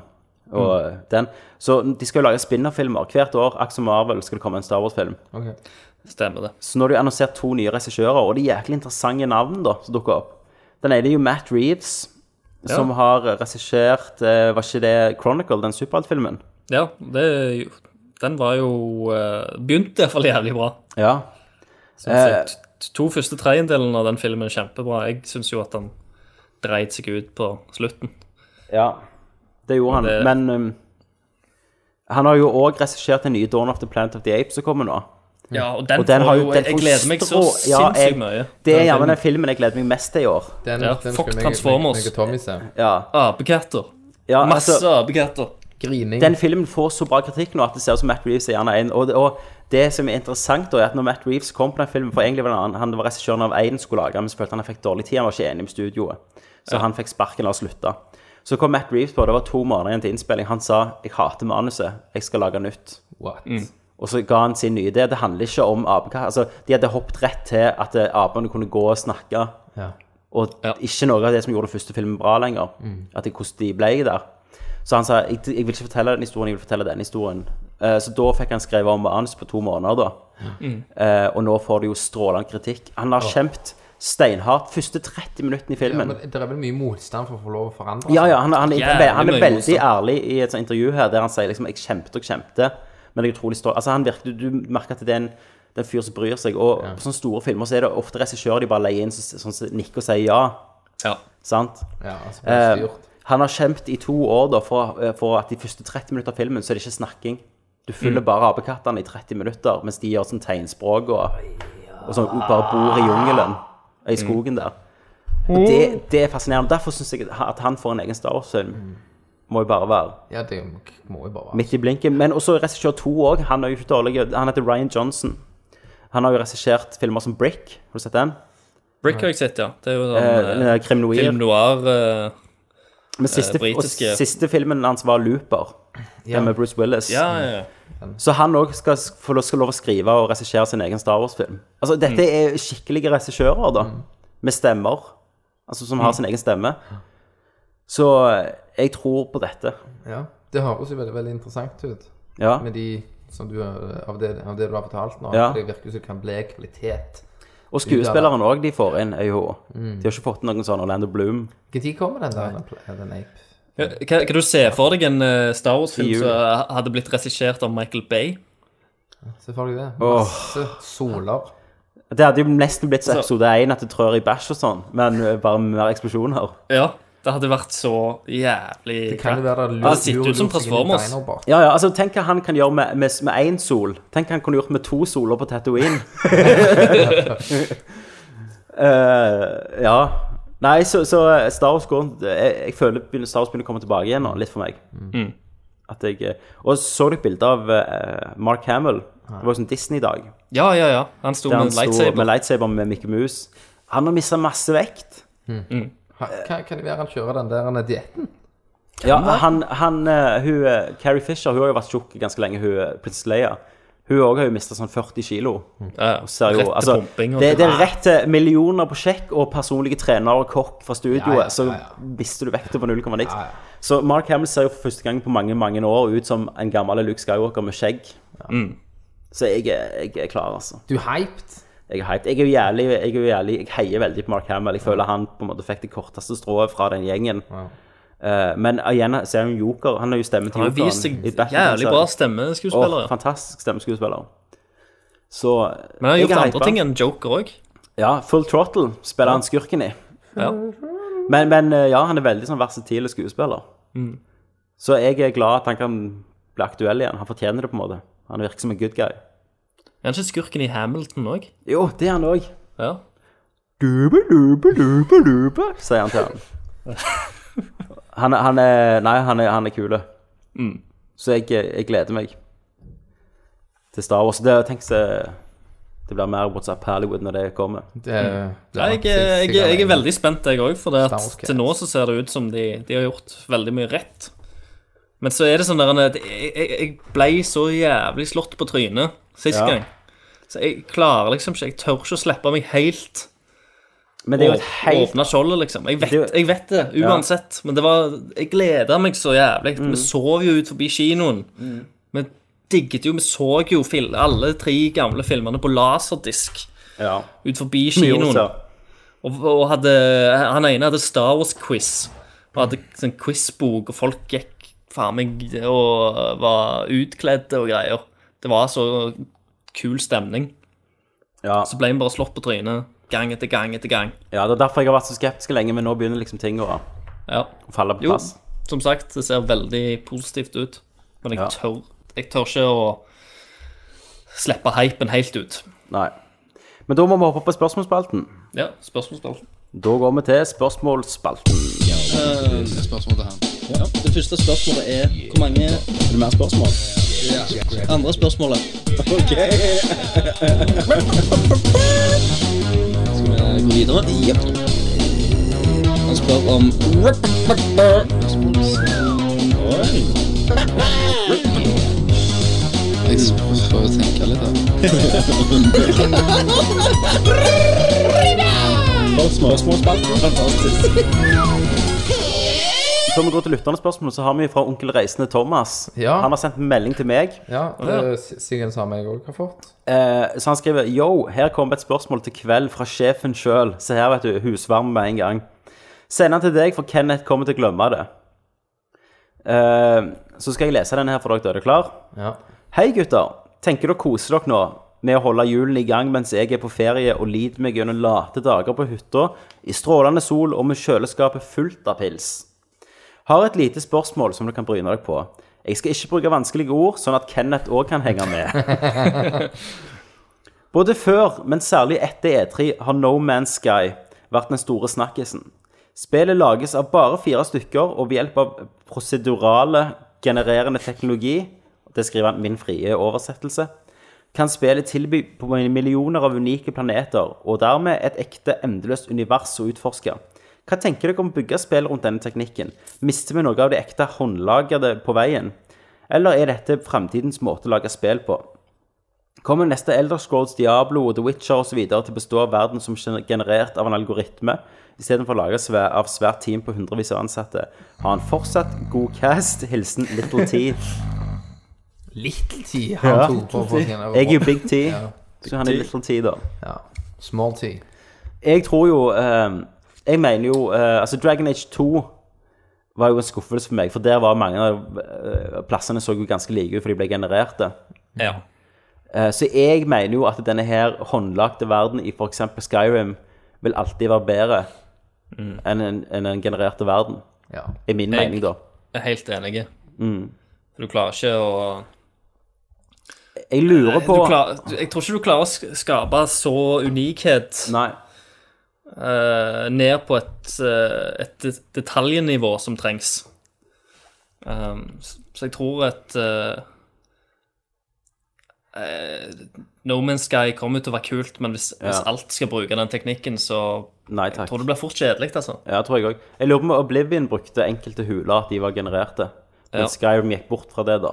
C: Og
B: Mm.
C: den. Så de skal jo lage spinner-filmer. Hvert år, akkurat som Marvel, skal det komme en Star Wars-film.
B: Ok.
A: Stemmer det.
C: Så nå har de annonsert to nye regissører, og det er jæklig interessante navn da, som dukker opp. Den ene er jo Matt Reeves, som har regissert eh, Var ikke det Chronicle, den superheltfilmen?
A: Ja, det er jo Den var jo eh, Begynte iallfall jævlig bra.
C: Ja. Eh.
A: Sånn sett, t- to første tredjedelen av den filmen er kjempebra. Jeg syns jo at han dreit seg ut på slutten.
C: ja. Det gjorde han.
A: Det-
C: Men um, han har jo òg regissert den nye Dawn of the Planet of the Apes som kommer nå.
A: Ja, og den,
C: Og den
A: får
C: har jo
A: jo
C: den
A: Jeg, jeg
C: får
A: gleder meg så
C: strå- ja, jeg-
A: sinnssykt mye.
C: Det er
A: Den
C: gjerne
A: filmen.
C: den filmen jeg gleder meg mest til i år.
B: Den,
A: Ja,
B: den
A: fuck
B: skulle jeg-
A: Transformers.
B: Jeg, jeg og Tommy se.
C: Ja.
A: Apekatter.
C: ja
A: Masse
C: altså-
A: apekatter.
B: Grining.
C: Den filmen får så bra kritikk nå at det ser ut som Matt Reeves er gjerne en Og, og det som er interessant, da, er at når Matt Reeves kom på den filmen For egentlig var det han, han var regissøren av Aiden skulle lage, men så følte han han fikk dårlig tid. Han var ikke enig med studioet. Så han fikk sparken og slutta. Så kom Matt Reeves på, det var to måneder igjen til innspilling. Han sa 'Jeg hater manuset. Jeg skal lage nytt'.
B: What?
A: Mm.
C: Og så ga han sin nye idé. Det handler ikke om apekatter. Altså, de hadde hoppet rett til at eh, apene kunne gå og snakke.
B: Ja. Mm.
C: Og
A: Ja.
C: ikke noe av det som gjorde den første filmen bra lenger. At det, hvordan de ble der. Så han sa jeg, jeg vil ikke fortelle den historien, jeg vil fortelle den historien. Eh, så da fikk han skrevet om manus på to måneder, da. Eh, og nå får det jo strålende kritikk. Han har kjempet steinhardt første 30 minuttene i
B: Ja,
C: filmen.
B: men det er vel mye motstand for å få lov å forandre
C: Ja, ja, han, han, er-
A: Jævlig
C: han er
A: mye
C: veldig
A: motstand.
C: ærlig i et sånt intervju her, der han sier liksom 'jeg kjempet og kjempet', men jeg er utrolig stolt. Altså, han virker, du, du merker at det er en det er en fyr som bryr seg. Og på sånne store filmer så er det ofte regissører de bare leier inn som sånn, som nikker og sier ja.
A: Ja.
C: Sant?
B: Ja, altså, det er styrt.
C: Eh, han har kjempet i to år da, for, eh, for at de første 30 minutter av filmen så er det ikke snakking. Du fyller bare apekattene i 30 minutter, mens de gjør sånn tegnspråk og, og sånn, bare bor i jungelen, i skogen der. Og det, det er fascinerende. Derfor syns jeg at han får en egen Star Wars-film. Må jo bare være
B: ja, det må jo bare være
C: midt i blinken. Men også regissør to òg. Han er jo ikke dårlig. Han heter Ryan Johnson. Han har jo regissert filmer som Brick. Har du sett den?
A: Brick har jeg sett, ja. Det er jo
C: Eh,
A: sånn eh,
C: den er Krim Noir.
A: film noir eh,
C: Men siste, og
A: britiske-
C: siste filmen hans var Looper. Den med Bruce Willis.
A: Ja, ja, ja.
C: Så han òg skal s- få lov, skal lov å skrive og regissere sin egen Star Wars-film. Altså, dette
A: Mm.
C: er skikkelige regissører, da. Med stemmer. Altså, som har sin egen stemme. Så eh, jeg tror på dette.
B: Ja, det høres jo veldig, veldig interessant ut
C: Ja.
B: Med de som du, har- av, det, av det du har fortalt nå
C: Ja.
B: for Det virker jo som det kan bli kvalitet
C: Og skuespilleren òg de får inn, er jo De har ikke fått noen sånn Orlando Bloom.
B: Når kommer den der, den, den ape?
A: Ja, Hva, hva du ser for deg en eh, Star
C: I
A: Wars-film
C: jul.
A: som eh, hadde blitt regissert av Michael Bay?
B: Selvfølgelig det Masse soler
C: Det hadde jo nesten blitt så episode én at det trør i bæsj og sånn, men eh, bare mer eksplosjoner.
A: Ja, det hadde vært så jævlig
B: Det kan jo være det
A: Han ser ut som Transformers.
C: Ja, ja, altså Tenk hva han kan gjøre med- med- med én sol. Tenk hva han kunne gjort med to soler på Tatooine. Eh, ja. Nei, så, så Star Wars går Jeg, jeg føler begynner- Star Wars begynner å komme tilbake igjen nå, litt for meg. At jeg, eh, og så dere bilde av eh, Mark Hamill. Det var jo sånn Disney-dag.
A: Ja, ja, ja. Han sto
C: Der han
A: med en
C: sto med
A: lightsaber.
C: lightsaber med Mickey Mouse. Han har mista masse vekt.
B: Kan, kan det være han kjører den der dietten?
C: Ja, han, han eh, hun, eh, Carrie Fisher hun har jo vært tjukk ganske lenge, hun eh, prinsesse Leia. Hun òg har jo mista sånn 40 kilo.
A: Ja,
C: Og ser jo,
A: rett til
C: altså,
A: pumping og
C: det,
A: til-
C: det er rett til millioner på sjekk og personlige trenere og kokk fra studioet.
B: Ja, ja, ja, ja.
C: Så mister du vekta på null komma niks. Så Mark Hamill ser jo for første gang på mange mange år ut som en gammel Luke Skywalker med skjegg.
A: Mm.
C: Så jeg, er- jeg er klar, altså.
B: Du er hyped?
C: Jeg er hyped. Jeg er jo jævlig, jeg, er jo jævlig, jeg heier veldig på Mark Hamill. Jeg føler han på en måte fikk det korteste strået fra den gjengen. Eh, men igjen så er han jo joker. Han har jo stemmen til
A: Han har
C: jokeren.
A: vist seg
C: i Batman,
A: jævlig
C: så-
A: bra
C: Åh,
A: stemmeskuespiller. ja.
C: Fantastisk stemmeskuespiller. Så
A: Men han har
C: jeg
A: gjort
C: er
A: andre
C: hyped.
A: ting enn Joker òg.
C: Ja, Full Throttle spiller han skurken i.
A: Ja.
C: Men, men eh, ja, han er veldig sånn versatil skuespiller.
A: Mm.
C: Så jeg er glad at han kan bli aktuell igjen. Han fortjener det, på en måte. Han virker som en good guy.
A: Er han ikke skurken i Hamilton òg?
C: Jo, det er han òg.
A: Ja.
C: Dupe, dupe, dupe, dupe, sier han til han. Han, er- han er Nei, han er, han er kule.
A: Mm.
C: Så jeg, jeg gleder meg til Star Wars. Det, tenk så det blir mer WhatsApp Hollywood når det kommer.
B: Det,
C: Mm.
B: er- det
A: Nei, jeg, er- jeg, er- jeg er veldig spent, jeg òg. For det
B: Star
A: at
B: Wars
A: til nå så ser det ut som de, de har gjort veldig mye rett. Men så er det sånn der at jeg, jeg, jeg ble så jævlig slått på trynet sist
C: Ja.
A: gang. Så jeg klarer liksom ikke Jeg tør ikke å slippe meg helt.
C: Men det er jo
A: Å-
C: et helt
A: Åpne skjoldet, liksom. Jeg vet,
C: Det er jo-
A: jeg vet det, uansett. Men det var Jeg gleda meg så jævlig.
C: Mm.
A: Vi sov jo ut forbi kinoen. Vi digget jo Vi så jo fil, alle tre gamle filmene på laserdisk
C: ja.
A: ut forbi
C: Mye
A: kinoen.
C: også.
A: Og, og hadde, han ene hadde Star Wars-quiz. Og hadde sånn quizbok, og folk gikk faen meg og var utkledde og greier. Det var så kul stemning.
C: Ja.
A: Så ble vi bare slått på trynet gang etter gang etter gang.
C: ja, det er derfor jeg har vært så skeptisk lenge, men nå begynner liksom ting å
A: Ja.
C: falle på
A: Jo,
C: plass.
A: som sagt, det ser veldig positivt ut. Men jeg
C: Ja.
A: tør Jeg tør ikke å slippe hypen helt ut.
C: Nei. Men da må vi hoppe på spørsmålsspalten.
A: Ja, spørsmålsspill.
C: Da går vi til spørsmålsspalten.
H: Det første spørsmålet er hvor mange
C: Er det mer spørsmål?
H: andre spørsmålet. Ok. Skal vi gå videre? Jepp. Han spør om Oi. Jeg får jo tenke litt, da. Spørsmålsspalten. Fantastisk.
C: Før vi går til lyttende spørsmål, så har vi fra onkel Reisende Thomas.
B: Ja.
C: Han har sendt en melding til meg.
B: Ja, det er si- sikkert det samme jeg òg har fått.
C: Eh, så han skriver Yo, her kommer et spørsmål til kveld fra sjefen sjøl. Se her, vet du. Husvarme med en gang. Send den til deg, for Kenneth kommer til å glemme det. Eh, så skal jeg lese denne her for dere. Er dere klar?
B: Ja.
C: Hei, gutter. Tenker dere koser dere nå med å holde hjulene i gang mens jeg er på ferie og lider meg gjennom late dager på hytta i strålende sol og med kjøleskapet fullt av pils? Har et lite spørsmål som dere kan bryne dere på. Jeg skal ikke bruke vanskelige ord, sånn at Kenneth òg kan henge med. Både før, men særlig etter E3, har No Man's Sky vært den store snakkisen. Spillet lages av bare fire stykker, og ved hjelp av prosedurale genererende teknologi Det skriver han min frie oversettelse. Kan spillet tilby på millioner av unike planeter, og dermed et ekte endeløst univers å utforske. Hva tenker dere om å bygge spill rundt denne teknikken? Mister vi noe av det ekte håndlagede på veien? Eller er dette fremtidens måte å lage spill på? Kommer neste Elder Scrolls, Diablo og The Witcher osv. til å bestå av verden som gener- generert av en algoritme, istedenfor laget svæ- av svært team på hundrevis av ansatte? Ha en fortsatt god cast. Hilsen Little T.
B: Little T har
C: Ja.
B: to på folkene.
C: Jeg er jo Big T,
B: Ja.
C: så han er Little T, da.
B: Ja. Small T.
C: Jeg tror jo eh, Jeg mener jo eh, Altså, Dragon Age 2 var jo en skuffelse for meg, for der var mange av eh, plassene så jo ganske like ut, for de ble genererte.
A: Ja.
C: Eh, Så jeg mener jo at denne her håndlagte verden i f.eks. Skyrim vil alltid være bedre enn en, enn en genererte verden.
B: Ja.
C: I min
A: Jeg-
C: mening, da.
A: Jeg er helt enig. For Du klarer ikke å
C: Jeg lurer
A: Eh, du
C: på
A: klarer, du- Jeg tror ikke du klarer å sk- skape så unikhet
C: Nei.
A: eh, ned på et, eh, et det- detaljnivå som trengs. Um, s- så jeg tror at eh, eh, No Man's Sky kommer til å være kult, men hvis, hvis alt skal bruke den teknikken, så
C: Nei takk.
A: jeg tror det blir fort kjedelig, altså.
C: Ja, tror jeg òg. Jeg lurer på om Oblivion brukte enkelte huler, at de var genererte. Men
A: Ja.
C: Skyrim gikk bort fra det, da.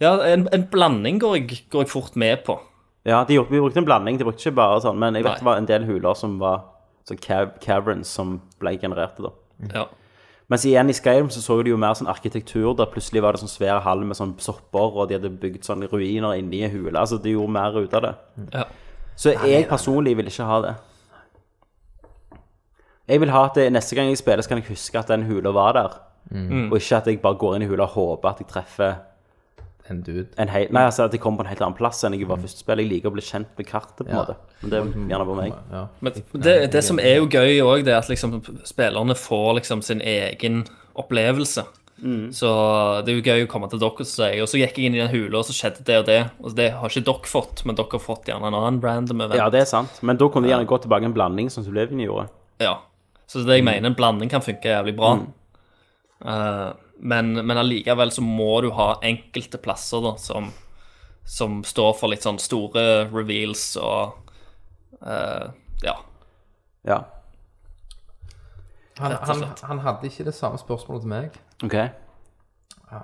A: Ja, en, en blanding går jeg, går jeg fort med på.
C: Ja, de, gjorde, de brukte en blanding, de brukte ikke bare sånn, men jeg vet
A: Nei.
C: det var en del huler som var sånn cav caverns som ble genererte, da.
A: Ja.
C: Mens igjen i Skyrim så så de jo mer sånn arkitektur, der plutselig var det sånn svære hall med sånn sopper, og de hadde bygd sånne ruiner inni en hule. Altså, de gjorde mer ut av det.
A: Ja.
C: Så jeg personlig vil ikke ha det. Jeg vil ha at det, neste gang jeg spiller, så kan jeg huske at den hula var der. Og ikke at jeg bare går inn i hula og håper at jeg treffer
B: En dude.
C: en hel... Nei, altså at jeg kommer på en helt annen plass enn jeg var første spill. Jeg liker å bli kjent med kartet, på en måte. Men det er gjerne på meg.
B: Ja.
A: Men det, det som er jo gøy òg, det er at liksom spillerne får liksom sin egen opplevelse. Så det er jo gøy å komme til dere og si Og så gikk jeg inn i den hula, og så skjedde det og det. Og det har ikke dere fått, men dere har fått gjerne en annen random event.
C: Ja, det er sant. Men da kunne de gjerne gå tilbake en blanding, sånn som Sublevin gjorde.
A: Ja. Så det er det jeg mener, en blanding kan funke jævlig bra. Eh, men, men allikevel så må du ha enkelte plasser da, som, som står for litt sånn store reveals og eh, Ja.
C: Ja.
B: Han,
A: og
B: han,
A: slett.
B: han hadde ikke det samme spørsmålet til meg.
C: OK.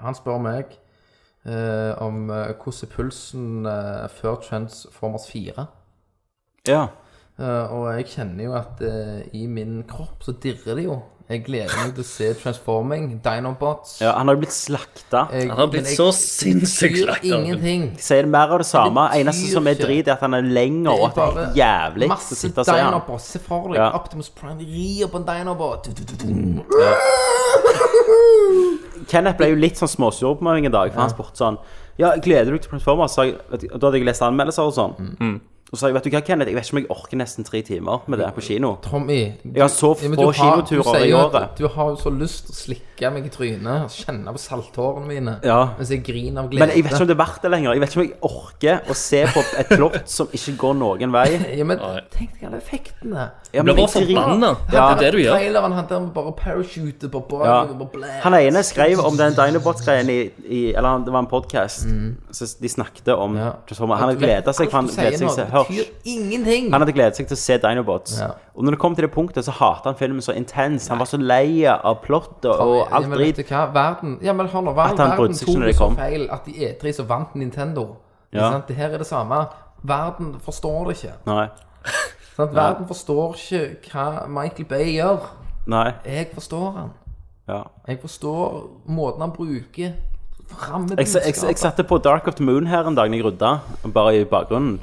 B: Han spør meg eh, om eh, hvordan er pulsen eh, før Transformers 4.
C: Ja.
B: Eh, og jeg kjenner jo at eh, i min kropp så dirrer det jo. Jeg gleder meg til å se Transforming, Dinobots.
C: Ja, han har jo blitt slakta.
B: Jeg,
A: Han har blitt så sinnssykt
B: betyr
A: lagt
B: ingenting.
C: Sier mer av det samme.
B: Det betyr
C: Eneste som er
B: ikke-
C: drit, er at han er lenger, og at det er helt jævlig å
B: Masse
C: sitte og se han.
B: Dinobots. Se for deg
C: Ja.
B: Optimus Prime rir på en Dinobot. Du, du, du,
C: Mm.
B: du.
C: Kenneth ble jo litt sånn småsur på meg en dag, for han spurte sånn Ja, gleder du deg til Transformers? Så jeg, vet, du- og da hadde jeg lest anmeldelser og sånn.
B: Mm.
A: Mm.
C: Og så sa jeg, vet du hva, Kenneth, jeg vet ikke om jeg orker nesten tre timer med det på
B: Mm.
C: kino.
B: Tommy
C: Jeg har så
B: ja, men
C: få
B: du har- du
C: kinoturer
B: sier
C: i
B: jo at
C: året.
B: Du har jo så lyst til å slikke meg i trynet, kjenne på salthårene mine
C: Ja.
B: mens jeg griner av glede.
C: Men jeg vet ikke om det er verdt det lenger. Jeg vet ikke om jeg orker å se på et plott som ikke går noen vei.
B: ja, men tenk deg alle effektene.
C: Ja,
A: Du blir bare
C: jeg driter-
A: forbanna.
C: Ja.
A: Det er det du gjør.
B: Traileren hadde han bare parachute på
C: Ja.
B: bagen. og bare
C: Han ene skrev om den Dinobots-greien i, i Eller han, det var en podkast. Så de snakket om
B: Mm. Ja.
C: Transformers. Han hadde gleda seg, for han gledet seg til
B: Hørs.
C: Hørs.
B: Betyr ingenting.
C: Han hadde gledet seg til å se Dinobots.
B: Ja.
C: Og når det kom til det punktet, så hatet han filmen så intens. Han var så lei av plottet og alt
B: ja, men
C: drit.
B: vet du hva? Verden Ja, men hold nå, hva?
C: At han brydde
B: Verden
C: seg ikke
B: tok
C: når det
B: det så
C: kom.
B: feil at i E3 så vant Nintendo. Ikke
C: Ja.
B: Sant? Det her er det samme. Verden forstår det ikke.
C: Nei.
B: Sant? Verden forstår ikke hva Michael Bay gjør.
C: Nei.
B: Jeg forstår han.
C: Ja.
B: Jeg forstår måten han bruker
C: Jeg, jeg, jeg, jeg
B: rammebudskapet
C: satte på Dark of the Moon her en dag når jeg rydda, bare i bakgrunnen.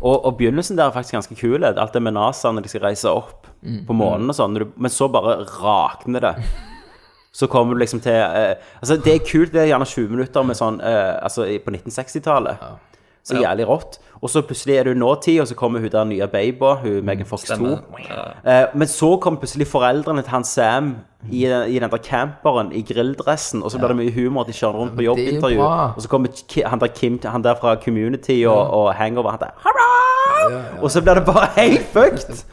C: Og, og begynnelsen der er faktisk ganske kul. Alt det med NASA når de skal reise opp på månen og sånn. når du- Men så bare rakner det. Så kommer du liksom til eh, Altså, det er kult. Det er gjerne 20 minutter med sånn eh, Altså i- på 1960-tallet. Så jævlig rått. Og så plutselig er du nåtid, og så kommer hun der nye baby, hun Megan Fox 2. Eh, Men så kom plutselig foreldrene til han Sam i, i den der camperen i grilldressen, og så blir det mye humor at de kjører rundt på
B: Ja, men det er jo
C: jobbintervju.
B: bra.
C: Og så kommer Ki- han der Kim, han der fra Community og, og Hangover, han der Hurra! Og så blir det bare helt fucked!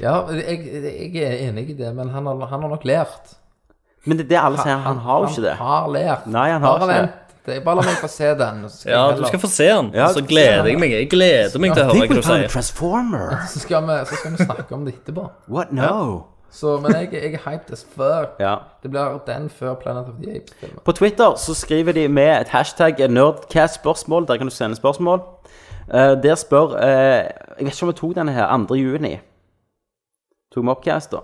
B: Ja, jeg, jeg er enig i det, men han har, han har nok lært.
C: Men det er det alle sier, han har jo ikke det.
B: Han har lært.
C: Nei, han har
B: Bare
C: ikke det.
B: vent. det. er Bare la meg få se den. og Så skal,
A: Ja,
B: jeg
A: du
B: heller-
A: skal få se den.
C: Ja,
A: så gleder jeg meg. Jeg gleder meg til å høre
C: Think
A: hva
C: we
A: du
C: found a
A: sier.
C: transformer.
B: så, skal vi, så skal vi snakke om det etterpå.
C: What no?
B: Så, men jeg, jeg er hyped as fuck.
C: Ja.
B: Det blir den før Planet of the Apes-filmen.
C: På Twitter så skriver de med et hashtag nerdcast-spørsmål. Der kan du sende spørsmål. Eh, der spør eh, Jeg vet ikke om jeg tok denne her 2. juni. Tok vi Upcast, da?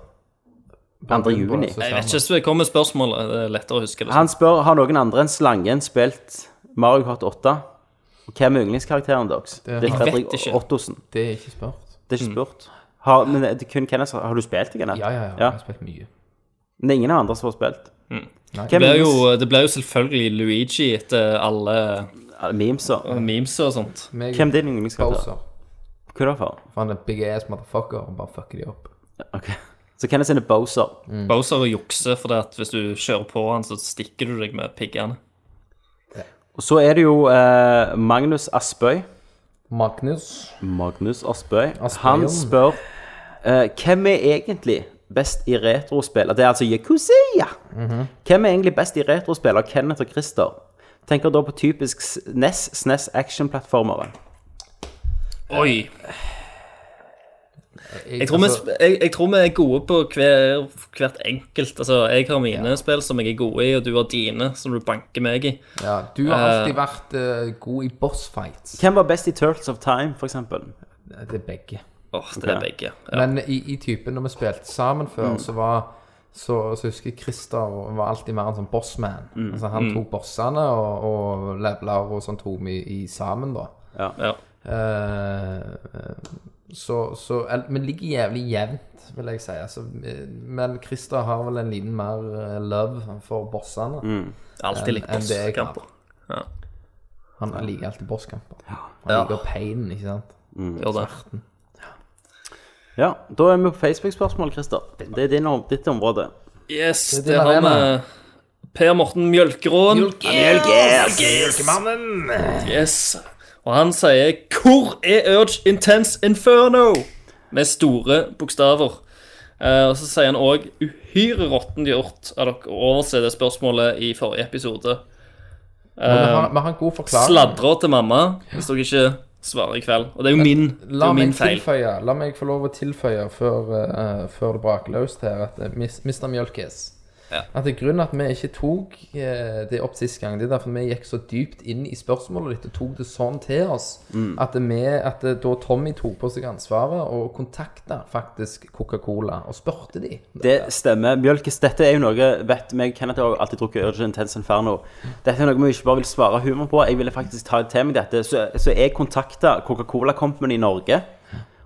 C: 2. juni.
A: Jeg vet ikke, så det kommer spørsmålet. Det er lettere å huske det.
C: Han spør har noen andre enn Slangen spilt Mario Kart 8. Og hvem er yndlingskarakteren deres?
B: Det-
C: Richard
A: Jeg vet ikke.
C: Ottosen.
B: Det er ikke spurt.
C: Det er ikke spurt. Har, men det er kun Kenneth, som- har du spilt det, Kenneth?
B: Ja, ja, ja. Jeg har spilt mye.
C: Men det er ingen andre som har spilt.
A: Det
C: Hvem
A: blir,
C: er
A: jo,
C: jo...
A: det blir jo selvfølgelig Luigi etter alle
C: memeser?
A: memes og sånt.
B: Meg
C: Hvem er din yndlingskarakter?
B: Bowser.
C: Hva er det for?
B: For han er big ass motherfucker og bare fucker de opp.
C: Ok. Så Kenneth sin er Bowser.
B: Mm.
A: Bowser jukser fordi at hvis du kjører på han, så stikker du deg med piggene.
C: Og så er det jo eh, Magnus Aspøy.
B: Magnus.
C: Magnus Aspøy.
B: Aspøyen.
C: Han spør eh, hvem er egentlig best i retrospill. Det er altså Yakuza. Hvem er egentlig best i retrospill av Kenneth og Christer? Tenker da på typisk s- NES, SNES actionplattformere.
A: Oi. Jeg tror, vi,
B: altså,
A: sp- jeg, jeg tror vi er gode på hver, hvert enkelt. Altså, jeg har mine spill som jeg er god i, og du har dine som du banker meg i.
B: Ja, du har alltid vært eh, god i bossfights.
C: Hvem var best i Turtles of Time, for eksempel?
B: Det er begge.
A: Åh, det er begge. Ja.
B: Men i, i typen når vi spilte sammen
C: Mm.
B: før, så var så, så husker jeg Christer var alltid mer en sånn bossman.
C: Mm.
B: Altså, han
A: Mm.
B: tok bossene og, og levela og sånn tok vi i sammen, da.
A: Ja.
B: Eh, så, så el- Vi ligger jævlig jevnt, vil jeg si. Altså, eh, men Christer har vel en liten mer eh, love for bossene.
A: Alltid litt
B: enn- enn det jeg har.
A: bosskamper.
B: Han liker alltid bosskamper. Han liker painen, ikke sant?
A: Gjør det.
C: Ja, da er vi på Facebook-spørsmål, Christer. Det er din, om- ditt område.
A: Yes,
B: Det er
A: det
B: din
A: har vi.
B: arena.
A: Per Morten Mjølkeråen.
B: Mannen!
A: Yes. Og han sier 'Hvor er Urge Intense Inferno?' med store bokstaver. Eh, og så sier han òg 'Uhyre råttent gjort' av dere å overse det spørsmålet i forrige episode.
B: Men vi har, vi har en god forklaring.
A: Sladrer til mamma hvis dere ikke svarer i kveld. Og det er jo min, det er
B: La
A: jo
B: meg,
A: min feil.
B: tilføye, la meg få lov å tilføye før, eh, før det braker løst her, at eh, mis- Mr. Mjølkes At det er grunnen at vi ikke tok eh, det opp sist gang, det er derfor vi gikk så dypt inn i spørsmålet ditt og tok det sånn til oss,
A: Mm.
B: at, det vi, at det, da Tommy tok på seg ansvaret og kontakta faktisk Coca-Cola og spurte de
C: Det stemmer. Bjølkes, dette er jo noe vet meg, Kenneth har alltid drukket Urge Intense Inferno. Dette er noe vi ikke bare vil svare humor på. Jeg ville faktisk ta til meg dette. Så, så jeg kontakta Coca-Cola Company i Norge.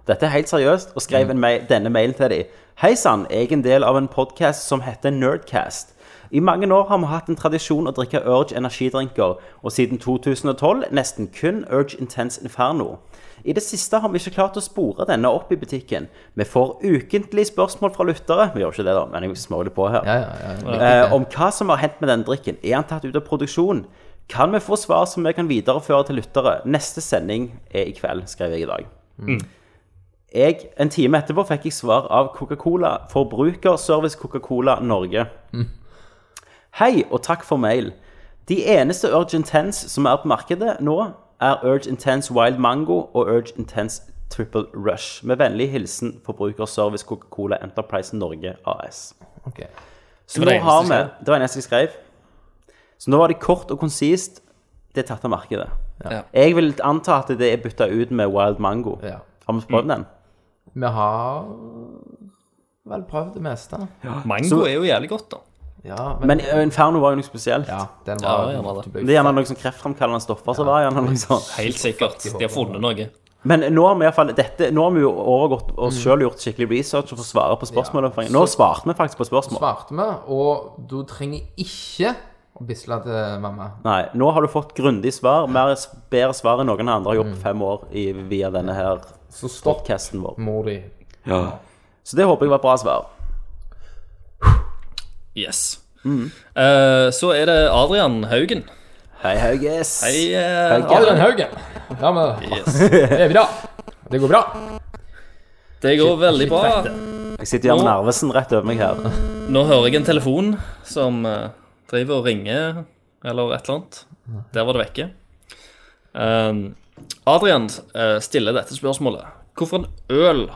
C: Dette er helt seriøst, og skrev en mail, denne mailen til dem. Hei sann, jeg er en del av en podkast som heter Nerdcast. I mange år har vi hatt en tradisjon å drikke Urge energidrinker, og siden 2012 nesten kun Urge Intense Inferno. I det siste har vi ikke klart å spore denne opp i butikken. Vi får ukentlig spørsmål fra lyttere Vi gjør ikke det, da, men jeg små litt på her.
B: Ja, ja, ja.
C: Eh, om hva som har hendt med den drikken. Er han tatt ut av produksjon? Kan vi få svar som vi kan videreføre til lyttere? Neste sending er i kveld, skrev jeg i dag. Jeg, en time etterpå fikk jeg svar av Coca-Cola, Forbrukerservice Coca-Cola Norge. Hei, og takk for mail. De eneste Urge Intense som er på markedet nå, er Urge Intense Wild Mango og Urge Intense Triple Rush. Med vennlig hilsen Forbrukerservice Coca-Cola Enterprise Norge AS.
B: Ok.
C: Så
A: var det
C: nå har
A: eneste
C: vi
A: jeg
C: Det var det eneste jeg skrev. Så nå var det kort og konsist. Det er tatt av markedet.
A: Ja.
C: Jeg vil anta at det er bytta ut med Wild Mango.
B: Ja.
C: Har vi
A: Mm.
C: prøvd den?
B: Vi har vel prøvd det meste.
A: Mango er jo jævlig godt, da.
B: Ja, men,
C: Men Inferno var jo noe spesielt.
B: ja, den
A: Ja,
B: var
A: ja, det var det.
B: du
C: Det
B: ble-
C: er gjerne noen sånn kreftfremkallende stoffer som var gjerne noe sånt.
A: Helt sikkert. De har funnet noe.
C: Men nå har vi i hvert fall dette, nå har vi jo overgått og
A: Mm.
C: selv gjort skikkelig research og fått svare på spørsmål. Nå svarte vi faktisk på spørsmål.
B: Svarte vi, og du trenger ikke å bisle til mamma.
C: Nei, nå har du fått grundig svar, mer, bedre svar enn noen andre har
A: Mm.
C: gjort på fem år i, via denne her
B: Så stopp
C: podcasten vår.
B: mor di.
C: Så det håper jeg var et bra svar.
A: Yes. Eh, så er det Adrian Haugen.
C: Hei, Hauges.
A: Hei, eh,
B: Adrian Haugen. Ja, men
A: yes.
B: det er bra. Det går bra.
A: Det går veldig bra.
C: Jeg sitter jo med Narvesen rett over meg her.
A: Nå hører jeg en telefon som eh, driver og ringer, eller et eller annet. Der var det vekke. Ehm, Adrian eh, stiller dette spørsmålet. Hvorfor en øl,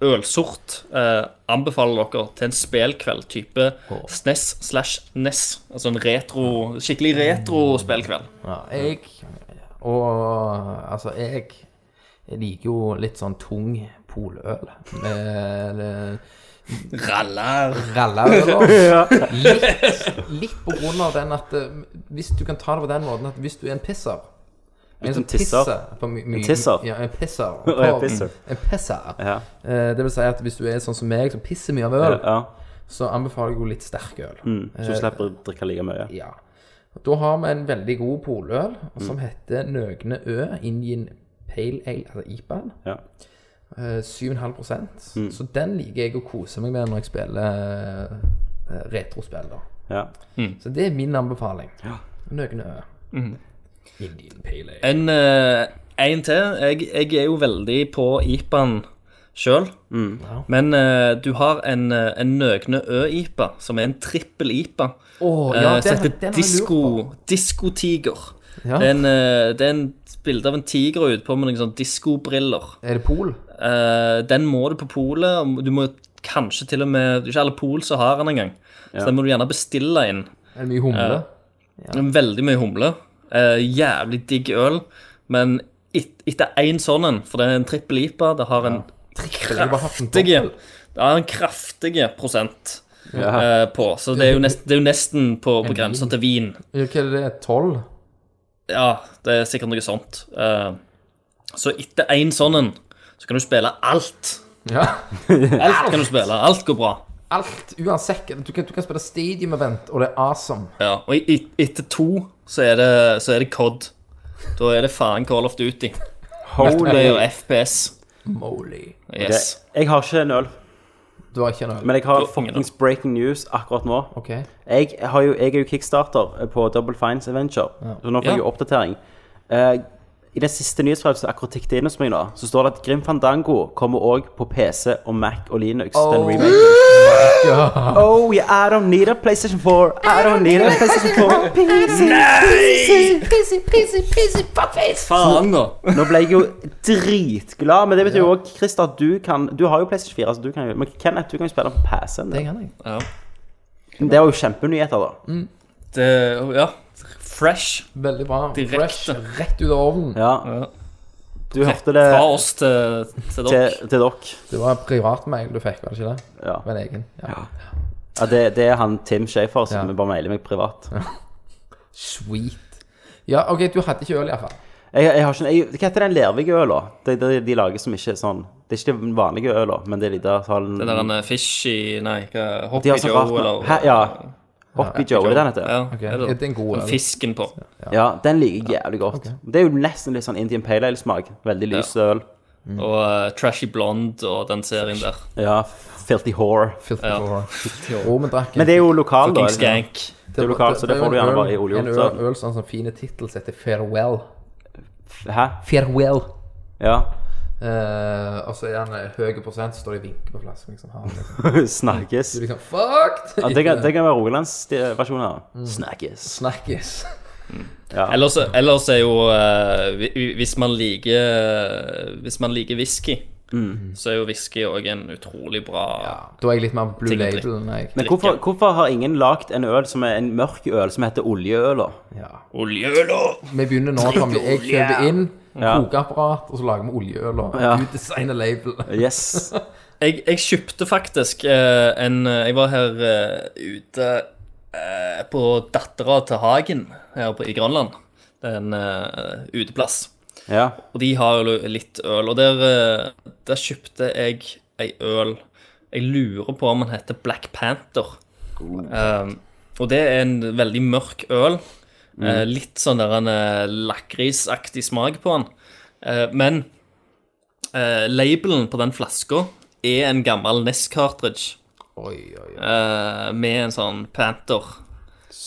A: ølsort, eh, anbefaler dere til en spelkveld type SNES slash NES? Altså en retro, skikkelig retro spelkveld.
B: Ja, jeg Og altså, jeg jeg liker jo litt sånn tung poløl. Med
A: Raller!
B: ralleøler. Litt, litt på grunn av den at eh, Hvis du kan ta det på den måten at hvis du er en pisser En som
C: tisser?
B: pisser på my, my,
C: En tisser?
B: Ja, en pisser.
C: Å, ja, pisser.
B: En pisser.
C: Ja.
B: Eh, Det vil si at hvis du er sånn som meg, som pisser mye av øl,
C: Ja. Mm.
B: så anbefaler jeg jo litt sterk øl.
C: Så du slipper å drikke like mye.
B: Ja. Da har vi en veldig god poløl
C: Mm.
B: som heter Nøgne Ø Indian Pale Ale, altså IPA-en.
C: Ja. Mm.
B: Eh, 7,5 Så den liker jeg å kose meg med når jeg spiller eh, retrospill. da.
C: Ja.
B: Så det er min anbefaling. Nøgne Ø.
C: Mm.
B: Indian Pale Ale.
A: En, eh, en til. Jeg, jeg er jo veldig på IPA-en sjøl. Men eh, du har en, eh, en Nøgne Ø-IPA, som er en trippel-IPA.
B: Å, ja,
A: Eh,
B: den-
A: som heter
B: den har jeg lurt
A: Disko- Diskotiger.
B: Ja.
A: Det er en, eh, det er en bilde av en tiger ute med noen sånne diskobriller.
B: Er det pol?
A: Eh, den må du på polet. og Du må kanskje til og med Det er ikke alle pol som har den engang. Så den må du gjerne bestille inn.
B: Er det mye humle?
C: Eh,
A: Veldig mye humle. Eh, jævlig digg øl. Men et, etter én sånn en, for det er en trippel IPA, det har en
B: Jeg har bare hatt en
A: kraftige
B: dobbel.
A: Det har en kraftige prosent eh, på. Så det er jo nesten, det er jo nesten på, på grensa til vin.
B: Ja, Hva er det? Tolv?
A: Ja, det er sikkert noe sånt. Eh, så etter én sånn en, så kan du spille alt.
B: Ja.
A: Alt kan du spille. Alt går bra.
B: Alt, uansett. Du kan, du kan spille Stadium Event, og det er awesome.
A: Ja, og i- i- etter to så er det, så er det COD. Da er det faen Call of Duty. Det er jo
C: Holy.
A: FPS.
B: Moly.
A: Yes.
C: Jeg har ikke en øl,
B: Du har ikke noe?
C: men jeg har
A: Du-
C: fuckings breaking news akkurat nå.
B: OK.
C: Jeg, har jo, jeg er jo kickstarter eh, på Double Fines Adventure, så nå får
A: Ja.
C: jeg jo oppdatering. Eh, I den siste nyhetsbrevet som akkurat tikket inn hos meg nå, så står det at Grim Fandango kommer òg på PC og Mac og Linux.
B: Oh
C: Den remaken. Oh yeah, I don't need a PlayStation 4. I don't need a PlayStation 4.
A: Faen, da.
C: Nå ble jeg jo dritglad, men det betyr jo òg, Christer, at du kan Du har jo PlayStation 4, så du kan jo Men Kenneth, du kan jo spille på PC-en.
B: Det kan jeg.
A: Ja.
C: Det var jo kjempenyheter, da.
A: Det, ja. Fresh
B: Veldig bra.
A: Direkte.
B: Fresh, rett ut av ovnen.
C: Ja.
A: Ja.
C: Du hørte det
A: fra oss til, til dere.
C: Eh, til, til dere.
B: Det var privatmail du fikk, var det ikke det?
C: Ja.
B: Med en egen. Ja.
C: Ja, det, det er han Tim Schafer som
B: Ja.
C: bare mailer meg privat.
B: Sweet. Ja, OK, du hadde ikke øl, iallfall.
C: Jeg, jeg har ikke, jeg, hva heter den lervige øla? Det, det de lager som ikke er sånn Det er ikke den vanlige øla, men det er de der som har den-
A: Den der han er fishy Nei, hva
C: De
A: Hoppy
C: har sånn
A: Joe,
C: rart
A: eller
C: Hæ, Ja. Hoppy Joe, er det den heter?
A: Ja,
C: Ja.
B: Ok,
A: er
B: Det er en god
A: Den
B: øl.
A: fisken på.
C: den liker jeg jævlig godt. Det er jo nesten litt sånn Indian Pale Ale-smak. Veldig lys øl.
A: Og eh, Trashy Blonde og den serien der.
C: Mm. Ja, filthy whore.
B: Filthy Gore. Og vi drakk en-
C: Men det er jo lokal,
A: Fucking
C: da. Liksom.
A: Skank.
C: Det er lokalt, så det får du gjerne bare i
B: En øl,
C: oljejobb.
B: øl sånn som fine tittel som heter Farewell.
C: Hæ?
B: Farewell.
C: Ja.
B: Eh, og så er den eh, høy prosent, så står det og vinker på flasken. Liksom. Har den liksom.
C: Snakkes.
B: Du liksom Fucked!
C: Ja, det, kan, det kan være Rogalandsversjonen her. Snakkes.
B: Snakkes.
A: Ellers, ellers er jo eh, hvi- Hvis man liker eh, Hvis man liker whisky,
C: Mm.
A: så er jo whisky òg en utrolig bra
B: Da er jeg litt mer Blue
A: Ting å drikke.
B: Label enn jeg.
C: Men hvorfor, hvorfor har ingen lagt en øl som er en mørk øl som heter oljeøla?
B: Ja.
A: oljeøl. og-
B: Vi begynner nå, Tommy. Jeg kjøper inn
C: Ja.
B: kokeapparat, og så lager vi oljeøl. Og
C: Ja.
B: du designer label.
C: Yes.
A: Jeg, jeg kjøpte faktisk eh, en eh, Jeg var her eh, ute eh, på dattera til Hagen her på, i Grønland. Det er en eh, uteplass.
C: Ja.
A: Og de har jo litt øl. Og der, eh, der kjøpte jeg ei øl Jeg lurer på om den heter Black Panther. Um, og det er en veldig mørk øl. Eh,
B: Mm.
A: litt sånn der en eh, lakrisaktig smak på den. Eh, men eh, labelen på den flaska er en gammel Ness-cartridge
B: Oi, oi, oi.
A: eh, med en sånn Panther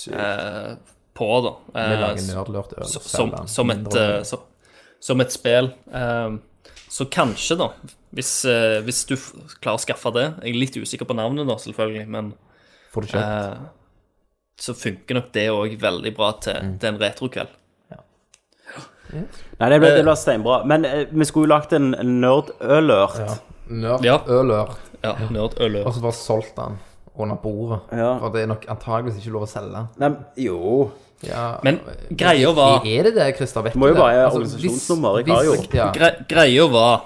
A: eh, på, da. Eh,
B: Vi lager nerdlurt øl.
A: så-
B: selger
A: som,
B: den.
A: som, et,
B: Mindre øl.
A: eh, så, som et spill. Eh, så kanskje, da, hvis, eh, hvis du f- klarer å skaffe det Jeg er litt usikker på navnet, da, selvfølgelig, men
B: Får du kjøpt?
A: eh, så funker nok det òg veldig bra til,
B: Mm.
A: til en retrokveld.
C: Nei, det ble, det ble steinbra. Men eh, vi skulle jo lagd en nerdølørt. Ja.
A: ja.
B: Nerdølør.
A: Ja, nerdøl.
B: Og så bare solgt den under bordet.
C: Ja.
B: For det er nok antageligvis ikke lov å selge den.
C: Nei, jo
B: Ja.
A: Men greia var
B: Er det det, Christer? Vet
C: Må jo
B: det?
C: bare ha
B: hvis-
C: organisasjonsnummer, jeg har jo.
B: hvis- ja.
A: gre, Greia var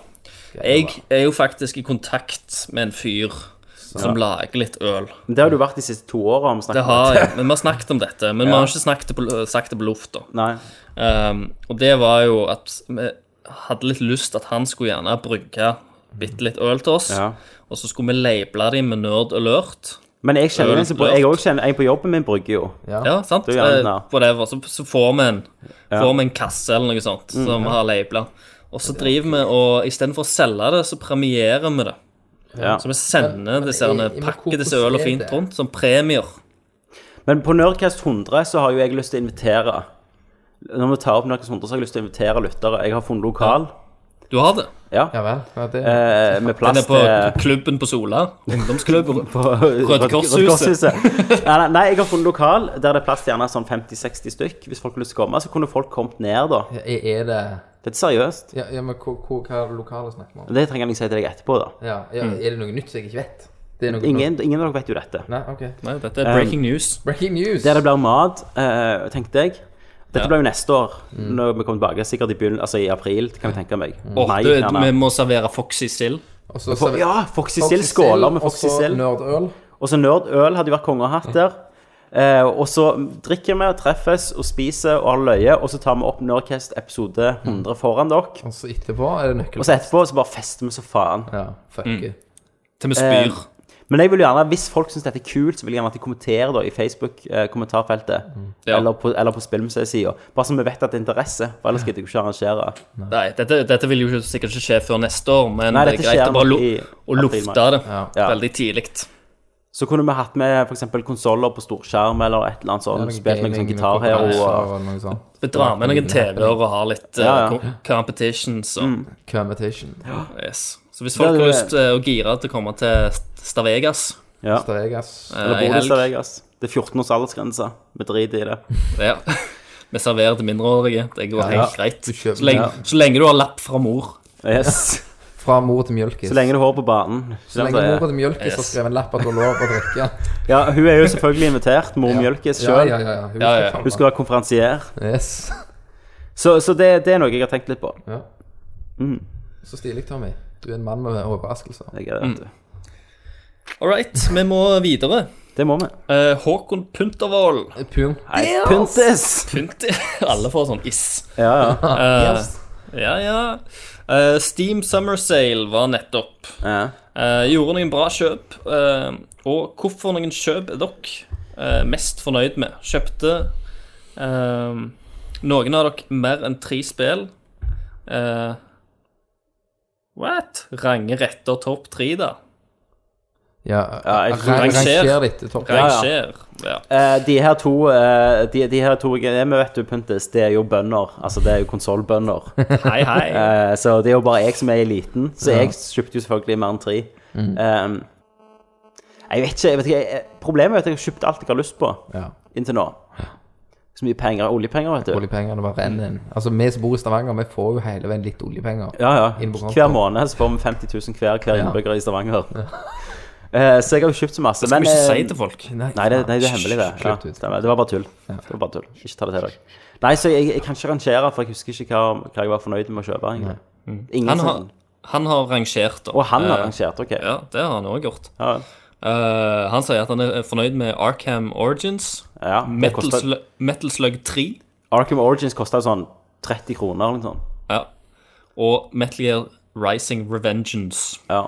A: Jeg
B: var.
A: er jo faktisk i kontakt med en fyr som lager litt øl.
C: Men Det har du vært de siste to åra. om
A: Det
C: snakket
A: har jeg, men vi har snakket om dette. Men vi har ikke snakket det på, sagt det på lufta.
C: Nei.
A: Um, og det var jo at vi hadde litt lyst at han skulle gjerne brygge bitte litt øl til oss.
C: Ja.
A: Og så skulle vi labele dem med Nerd Alert.
C: Men jeg kjenner en som br-
A: Ølørt.
C: jeg også kjenner en på jobben min brygger jo.
B: Ja.
A: Ja, sant?
C: Det er gjerne,
A: Eh,
C: ja.
A: Whatever. Så, så får vi en Får vi en kasse eller noe sånt
C: Mm,
A: som vi har labela. Og så driver vi og istedenfor å selge det, så premierer vi det.
C: Ja.
A: Så vi sender disse herne
B: men
A: pakker
B: hvordan
A: disse øl og
B: er
A: fint
B: det?
A: rundt som premier.
C: Men på Nerdcast 100 så har jo jeg lyst til å invitere Når vi tar opp Nerdcast 100, så har jeg lyst til å invitere lyttere. Jeg har funnet lokal
A: Du har det?
C: ja.
B: Ja vel. Ja, det,
C: eh, med plass
A: Den er
C: til
A: på klubben på Sola. Ungdomsklubben.
C: på Røde
A: Korshuset.
C: nei, nei, nei, jeg har funnet lokal der det er plass til gjerne sånn 50-60 stykk. Hvis folk har lyst til å komme, så kunne folk kommet ned, da.
B: er er det
C: Dette er seriøst.
B: Ja, ja men hva, hva, hva er det lokale snakker vi om?
C: Det trenger jeg ikke si til deg etterpå, da.
B: Ja, ja, er det noe nytt som jeg ikke vet? Det er noe
C: Mm. Ingen, ingen av dere vet jo dette.
B: Nei, ok.
A: Nei, dette
C: Um,
A: er breaking news.
B: Breaking news!
C: Der det blir mat, eh, tenkte jeg. Dette
A: Ja.
C: blir jo neste år, når vi kommer tilbake. Sikkert i, begynnelsen, altså i april, kan vi tenke meg.
A: Åh,
C: Mai,
A: du,
C: gjerne.
A: vi må servere Foxy sild.
B: Og så-
C: For- Ja, Foxy Sild skåler med Foxy
B: Og så
C: Sild.
B: nerdøl.
C: Og så nerdøl hadde jo vært konge å hatt der. Eh, og så drikker vi, treffes og spiser og har løye, og så tar vi opp Nerdcast episode 100 foran dere.
B: Og så etterpå er det nøkkel.
C: Og så etterpå så bare fester vi så faen.
B: Ja, fuck it.
A: Til vi spyr.
C: Men jeg vil gjerne, hvis folk syns dette er kult, så vil jeg gjerne at de kommenterer da i Facebook-kommentarfeltet.
A: Ja.
C: Eller på, eller på spillmuseet-sida. Bare så vi vet at det er interesse, for ellers gidder jeg ikke å arrangere.
A: Nei, dette, dette vil jo ikke- sikkert ikke skje før neste år, men
C: Nei,
A: det
C: dette
A: er greit
C: skjer
A: å bare
C: nok
A: lu
C: i
A: å lufte
C: april-mai.
A: det
C: Ja.
A: veldig tidlig.
C: Så kunne vi hatt med f.eks. konsoller på storskjerm eller et eller annet sånt. Spilt noen sånn gitar her og
B: og noe sånt.
A: Vi drar med noen TV-er og har litt eh,
C: Ja, ja.
A: co- competitions. Og,
B: Commutation.
A: yes. Så hvis folk
C: Det er
A: har
C: det-
A: lyst til å gire til å komme til Stavegas
C: ja.
B: Stregas.
A: eh, i
C: Eller bor du i
A: helg
C: Stavegas? Det er 14 års aldersgrense. Vi driter i det.
A: ja. Vi serverer til mindreårige. Det går helt greit.
B: Du kjøper-
A: Så lenge,
B: Ja.
A: så lenge du har lapp fra mor.
C: Yes.
B: Fra mor til mjølkis.
C: Så lenge du har på banen.
B: Så lenge mor til mjølkis har
A: Yes.
B: skrevet en lapp at du har lov å drikke.
C: Ja, hun er jo selvfølgelig invitert. Mor Mjølkes
B: Ja,
C: sjøl.
B: ja, ja. ja. Hun
A: Ja, ja.
B: skal
C: Hun skal være konferansier.
B: faen meg- Yes.
C: Så, så det, det er noe jeg har tenkt litt på.
B: Ja. Så stilig, Tommy. Du er en mann med overraskelser.
C: Jeg, er- vet du.
A: All right, vi må videre.
C: Det må vi.
A: Eh, Håkon Puntervold.
B: Pun.
C: Nei, Pyntes!
A: Pynt Alle får sånn iss.
C: Ja, ja.
A: Ja, ja. Eh, Steam Summer Sale var nettopp.
C: ja.
A: Eh, gjorde noen bra kjøp. eh, og hvorfor noen kjøp er dere eh, mest fornøyd med? Kjøpte eh, noen av dere mer enn tre spill? Eh, what? Ranger etter topp tre, da?
B: Ja,
C: Ja, jeg tror-
A: Ranger.
B: Ranger ditt topp.
C: ja.
A: Ranger. Ja.
C: Eh, de her to eh, de, de her to greiene vi vet du, Pyntes, det er jo bønder. Altså, det er jo konsollbønder.
A: Hei, hei.
C: Eh, så det er jo bare jeg som er eliten. Så jeg kjøpte jo selvfølgelig mer enn tre.
B: Mm.
C: Ehm, jeg vet ikke, jeg vet ikke jeg, Problemet er at jeg har kjøpt alt jeg har lyst på
B: Ja.
C: inntil nå. Så mye penger. Oljepenger, vet du.
B: Oljepengene bare renner inn. Altså, vi som bor i Stavanger, vi får jo hele veien litt oljepenger.
C: Ja, ja.
B: Inn på konto.
C: Hver måned så får vi 50 000 hver, hver
B: Ja.
C: innbygger i Stavanger. Eh, så jeg har jo kjøpt så masse.
A: Skal vi ikke
C: eh,
A: si til folk?
C: Nei, det, nei, det er hemmelig, det. Ja,
B: Slutt ut.
C: stemmer. det var bare tull. Det var bare tull. Ikke ta det til deg. Nei, så jeg, jeg kan ikke rangere, for jeg husker ikke hva, hva jeg var fornøyd med å kjøpe. egentlig.
A: Mm.
C: Ingen
A: Han
C: sånn.
A: har, han har rangert, da.
C: Og han har
A: Eh,
C: rangert, OK.
A: Ja, det har han òg gjort.
C: Ja.
A: Eh, han sier at han er fornøyd med Arkham Origins,
C: Ja, det
A: Metal,
C: kostet-
A: Slug, Metal Slug 3
C: Arkham Origins kosta sånn 30 kroner eller noe sånt.
A: ja, og Metal Gear Rising Revengeance.
C: Ja.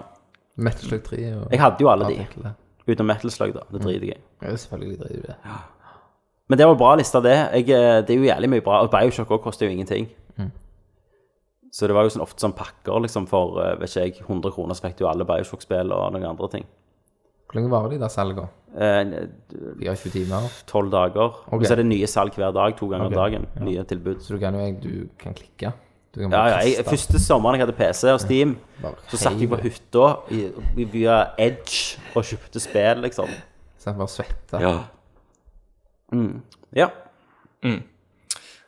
B: Metal Slug 3 og
C: Jeg hadde jo alle de,
B: artikler.
C: utenom Metal Slug, da. Det driter jeg i.
B: Ja, selvfølgelig driver de det.
C: Men det var bra lista, det. Jeg, eh, det er jo jævlig mye bra. Og Bioshock også koster jo ingenting.
B: Mm.
C: Så det var jo sånn, ofte sånn pakker liksom for eh, vet ikke jeg, 100 kroner, så fikk du alle Bioshock-spill og noen andre ting.
B: Hvor lenge varer de der salgene?
C: Eh,
B: 24 timer.
C: 12 dager. Og
B: Ok.
C: så er det nye salg hver dag, to ganger
B: Ok,
C: dagen. Nye tilbud.
B: Så du kan jo du kan klikke. Du kan
C: Ja,
B: bare
C: ja, jeg,
B: taste.
C: første sommeren jeg hadde PC og Steam,
B: Bare
C: så satt jeg på
B: hele.
C: hytta i- via Edge og kjøpte spill, liksom.
B: Så jeg bare svetter.
C: Ja. Mm. Ja.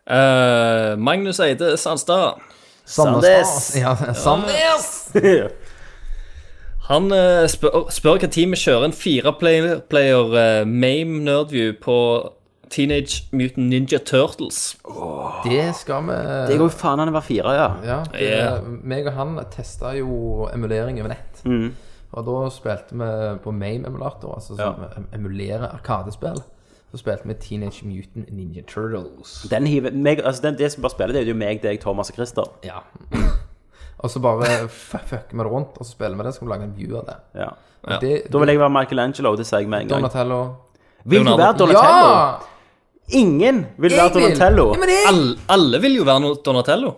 A: Eh, Magnus Eide Sandstad
B: Sandnes! Ja, Sandnes!
A: Han eh, spør, spør hva tid vi kjører en fireplayer player, eh, Mame Nerdview på Teenage Mutant Ninja Turtles.
B: Det skal vi
C: Det går jo faen an å være fire, ja.
B: Ja, det,
A: Ja.
B: meg og han testa jo emulering over nett.
C: Mm.
B: Og da spilte vi på Mame-emulator, altså som emulerer arkadespill. Så spilte vi Teenage Mutant Ninja Turtles.
C: Den hiver, meg, altså den, det som bare spiller, det er jo meg, deg, Thomas og Christer.
B: Ja. og så bare fu- fucker vi det rundt, og så spiller vi det, så skal vi lage en view av det.
C: Ja.
A: Ja.
B: det
C: Da vil jeg være Michelangelo, det sier jeg med en gang.
B: Donatello.
C: Vil du være
A: Leonardo.
C: Donatello? Ingen vil være
B: Jeg vil.
C: Donatello.
B: Ja, men jeg-
A: Alle, alle vil jo være no Donatello.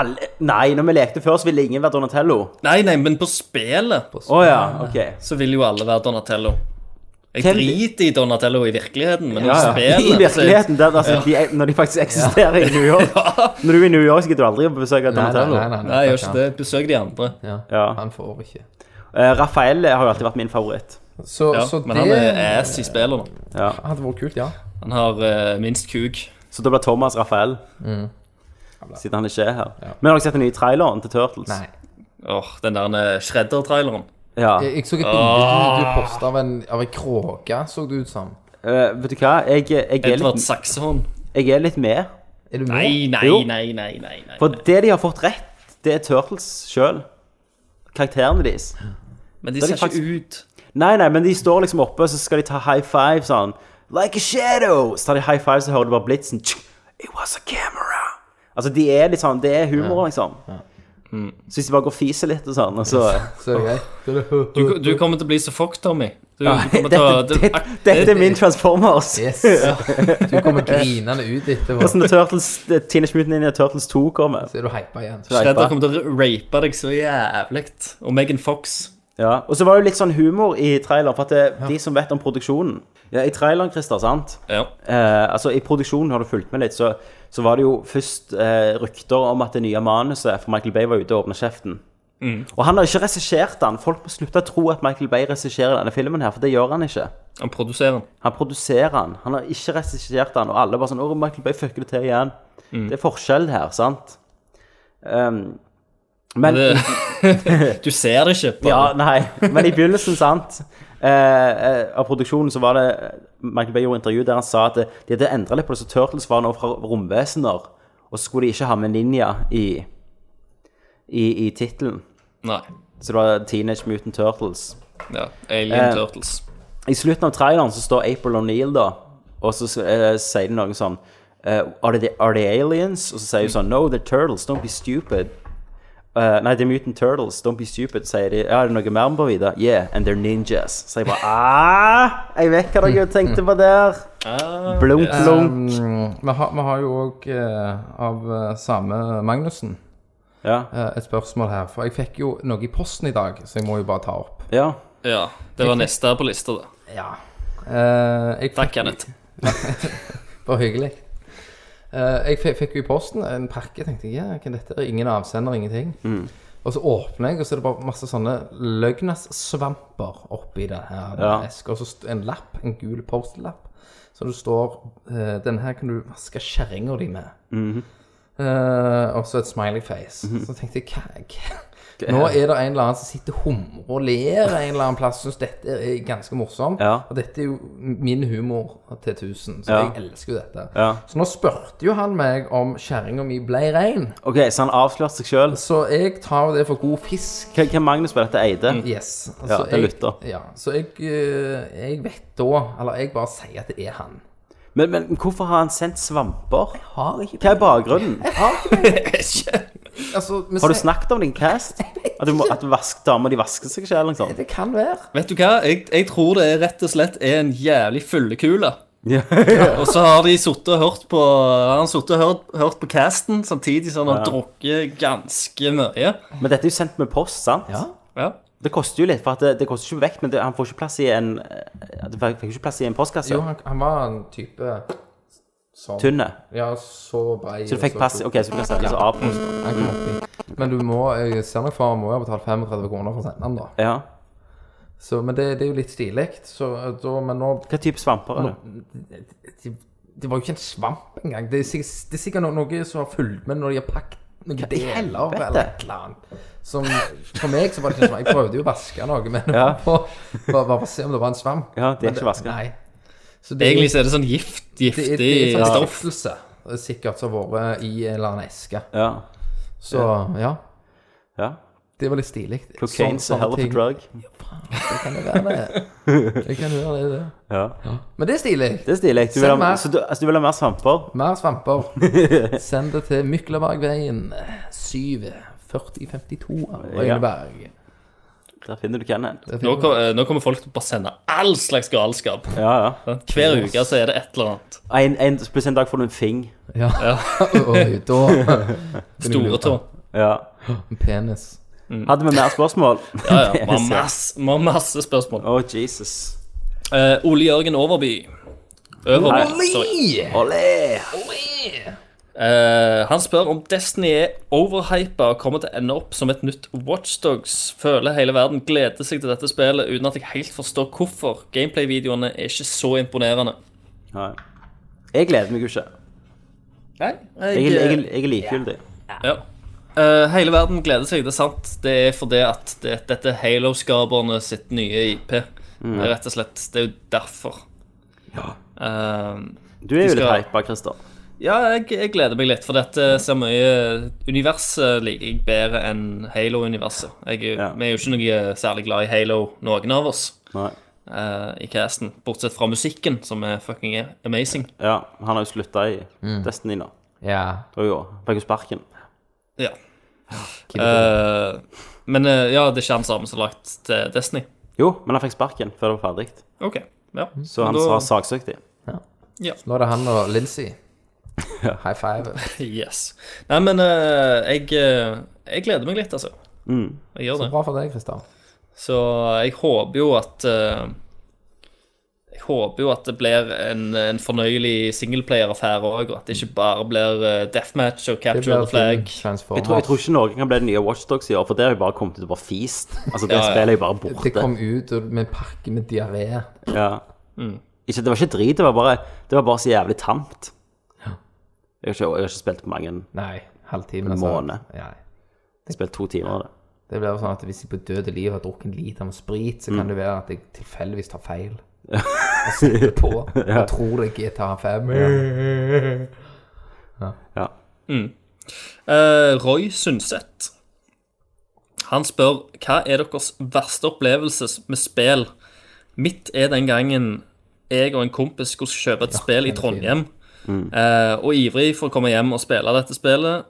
C: Alle, nei, når vi lekte før, så ville ingen være Donatello.
A: Nei, nei, men på spillet
C: Å ja, ok.
A: så vil jo alle være Donatello. Jeg
C: Hvem-
A: driter i Donatello i virkeligheten, men
C: Ja,
A: i
C: ja.
A: spillet
C: I
A: så-
C: virkeligheten, der, altså, de, når de faktisk eksisterer i New York. Når du er i New York, så gidder du aldri å besøke
B: Nei, nei,
C: Donatello.
B: nei, nei,
A: Nei, jeg gjør ikke det. Besøk de andre.
B: Ja.
C: Ja.
B: Han får ikke.
C: Eh, Raphael har jo alltid vært min favoritt.
B: Så,
A: Ja,
B: så
A: men han
B: det
A: er ass i spillet. da.
B: hadde vært kult, ja.
A: Han har eh, minst kuk.
C: Så da blir Thomas Raphael.
B: Mm.
C: Siden han ikke er her. Men har dere sett den nye traileren til Turtles?
B: Nei.
A: Åh, Den der eh, shredder-traileren.
C: Ja.
B: Jeg, jeg så et bilde
A: Ah.
B: du, du posta av en, av en kråke, så det ut som.
C: Eh, vet du hva, jeg, jeg, er
A: Edvard
C: litt,
A: Saksehånd.
C: jeg er litt med.
B: Er du med?
A: Nei, nei,
C: Jo.
A: nei, nei. nei, nei.
C: For det de har fått rett, det er Turtles sjøl. Karakterene deres.
A: Men de
C: Da er
A: ser
C: de
A: ikke ut
C: Nei, nei, men de står liksom oppe, så skal de ta high five sånn. Like a shadow! Så tar de high five, så hører du bare blitsen. Tsk! It was a camera! Altså, de er litt sånn, det er humor, liksom. Så hvis de bare går og fiser litt og sånn, og så
B: Så er det greit.
A: Du, du kommer til å bli så fucked, Tommy. Du, du kommer til
C: dette,
A: å du,
C: dette, dette er min Transformers!
B: Yes. Du kommer grinende ut etterpå.
C: Hvordan er Turtles, Teenage Mutant Ninja Turtles 2 kommer.
B: Så er du hypa igjen.
A: Shredder kommer til å rape deg så jævlig. Og Megan Fox.
C: Ja, og så var det jo litt sånn humor i traileren, for at det, de som vet om produksjonen ja, I traileren, Christer, sant?
A: Ja.
C: Eh, altså, I produksjonen, har du fulgt med litt, så, så var det jo først eh, rykter om at det nye manuset for Michael Bay var ute og åpna kjeften. Og han har ikke regissert den. Folk må slutte å tro at Michael Bay regisserer denne filmen, her, for det gjør han ikke.
A: Han produserer den.
C: Han produserer den. Han har ikke regissert den, og alle bare sånn 'Å, Michael Bay fucker det til igjen'. Det er forskjell her, sant? Um, men
A: Det- Du ser det ikke.
C: ja,
A: Bare.
C: nei, men i begynnelsen, sant, eh, eh, av produksjonen så var det Michael Bay gjorde intervju der han sa at de hadde endret litt på det, så Turtles var nå fra romvesener, og så skulle de ikke ha med ninja i, i, i titlen.
A: Nei.
C: Så det var Teenage Mutant Turtles.
A: Ja. Alien
C: Eh.
A: Turtles.
C: I slutten av traileren så står April O'Neil da, og så eh, sier de noe sånn eh, are, they, are they aliens? Og så sier hun sånn No, they're turtles, don't be stupid. Eh, nei, they're mutant turtles, don't be stupid, sier de. Ja, er det noe mer vi bør vite? Yeah, and they're ninjas. Så jeg bare ah, Jeg vet hva dere tenkte på der. Blunk, blunk.
B: Mm, Vi har, vi har jo òg av eh, samme Magnussen
C: Ja.
B: eh, et spørsmål her. For jeg fikk jo noe i posten i dag, så jeg må jo bare ta opp.
C: ja.
A: Ja. Det var neste på lista, da.
B: Ja. Eh, jeg fikk,
A: Takk, Kenneth.
B: Bare hyggelig. Eh, jeg fikk, fikk jo i posten en pakke, tenkte jeg. Ja, hva er dette? Ingen avsender, ingenting. Og så åpner jeg, og så er det bare masse sånne løgnassvamper oppi det her
C: Ja.
B: eska. Og så st- en lapp, en gul post-lapp, så det står eh, 'Denne her kan du vaske
C: Mhm.
B: kjerringa di med'. Eh, og så et smiley face. Så tenkte jeg hva, hva, Nå er det en eller annen som sitter og humrer og ler en eller annen plass. Syns dette er ganske morsomt.
C: Ja.
B: Og dette er jo min humor til 1000, så
C: Ja.
B: jeg elsker jo dette.
C: Ja.
B: Så nå spurte jo han meg om kjerringa mi ble rein.
C: Ok, Så han avslørte seg sjøl.
B: Så jeg tar jo det for god fisk.
C: Hvem Magnus på dette eide?
B: Yes.
C: Ja, det
B: jeg-
C: lytter.
B: Ja, så jeg, eh, jeg vet da Eller jeg bare sier at det er han.
C: Men, men hvorfor har han sendt svamper?
B: Har ikke
C: Hva er bakgrunnen?
B: altså, vi
C: Har du
B: sier-
C: snakket om din cast? At, du må, at vask, damer de vasker seg selv? eller noe sånt?
B: Det kan være.
A: Vet du hva? Jeg, jeg tror det er rett og slett er en jævlig fyllekule.
C: Ja.
A: Og så har de sittet og hørt på har Han suttet og hørt, hørt på casten samtidig som han har drukket ganske mye.
C: Men dette er jo sendt med post, sant?
B: Ja.
A: Ja.
C: Det koster jo litt, for at det, det koster ikke vekt, men det, han får ikke plass i en eh, Det fikk ikke plass i en postkasse.
B: Jo, han, han var en type som
C: Tynne.
B: Ja, så brei.
C: Så du fikk plass i- OK, så du kan sette så A-post.
B: Han kom oppi. Men du må Jeg ser nok for meg må jo ha betalt 35 kroner for å sende den, da.
C: Ja.
B: Så, men det, det er jo litt stilig. Så da Men nå
C: Hva type svamper er det?
B: det, det var jo ikke en svamp engang. Det er sikkert, det er sikkert noe, noe som har fulgt med når de har pakket noe deler
C: helvete?
B: eller et eller annet. Som, for meg så var det ikke en svamp. Jeg prøvde jo å vaske noe, men det var på, bare, bare for å se om det var en svamp.
C: Ja, det er ikke vasket.
B: Nei. Så det,
A: Egentlig så er det sånn gift,
B: det,
A: giftig
B: er- det er en sånn
A: stoff.
B: stiftelse sikkert som har vært i en eller annen eske.
C: Ja.
B: Så ja,
C: ja.
B: det var litt stilig.
C: Cocaine's
B: Sånn-
C: a
B: sånne
C: hell of a
B: ting.
C: drug.
B: Det kan jo være det. Det kan jo være det, det.
C: Ja.
B: Men det er stilig.
C: Det er stilig. Du vil
B: Send
C: ha,
B: meg.
C: så du, altså, du vil ha mer svamper?
B: Mer svamper. Send det til Myklabergveien 7 4052 Røyneberg.
C: Der finner du Kenneth.
B: Det er fint.
A: Nå, kom- eh, nå kommer folk til å bare sende all slags galskap.
C: Ja, ja.
A: Hver uke så er det et eller annet.
C: En, en, plutselig en dag får du en fing.
B: Ja. Oi, da
A: Store tå.
C: Ja.
B: En penis.
C: Hadde vi mer spørsmål?
A: Ja, ja. Vi har masse, vi har masse spørsmål.
C: Å, Jesus.
A: Eh, Ole Jørgen Overby. Overby, sorry.
C: Olé!
A: Eh, han spør om Destiny er overhypa og kommer til å ende opp som et nytt Watchdogs. Føler hele verden gleder seg til dette spillet uten at jeg helt forstår hvorfor. Gameplay-videoene er ikke så imponerende.
C: Nei. Jeg gleder meg jo ikke.
A: Nei,
C: Jeg, jeg, jeg er likegyldig.
A: ja. Eh, hele verden gleder seg, det er sant. Det er fordi at det, dette er Halo-skaperne sitt nye IP. Det er Rett og slett. Det er jo derfor. Eh, Ja.
C: Du er
A: De
C: jo litt
A: skal-
C: hypa, Christer.
A: Ja, jeg, jeg gleder meg litt, for dette ser mye Universet liker jeg bedre enn Halo-universet. Jeg er-
C: Ja.
A: Vi er jo ikke noe særlig glad i Halo, noen av oss,
C: Nei.
A: eh, i casten. Bortsett fra musikken, som er fucking amazing.
C: Ja, han har jo slutta i
A: Mm.
C: Destiny nå.
B: Ja.
C: Det var jo, fikk jo sparken.
A: Ja. Eh, men eh, ja, det er ikke han samme som har lagt til Destiny.
C: Jo, men han fikk sparken før det var ferdig.
A: OK. Ja.
C: Så han
A: Da-
C: har saksøkt dem.
B: Nå er det han og Lincy. High five.
A: Yes. Nei, men eh, jeg, eh, jeg gleder meg litt, altså.
C: Mm.
A: Jeg gjør det.
B: Bra for deg, Christer.
A: Så jeg håper jo at eh, Jeg håper jo at det blir en, en fornøyelig singleplayer-affære òg, og at det ikke bare blir eh, deathmatch og
B: Det
A: capture
B: blir
A: the flag.
B: fin
C: Jeg tror, jeg tror
B: Transformers.
C: ikke noen kan bli det nye Watchdogs i år, for der har jeg bare kommet ut og bare fist. Altså, det
A: Ja, ja.
C: spillet er jo bare
B: Det
C: borte.
B: kom ut og- med en pakke med diaré.
C: Ja.
A: Mm.
C: Ikke, det var ikke drit, det var bare, det var bare så jævlig tamt. Jeg har ikke, jeg har ikke spilt på mange
B: Nei, halvtime.
C: En
B: altså.
C: måned.
B: Ja.
C: Jeg har spilt to timer av det.
B: Det blir jo sånn at hvis jeg på døde liv har drukket en liter med sprit, så kan det være at jeg tilfeldigvis tar feil. Og setter på og tror det er GTA 5.
C: Ja.
A: Eh, Roy Sundset. Han spør hva er deres verste opplevelse med spill. Mitt er den gangen jeg og en kompis skulle kjøpe et spill i Trondheim. eh, og ivrig for å komme hjem og spille dette spillet,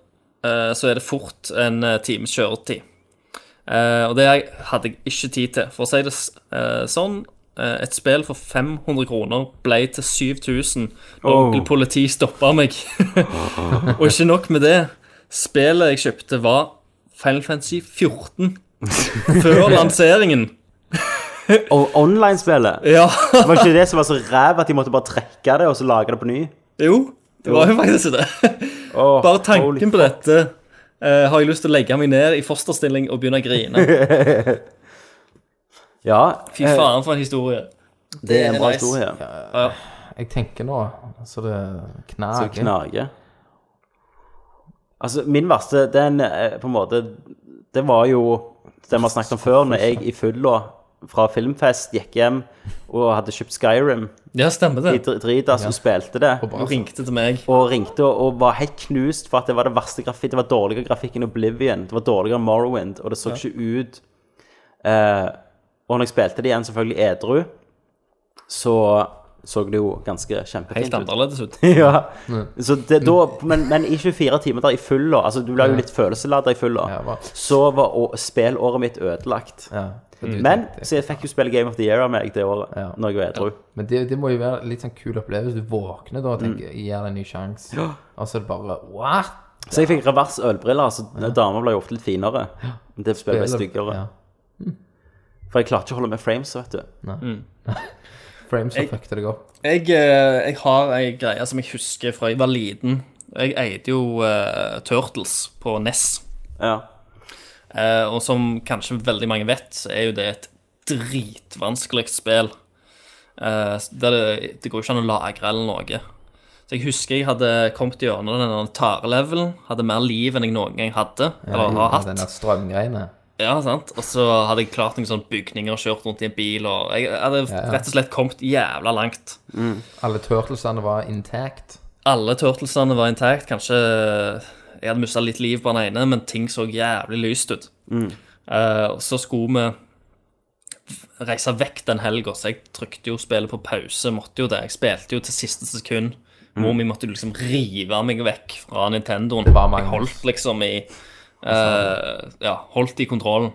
A: eh, så er det fort en eh, times kjøretid. Eh, og det hadde jeg ikke tid til. For å si det s- eh, sånn, eh, et spill for 500 kroner ble til 7000 når
C: Oh.
A: onkel politi stoppa meg. og ikke nok med det. Spillet jeg kjøpte, var Final Fantasy 14 før lanseringen.
C: Og online-spillet!
A: Ja,
C: Var ikke det som var så ræv at de måtte bare trekke det og så lage det på ny?
A: jo. Det var jo faktisk det.
C: Åh,
A: Bare
C: holy
A: tanken på dette eh, har jeg lyst til å legge meg ned i fosterstilling og begynne å grine.
C: Ja,
A: Fy faen, for en historie.
C: det er en bra
A: nice.
C: historie.
B: Jeg tenker nå så det
C: Så
B: knager.
C: knager. Altså, min verste, den er på eh, en måte det var jo det vi har snakket om før, når jeg i fylla fra filmfest gikk hjem og hadde kjøpt Skyrim
A: Ja, stemmer
C: i
A: det.
C: dr- Dritas og spilte det.
A: Hun ringte til meg.
C: Og ringte og, og var helt knust for at det var det verste grafikk. Det var dårligere grafikk enn Oblivion. Det var dårligere enn Morrowind, og det så ikke ut eh, Og når jeg spilte det igjen, selvfølgelig edru, så så det jo ganske
A: Helt
C: kjempefint ut.
A: annerledes ut.
C: ja. Så det, da, men, men i 24 timer der i fylla, altså du blir jo litt følelseladda i fylla,
B: Ja, hva?
C: så var å, spillåret mitt ødelagt.
B: Ja.
C: Men så jeg fikk jo spille Game of the Year av meg det året,
B: Ja.
C: når jeg var edru.
B: Men det, det må jo være litt sånn kul opplevelse. Du våkner da og tenker jeg gir det en ny sjanse. Og så er det bare What?
C: Så jeg fikk revers ølbriller, så damer ble jo ofte litt finere. Men det spillet ble
B: Spiller-
C: styggere.
B: Ja.
C: For jeg klarte ikke å holde med frames, vet du.
B: Frames har fucket deg opp.
A: Jeg, eh, jeg har ei greie som jeg husker fra jeg var liten. Jeg eide jo eh, Turtles på E NES.
B: Mm.
C: Ja.
A: Eh, og som kanskje veldig mange vet, så er jo det et dritvanskelig spill. Eh, der det, det går jo ikke an å lagre eller noe. Så jeg husker jeg hadde kommet gjennom den der tarelevelen. Hadde mer liv enn jeg noen gang hadde. Eller har
B: Den der
A: hatt.
B: strømgreiene.
A: Ja, sant? Og så hadde jeg klart noen sånne bygninger og kjørt rundt i en bil. Og jeg hadde
B: ja.
A: rett og slett kommet jævla langt.
B: Alle turtlesene var intact.
A: Alle turtlesene var intakt. Kanskje eh, jeg hadde mista litt liv på den ene, men ting så jævlig lyst ut.
B: Mm.
A: Eh, og så skulle vi reise vekk den helga, så jeg trykte jo spillet på pause. Måtte jo det. Jeg spilte jo til siste sekund.
B: Mm.
A: Mor mi måtte liksom rive meg vekk fra Nintendoen.
B: var mange.
A: Jeg holdt liksom i eh, Ja, holdt i kontrollen.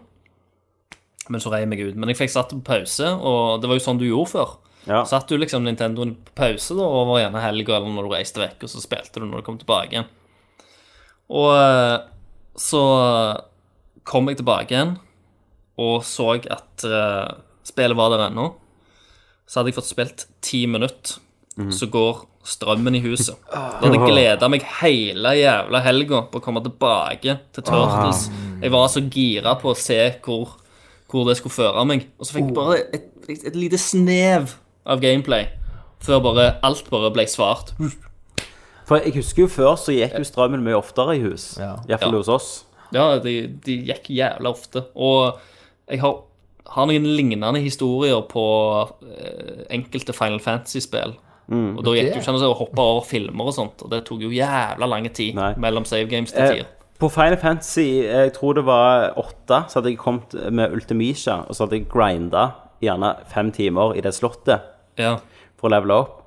A: Men så rei jeg meg ut. Men jeg fikk satt det på pause, og det var jo sånn du gjorde før.
C: Ja.
A: Satt du liksom Nintendoen på pause da, over gjerne helga eller når du reiste vekk, og så spilte du når du kom tilbake igjen. Og eh, så kom jeg tilbake igjen og så at eh, spillet var der ennå. Så hadde jeg fått spilt ti minutter, så går strømmen i huset. Da hadde jeg gleda meg hele jævla helga på å komme tilbake til Turtles. Jeg var så gira på å se hvor, hvor det skulle føre meg. Og så fikk jeg bare et, et, et lite snev av gameplay før bare alt bare ble svart.
C: For jeg husker jo før så gikk jo strømmen mye oftere i hus.
B: Ja.
C: Iallfall
A: Ja.
C: hos oss.
A: Ja, de, de gikk jævla ofte. Og jeg har, har noen lignende historier på eh, enkelte Final Fantasy-spill. og
C: Mm.
A: da gikk det jo ikke an å hoppe over filmer og sånt, og det tok jo jævla lang tid
C: Nei.
A: mellom save games til
C: Eh,
A: tider.
C: på Final Fantasy, eh, jeg tror det var åtte, så hadde jeg kommet med Ultimisha, og så hadde jeg grinda gjerne fem timer i det slottet.
A: Ja.
C: for å levele opp.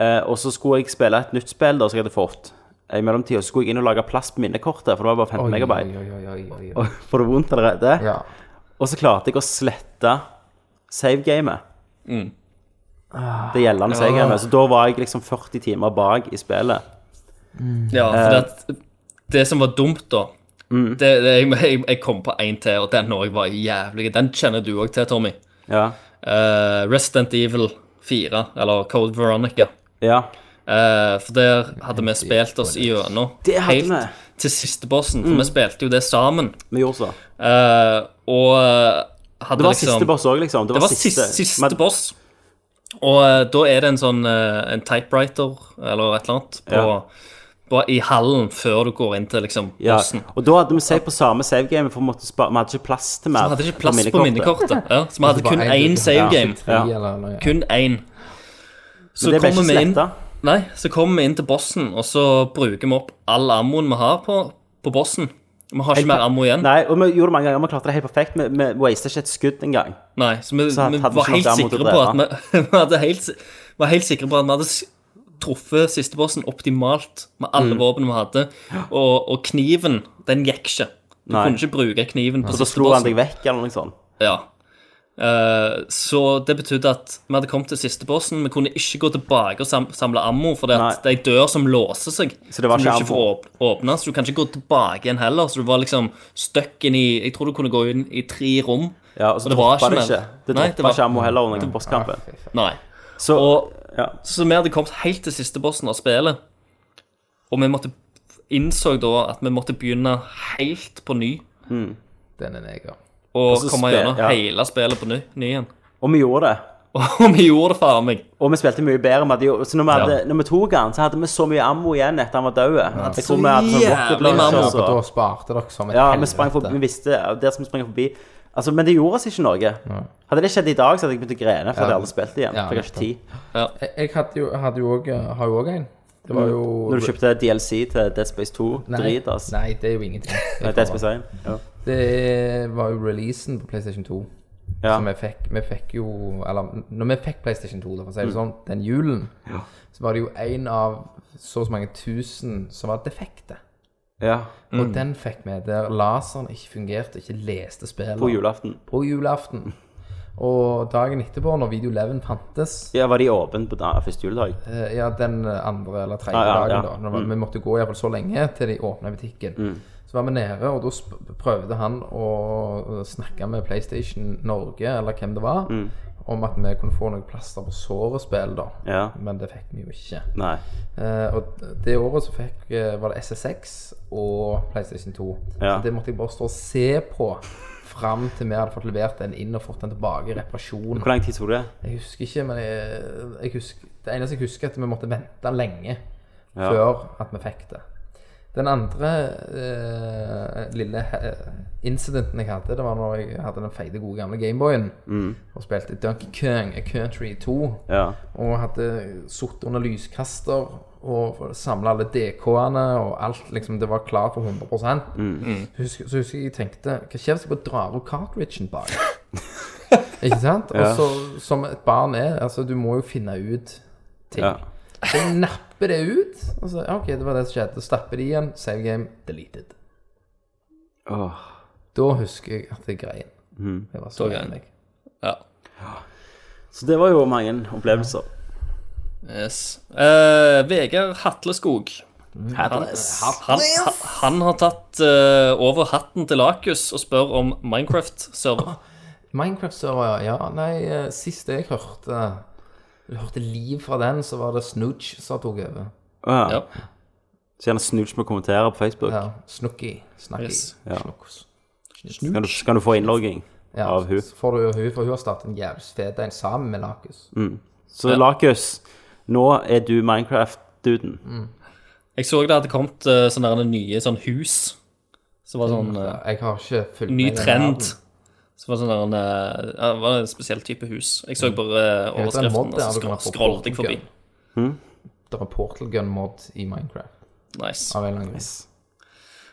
C: Eh, og så skulle jeg spille et nytt spill da, som jeg hadde fått. Eh, I mellomtida skulle jeg inn og lage plass på minnekortet, for det var bare 15 megabyte.
B: oi, oi, oi, oi, oi.
C: Og Får du vondt allerede?
B: Ja.
C: Og så klarte jeg å slette savegamet.
A: Mm.
C: Det gjeldende savegamet. Så da var jeg liksom 40 timer bak i spillet.
A: ja,
C: eh,
A: for det, at det som var dumt, da
C: Mm.
A: det, det, jeg, jeg, jeg kom på én til, og den òg var jævlig. Den kjenner du òg til, Tommy.
C: Ja.
A: Eh, Resident Evil 4, eller Code Veronica.
C: ja.
A: Eh, for der hadde vi spilt oss igjennom
C: Det hadde
A: helt
C: vi. Mm.
A: til siste bossen, for vi spilte jo det sammen.
C: Vi gjorde så.
A: Eh, og eh, hadde
C: Det var
A: liksom
C: siste boss òg, liksom.
A: Det var siste, siste
C: Men-
A: boss. Og eh, da er det en sånn eh, en typewriter eller et eller annet på,
C: Ja.
A: på, i hallen før du går inn til liksom
C: ja.
A: bossen.
C: Og da hadde vi save på samme savegamet, for vi, måtte spa- vi hadde ikke plass til
A: Vi
C: mer.
A: hadde ikke plass på minnekortet, ja, så vi hadde kun
B: Bare
A: én save game.
B: Tre
C: Ja.
B: eller noe.
A: Kun én. Så
C: Men det ble ikke
A: kommer vi inn
C: sletta.
A: Nei, så kommer vi inn til bossen, og så bruker vi opp all ammoen vi har på, på bossen. Vi har ikke mer ammo igjen. Nei,
C: Nei, og vi gjorde det mange ganger, vi klarte det helt perfekt. Vi, vi wastet ikke et skudd engang.
A: så vi,
C: Så hadde
A: vi
C: vi ikke
A: var helt
C: nok ammo til
A: sikre
C: å
A: på at vi, vi hadde helt, si- var helt sikre på at vi hadde s- truffet siste bossen optimalt med alle
C: Mm.
A: våpnene vi hadde. Og, og kniven, den gikk ikke. Du
C: Nei.
A: kunne ikke bruke kniven på
C: Så
A: siste
C: slo han
A: bossen.
C: deg vekk, eller noe sånt.
A: Ja. Eh, så det betydde at vi hadde kommet til siste bossen. Vi kunne ikke gå tilbake og sam samle ammo, for det er ei dør som låser seg.
C: Så det var
A: som du
C: ikke
A: ikke får åp åpne, så du kan ikke gå tilbake igjen heller. Så du var liksom stuck inn i Jeg tror du kunne gå inn i tre rom.
C: Ja, og
A: Og
C: så
A: det var
C: droppa det
A: ikke
C: ikke.
A: mer.
C: Det
A: Nei,
C: droppa
A: det var-
C: ikke ammo heller under bosskampen.
A: Nei.
C: Så
A: Og
C: ja.
A: så vi hadde kommet helt til siste bossen av spillet, og vi måtte innså da at vi måtte begynne helt på ny.
B: Den er neger.
A: Og
C: så
A: komme
C: spe-
A: gjennom
C: ja.
A: hele spillet på ny, ny igjen.
C: Og vi gjorde det.
A: Og vi gjorde det, faen meg.
C: Og vi spilte mye bedre. Vi hadde jo, så når vi, hadde,
A: Ja.
C: når vi tok han, så hadde vi så mye ammo igjen etter han var død. Jeg tror vi hadde sånn
A: jævlig
C: rocket
A: mye ammo.
C: launcher,
B: Så da
C: så-
B: sparte dere som et
C: Ja, vi
B: helvete.
C: sprang forbi, vi visste ja, der som vi sprang forbi. Altså, men det gjorde oss ikke noe. Hadde det skjedd i dag, så hadde jeg begynt å grene. For
B: Ja.
C: hadde jeg aldri spilt det igjen.
B: Ja,
C: for jeg har ikke tid.
B: Jeg, jeg hadde jo, hadde jo også, har jo òg en. Det var jo
C: Mm. Når du kjøpte DLC til Dead Space 2, drit, ass.
B: Nei, det er jo ingenting. Det,
C: Nei,
B: er
C: Dead
B: for-
C: Space 1. Ja.
B: det var jo releasen på PlayStation 2.
C: Ja.
B: Så vi fikk, vi fikk jo Eller når vi fikk PlayStation 2, da, for å si
C: Mm.
B: det sånn, den julen, så var det jo en av så og så mange tusen som var defekte.
C: ja. Mm.
B: Og den fikk vi der laseren ikke fungerte, ikke leste spillet.
C: På julaften.
B: På julaften. Og dagen etterpå, når Video 11 fantes,
C: Ja, Var de åpne på da, første juledag?
B: Eh, Ja, den andre eller tredje
C: Ah, Ja, ja,
B: dagen,
C: ja. Mm.
B: da. Når Vi måtte gå i hvert fall så lenge til de åpna butikken. Så var vi nede, og da sp- prøvde han å snakke med PlayStation Norge, eller hvem det var, om at vi kunne få noe plaster på såret-spill, da.
C: Mm. Ja.
B: Men det fikk vi jo ikke.
C: Nei.
B: Eh, og det året så fikk, eh, var det SSX og PlayStation 2.
C: Ja.
B: Så det måtte jeg bare stå og se på fram til vi hadde fått levert den inn og fått den tilbake i reparasjon.
C: Hvor lang tid tok det?
B: Jeg husker ikke, men jeg, jeg husker, det eneste jeg husker, er at vi måtte vente lenge før at vi fikk det. Den andre eh, lille eh, incidenten jeg hadde, det var når jeg hadde den feite, gode gamle Gameboyen og spilte Donkey Kong Country 2.
C: Ja.
B: Og hadde sittet under lyskaster og samla alle DK-ene og alt. liksom, Det var klart for 100
C: Mm.
B: Så, husker, så husker jeg jeg tenkte Hva skjer hvis jeg bare drar opp cartridgen bak? Ikke sant? Og så, som et barn er, altså du må jo finne ut ting.
C: Ja.
B: Så jeg napper det ut, og så ja, OK, det var det som skjedde. Stapper det igjen. Save game deleted.
C: Åh. Mm.
B: Da husker jeg at jeg grein. Jeg var så
A: Da grein.
B: enig.
A: Ja.
C: Så det var jo mange opplevelser.
A: Yes. Eh, Vegard Hatleskog. Han, han, han har tatt eh, over hatten til Lakus og spør om Minecraft-server.
B: Minecraft-server, ja. Nei, eh, sist jeg hørte Du hørte liv fra den, så var det Snooch som tok over.
C: Ja.
A: Ja.
C: Så gjerne snudge med å kommentere på Facebook.
B: Ja, Snooki. Snacky.
A: Yes.
C: Ja.
B: Snookos.
C: Så kan du, så kan du få innlogging
B: Ja,
C: av hun.
B: Så får du jo hun, for hun har startet en jævlig fet en sammen med Lakus.
C: Mm. Så Lakus, nå er du Minecraft-duden.
A: Mm. Jeg så det hadde kommet eh, sånne der nye sånn hus. Som var sånn eh,
B: Jeg har ikke fulgt
A: ny
B: med i den verden.
A: trend. Som var sånn der en, eh, ja, det var en spesiell type hus. Jeg så bare eh,
B: Mm. Jeg vet det er en mod
A: overskriften, og så
B: der du kan
A: skro-
B: få
A: scrollet jeg
B: portal
A: forbi.
B: gun.
C: Mm.
B: Det er portal gun mod i Minecraft.
A: Nice.
B: Av en eller annen grunn.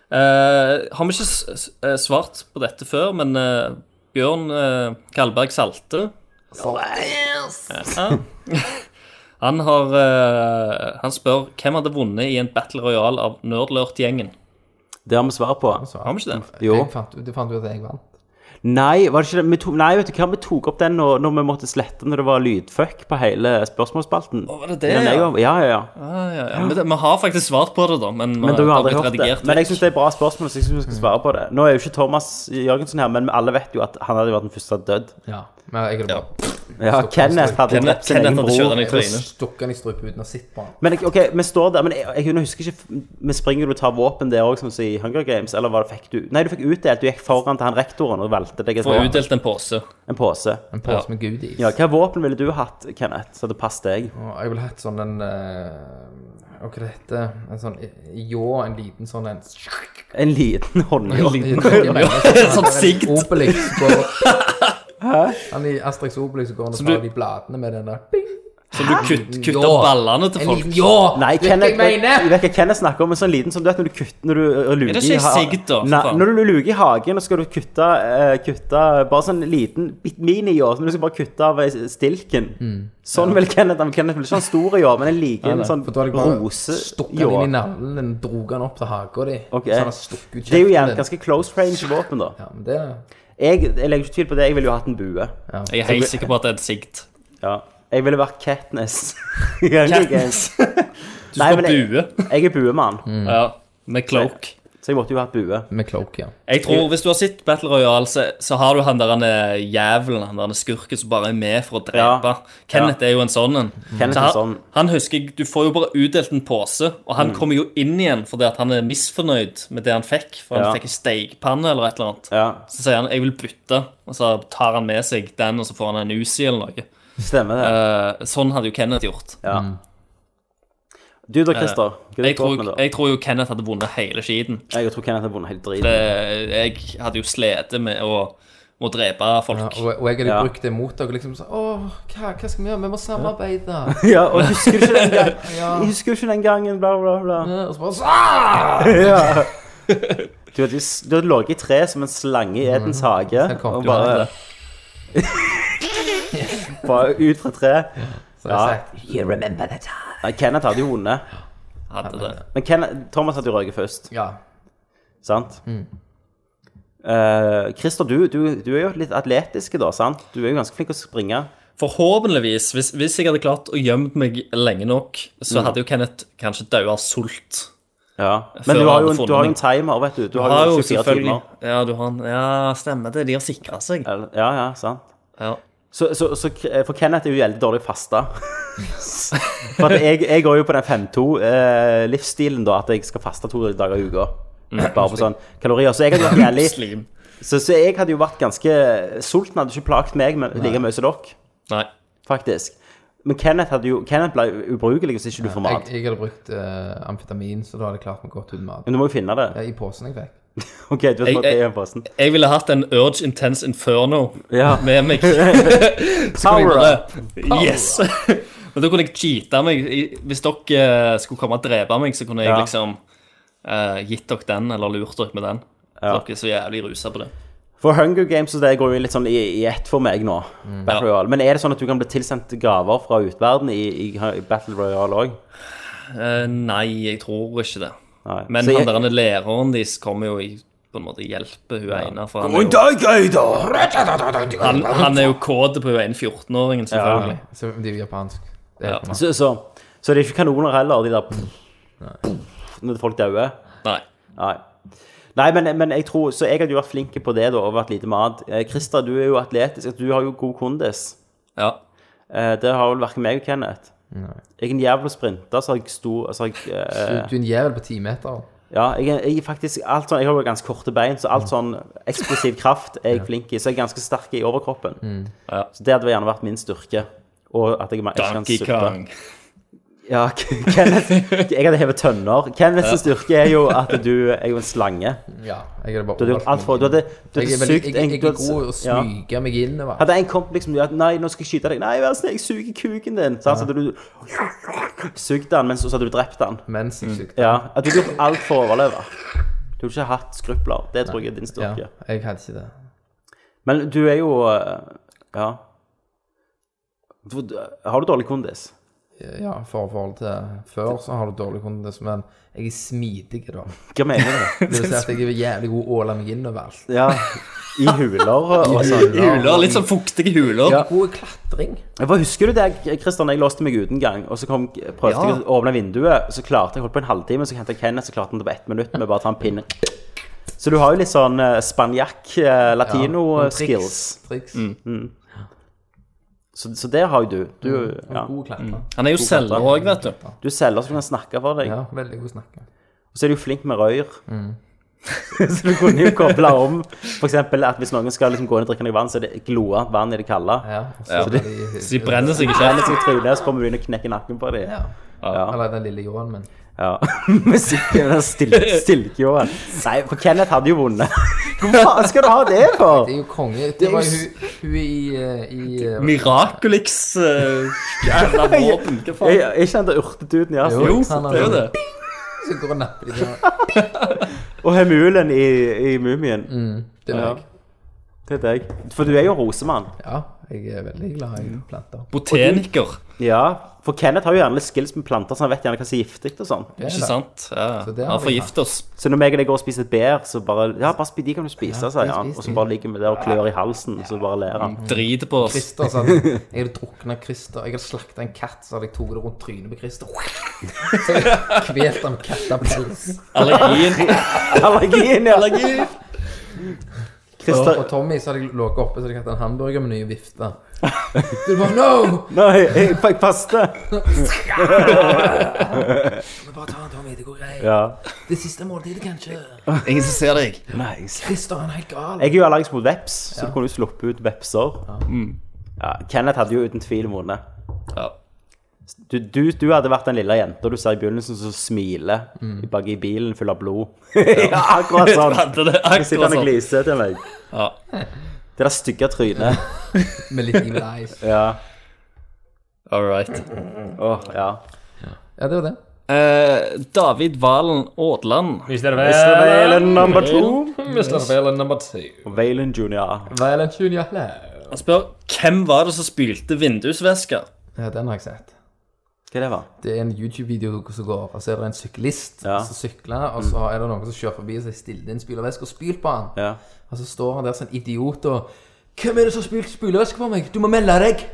A: Eh, har vi ikke s- s- eh, svart på dette før, men eh, Bjørn eh, Kalberg Salte
E: Oh,
A: Ja. Han har eh, Han spør hvem hadde vunnet i en battle royal av Nerdlurt-gjengen.
C: Det har vi svar på.
A: Har vi ikke det?
C: Jo.
B: Jeg fant, du fant jo at jeg vant.
C: Nei, var det ikke det? Vi tok, nei, vet du hva, vi tok opp den når, når vi måtte slette når det var lydfuck på hele spørsmålsspalten.
A: Å, var det det,
C: Men jeg
A: ja?
C: var- Ja, ja, ja.
A: Ja, ja, ja. Men det, vi har faktisk svart på det, da. Men,
C: Men du har aldri hørt
A: redigert
C: det. Men jeg syns det er bra spørsmål, så jeg synes vi skal svare på det. Nå er jo ikke Thomas Jørgensen her, men alle vet jo at han hadde vært den første død.
B: Ja. Men jeg hadde bare
C: Ja, Kenneth hadde
A: Kenneth-
C: drept sin egen
A: Kenneth hadde kjørt
C: bror.
A: han i
B: Jeg
A: trynet.
B: stukket den i strupen uten å sitte på den.
C: Men jeg- ok, vi står der, men jeg, jeg, jeg husker ikke Vi springer jo og tar våpen der òg, som i Hunger Games, eller hva det fikk du? Nei, du fikk utdelt. Du gikk foran til han rektoren og valgte deg et
A: Får
C: våpen.
A: utdelt en pose.
C: En pose.
B: En pose med goodies.
C: Ja, hva våpen ville du hatt, Kenneth, så det passet deg?
B: Og jeg ville hatt sånn en eh, Hva det heter En sånn ljå, en liten sånn en
C: En liten håndjobb.
B: Sånn
A: sigd.
B: Obelix går Han i Asterix Obelix går og
A: du-
B: tar de bladene med den der Bing!
A: Så du kutt, kutter
B: Ja.
A: ballene til
B: En
A: folk.
B: liten ljå!
C: Nei,
B: Vet du hva
C: Kenneth,
B: jeg mener?
C: jeg vet hva Kenneth snakker om, en sånn liten som du vet når du kutter Når du uh, luger
A: Er det ikke
C: i ha-
A: sigd, da, for
C: Nei,
A: faen?
C: når du luger i hagen, og skal du kutte, eh, kutte bare sånn liten bit mini-ljå, som du skal bare kutte av eh, stilken.
B: Mm.
C: Sånn vil Kenneth han- Kenneth vil ikke ha en stor ljå, men en like en sånn
B: For da hadde jeg bare stukket den inn i
C: rose-ljå.
B: navlen din, drog den opp til haka di.
C: Ok.
B: Så han stukket ut
C: Det er jo
B: kjeften
C: gjerne
B: din.
C: ganske close range våpen, da.
B: Ja, men det
C: Jeg, jeg legger ikke tvil på det, jeg ville jo hatt en bue.
A: Jeg er helt sikker på at det er et sigd.
C: Ja. Jeg ville vært Katniss. I Hunger Games.
A: Du
C: Nei,
A: skal
C: men jeg-
A: bue.
C: Jeg er buemann,
B: Mm.
A: Ja, med cloak.
C: så jeg måtte jo hatt bue.
B: Med cloak, ja.
A: Jeg tror, Hvis du har sett Battle Royale, så, så har du han der han er jævelen, han der han er skurken som bare er med for å drepe. Kenneth er jo en sånn en.
C: Kenneth
A: Så
C: er
A: han,
C: sånn. Mm.
A: han husker jeg, Du får jo bare utdelt en pose, og han kommer jo inn igjen fordi at han er misfornøyd med det han fikk. For han
C: Ja.
A: fikk en steikpanne eller et eller annet.
C: Ja.
A: Så sier han 'jeg vil bytte', og så tar han med seg den, og så får han en Uzi eller noe.
C: Stemmer det.
A: Eh, sånn hadde jo Kenneth gjort.
C: Ja. Du da, Christer? Hva er
A: Eh,
C: det
A: Jeg
C: du går
A: tror,
C: med da?
A: jeg tror jo Kenneth hadde vunnet hele skiten.
C: Jeg tror Kenneth har vunnet helt drit.
A: Eh, Jeg hadde jo slitt med å, å drepe
B: Ja,
A: folk.
B: og, og jeg hadde
C: Ja.
B: brukt det mot dere. liksom sånn, Åh, hva, hva skal vi gjøre? Vi må samarbeide.
C: Ja, og husker du ikke den gangen? Jeg husker jo ikke den gangen, bla, bla, bla.
B: Ja, og så bare ah!
C: Ja. Du hadde, du hadde ligget i tre som en slange i Edens hage.
B: Jeg kom
C: Og
B: til å ha
C: bare,
B: det.
C: bare ut fra treet.
B: Så jeg
C: Ja.
B: sagt, you remember that time.
C: Nei, Kenneth hadde jo vunnet.
A: Hadde det.
C: Men Kenneth, Thomas hadde jo røket først,
B: Ja.
C: sant? Eh, Christer, du, du, du er jo litt atletisk da, sant? Du er jo ganske flink å springe.
A: Forhåpentligvis, hvis, hvis jeg hadde klart å gjemme meg lenge nok,
C: Mm.
A: så hadde jo Kenneth kanskje daua av sult.
C: Ja.
A: Før
C: Men du
A: han
C: har,
A: hadde
C: jo en, du har jo
A: funnet
C: en timer, vet du. Du har,
A: Har
C: jo
A: jo
C: 24
A: selvfølgelig
C: timer.
A: Ja, du har en Ja, stemmer det. De har sikra seg.
C: Eller- Ja, ja, sant.
A: Ja.
C: Så, så, så eh, for Kenneth er jo veldig dårlig fasta. For at jeg, jeg går jo på den 5-2-livsstilen, da, at jeg skal faste to dager i uka.
A: Mm.
C: Bare på sånn kalorier. Så jeg hadde vært jævlig
A: Slim.
C: så, så jeg hadde jo vært ganske Sulten hadde ikke plaget meg men like mye som dere,
A: Nei.
C: faktisk. Men Kenneth, hadde jo, Kenneth ble jo ubrukelig hvis ikke du får
B: Jeg,
C: mat.
B: jeg hadde brukt eh, amfetamin, så da hadde jeg klart meg godt uten mat.
C: Men du må jo finne det.
B: Ja, I posen jeg fikk.
C: OK, du vet
A: Jeg-
C: hva det er i posten.
A: Jeg ville hatt en Urge Intense Inferno
C: Ja.
A: med meg.
C: Power up!
A: Bare, yes! Men da kunne jeg cheate meg. I- Hvis dere eh, skulle komme og drepe meg, så kunne jeg
C: Ja.
A: liksom eh, gitt dere den, eller lurt dere med den.
C: Ja.
A: Dere er så jævlig rusa på det.
C: For Hunger Games og det går jo litt sånn i, i ett for meg nå. Battle
A: Mm. Ja.
C: Royale. Men er det sånn at du kan bli tilsendt gaver fra utverden i, i, i Battle Royale òg?
A: Eh, nei, jeg tror ikke det.
C: Nei.
A: Men
C: Så jeg-
A: han der læreren deres kommer jo i på en måte hjelpe hun ene. For han, er jo, han,
F: Gator!
A: han er jo kode på hun ene 14-åringen, selvfølgelig.
B: Så de er japansk. Det
A: Ja.
B: er ja.
C: Så, så, så det er ikke kanoner heller, de der Når folk dauer.
A: Nei.
C: Nei. Nei, men, men jeg tror Så jeg hadde jo vært flink på det, da, og vært lite mat. Eh, Christer, du er jo atletisk. Du har jo god kondis.
A: Ja.
C: Eh, det har vel verken meg og Kenneth. Jeg er en jævla sprinter, så har jeg stor så har jeg,
B: Du,
C: eh,
B: du er en jævel på ti meter.
C: Ja, jeg, er- jeg er faktisk alt sånn, jeg har jo ganske korte bein, så
B: Mm.
C: alt sånn eksplosiv kraft er jeg flink i. Så jeg er ganske sterk i overkroppen.
B: Mm.
A: Ja.
C: Så det hadde gjerne vært min styrke. Og at jeg ikke kan
A: Donkey
C: suppe.
A: Kong.
C: Ja, Kenneth, jeg hadde hevet tønner. Kenneths styrke er jo at du er jo en slange.
B: Ja. Jeg hadde bare
C: Du hadde gjort alt for Du hadde, du
B: Jeg
C: hadde
B: er veldig-
C: sugd
B: jeg-
C: en
B: jeg er god å
C: ja.
B: smyge meg innover.
C: Hadde en kommet liksom ja, Nei, nå skal jeg skyte deg. Nei, vær snill, jeg suger kuken din. Så, så hadde du sugd den, men så så hadde du drept den.
B: Mens jeg sugde.
C: Ja, at du hadde gjort alt for å overleve. Du hadde ikke hatt skrupler. Det tror jeg er
B: Ja,
C: din styrke.
B: jeg hadde ikke det.
C: Men du er jo eh, Ja. Hvor- Har du dårlig kondis?
B: Ja, i forhold til før så har du dårlig kondis, men jeg er smidig, da.
C: Hva mener du?
B: Det vil si at jeg er jævlig god å åle meg innover alt.
C: Ja, i huler og, og sånn.
A: Huler, litt sånn fuktige huler.
B: Ja. God i klatring.
C: For husker du det, Kristian, jeg låste meg ute en gang, og så kom, prøvde jeg å åpne vinduet, så klarte jeg holdt på en halvtime, så hentet jeg Kenneth, så klarte han det på ett minutt med bare å ta en pinne. Så du har jo litt sånn eh, spanjakk, eh, latino eh,
B: Noen
C: skills. Mm.
B: Triks. triks.
C: Så, så det har jo du. Du, Mm, ja.
B: God klatrer.
A: Han er jo selger òg, vet du.
C: du selger så du kan snakke for deg.
B: Ja, veldig god snakker.
C: Og så er du jo flink med røyr. så du kunne jo koble om, for eksempel at hvis noen skal liksom gå inn og drikke noe vann, så er det glovarmt vann i det kalde.
B: Ja, og så
A: Ja.
B: er de-
A: Så de brenner seg ikke.
C: Det er litt sånn trynet, så kommer du inn og knekker nakken på dem.
B: Ja. Eller den lille ljåen min.
C: Ja, musikken er stil- stilkjåen. Nei, for Kenneth hadde jo vunnet. Hvor faen skal du ha det for?
B: Det er jo konge. Det var jo
C: jo
B: hun, hun i, eh, i eh,
A: Miraculix eh, Jævla våpen. Hva
C: Er
A: faen?
C: er ikke han der urtetuten i Asia?
A: Jo,
B: han er-
A: det er jo det.
B: som går og napper i det.
C: Og hemulen i, i Mumien.
B: Det var jeg.
C: Det er deg. For du er jo rosemann.
B: Ja, jeg er veldig glad i planter.
A: Botaniker,
C: Ja, for Kenneth har jo gjerne litt skills med planter, så han vet gjerne hva som er giftig og sånn.
B: Det er
A: ikke
B: det.
A: sant? Ja.
B: Så det har
A: Han
B: vi
A: forgifter oss.
C: Så når meg og deg går og spiser et bær, så bare Ja, bare spi, de kan du spise,
B: Ja,
C: sier
B: de
C: han.
B: spiser
C: Og så
B: de.
C: bare ligger vi der og klør i halsen, og så bare ler han.
A: Driter på oss.
B: Christer sa at jeg hadde drukna Christer. Jeg hadde slakta en katt, så hadde jeg tatt det rundt trynet på Christer. Så hadde jeg kvelt han med kattepels.
A: Allergien.
C: Allergien, ja.
B: Og,
C: Christer
B: og Tommy så hadde jeg ligget oppe, så hadde jeg hatt en hamburgermeny og vifta. Du bare No!
C: Nei, jeg fikk faste.
B: Men Bare ta han, Tommy. Det går greit.
C: Ja.
B: Det siste måltidet, kanskje.
A: Ingen som ser deg.
C: Nice.
B: Christer, han er helt gal.
C: Jeg er jo allergisk mot veps, så du kunne jo sluppet ut vepser. Mm. Ja, Kenneth hadde jo uten tvil vunnet.
A: Ja.
C: Du, du, du hadde vært den lille jenta du ser i begynnelsen som smiler bak i bilen full av blod. Mm. ja, akkurat
A: Du
C: sånn.
A: hadde det
C: Så sitter
A: akkurat
C: han og
A: sånn.
C: gliser til meg.
A: Ja.
C: Det der stygge trynet.
B: Med litt evil eyes.
C: Ja.
A: All right.
C: Åh, ja.
B: Ja, det var det.
A: Eh, David Valen Aadland.
C: Valen number two.
B: Mr. Valen number two.
C: Valen junior.
B: Valen junior.
A: Han spør hvem var det som spylte vindusvæska?
B: Ja, den har jeg sett.
C: Hva det var?
B: Det er en YouTube-video som går, og så er det en syklist
C: Ja.
B: som sykler, og så er det noen som kjører forbi og så stiller inn spylervæske og spyler på han.
C: Ja.
B: Og så står han der som en idiot og 'Hvem er det som har spylt spylervæske på meg? Du må melde deg!'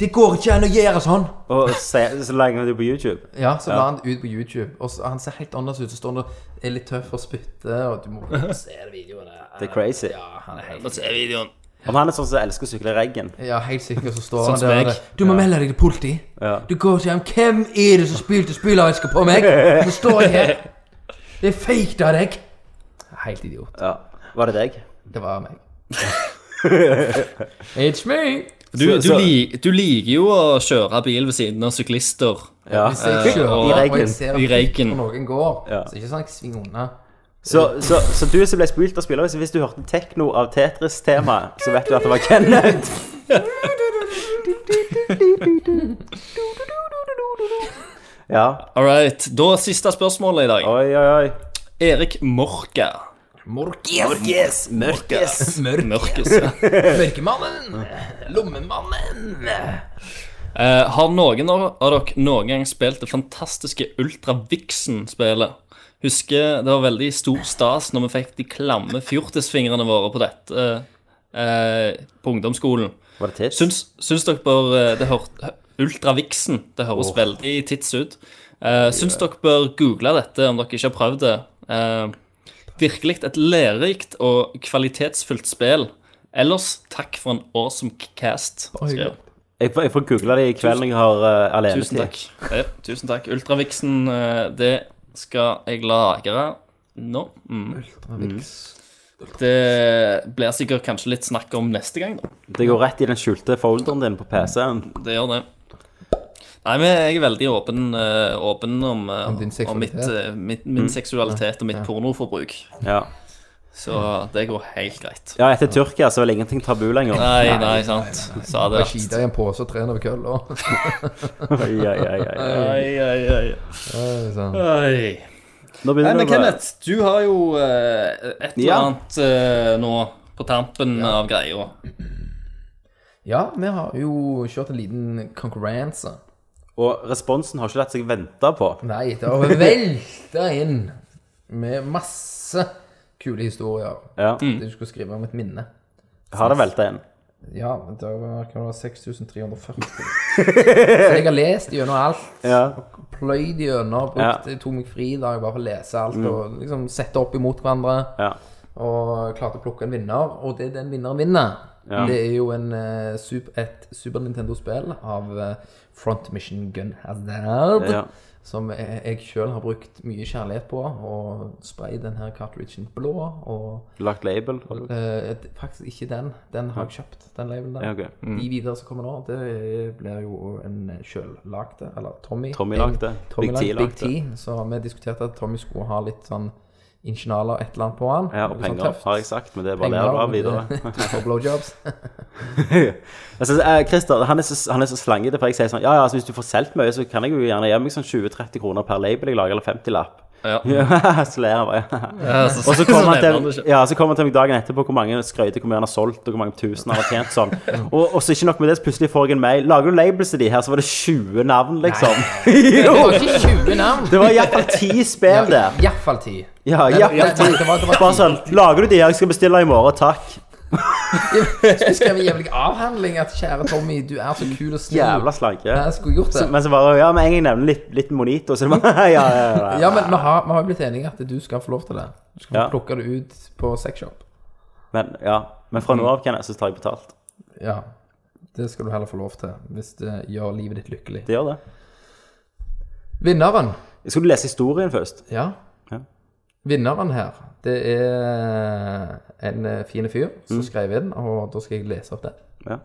B: 'Det går ikke an å gjøre sånn!'
C: Og se, så legger vi det på YouTube.
B: Ja, så la han det ut på YouTube, og så, han ser helt annerledes ut. Så står han og er litt tøff og spytter, og du må se det videoen. der.
C: Det er crazy.
B: Ja, han er
A: Få
B: helt
A: se videoen.
C: Om han er sånn som elsker å sykle i regn.
B: Ja, helt sikkert så står
A: Sånn
B: han
A: som
B: der
A: jeg.
B: og det, Du må melde deg til politi.
C: Ja.
B: Du går til ham. Hvem er det som spylte spylervæske på meg? Så står jeg her. Det er fake av deg. Helt idiot.
C: Ja. Var det deg?
B: Det var meg. It's me.
A: Du,
C: Så-
A: du,
C: så-
A: li, du liker jo å kjøre bil ved siden av syklister.
C: Ja.
B: Hvis jeg kjører
A: og-
B: og jeg
C: regn.
B: ser
A: I
B: at
A: regn.
B: noen går,
C: Ja.
B: så er det ikke sånn at jeg svinger unna.
C: Så, så, så du som ble spilt av spillere, hvis du hørte tekno av Tetris-temaet, så vet du at det var Kenneth. Ja.
A: All right. Da siste spørsmålet i dag.
C: Oi, oi, oi.
A: Erik Morka.
B: Morkes!
C: Yes, mørkes.
A: Mørkes. ja.
B: Mørkemannen! Lommemannen!
A: Eh, har noen av av dere noen gang spilt det fantastiske Ultra Vixen-spelet? Husker det var veldig stor stas når vi fikk de klamme fjortisfingrene våre på dette eh, eh, på ungdomsskolen.
C: Var det tids?
A: Syns, syns dere bør eh, det hør, Ultra Vixen, det høres veldig tids ut. Eh, syns dere bør google dette om dere ikke har prøvd det. Eh, virkelig et lærerikt og kvalitetsfullt spill. Ellers takk for en awesome cast. skrev han.
C: Jeg får, jeg får google det i kveld når jeg har uh,
A: Tusen takk.
C: alenetid.
A: Ja, tusen takk. Ultravixen, eh, det skal jeg lagre nå. Mm. Det blir sikkert kanskje litt snakk om neste gang, da.
C: Det går rett i den skjulte folderen din på PC-en.
A: Det gjør det. Nei, men jeg er veldig åpen, eh, åpen om, eh,
B: Om din
A: om mitt,
B: seksualitet.
A: eh, mitt, min seksualitet og mitt pornoforbruk.
C: Ja.
A: Så det går helt greit.
C: ja, etter Tyrkia så er vel ingenting tabu lenger.
A: Nei, nei, sant. Sa det.
B: Jeg skiter i en pose og trener ved kølla.
C: Oi, oi, oi, oi.
A: Ai, ai, ai.
B: Sånn.
A: Ai.
C: Nå
A: Nei,
C: begynner
A: men
C: det å bli-
A: Kenneth, du har jo eh, et eller
C: Ja.
A: annet eh, nå på tampen av greia.
B: Ja, vi har jo kjørt en liten konkurranse.
C: Og responsen har ikke latt seg vente på.
B: Nei, det har velta inn med masse kule historier.
C: Ja.
B: Det du skulle skrive om et minne.
C: Har det velta inn?
B: Ja, men det var hva var det, 6340. Så jeg har lest gjennom alt.
C: Ja.
B: Pløyd gjennom. Brukt, Tok meg fri i dag bare for å lese alt og liksom sette opp imot hverandre.
C: ja.
B: Og klarte å plukke en vinner, og det den vinneren vinner, det er jo en, eh, sup- et Super Nintendo-spill av eh, Front Mission Gun Hazard.
C: Ja.
B: Som jeg, jeg sjøl har brukt mye kjærlighet på, og spray den her cartridgen blå. Og
C: Lagt label?
B: eh, et- faktisk ikke den. Den har jeg kjøpt, den labelen der.
C: Ja, ok. Mm.
B: De videre som kommer nå, det blir jo en sjøllagte, eller Tommy.
C: Tommy-lagte.
B: Tommy
C: Big
B: Big, Big
C: T-lagte.
B: T. Så vi diskuterte at Tommy skulle ha litt sånn ingenialer, et eller annet på han.
C: Ja, og
B: Litt sånn
C: penger,
B: tøft.
C: har jeg sagt, men det er bare der du har videre.
B: Du får blowjobs.
C: Jeg synes, eh, Christer, han er så, han er så slangete, for jeg sier sånn Ja, ja, altså, hvis du får solgt mye, så kan jeg jo gjerne gi meg sånn 20-30 kroner per label jeg lager, eller 50-lapp.
A: Ja.
C: så ler han bare.
A: Og
C: Og så
B: Sånn
C: kommer han, til, ja, så kom han til meg dagen etterpå hvor mange skrøyter, hvor mye han har solgt, og hvor mange tusen han har tjent sånn. Og, og så ikke nok med det, så plutselig får jeg en mail. Lager du labels til de her, så var det 20 navn, liksom.
B: Det
C: jo!
B: var ikke 20 navn.
C: Det var iallfall ti spill der.
B: Iallfall 10.
C: Ja,
B: Nei,
C: iallfall
B: nei, det var- det var
C: Bare
B: ti.
C: sånn Lager du de her, jeg skal bestille i morgen, takk.
B: Du skrev en jævlig avhandling at kjære Tommy, du er så kul og snill.
C: Jævla slanke.
B: Ja, Jeg skulle gjort det.
C: Men så bare Ja, med en gang jeg nevner litt, litt Monito, så er det bare Ja, ja, ja. ja.
B: Ja, men vi har, vi har jo blitt enige at du skal få lov til det. Du skal
C: Ja.
B: få plukke det ut på sexshop.
C: Men, ja. men fra nå av kan jeg, så tar jeg betalt.
B: Ja. Det skal du heller få lov til, hvis det gjør livet ditt lykkelig.
C: Det gjør det.
B: Vinneren.
C: Jeg skulle lese historien først.
B: Ja.
C: Ja.
B: Vinneren her, det
C: Mm.
B: er en eh, fin fyr som skrev inn, og da skal jeg lese opp det.
C: Ja.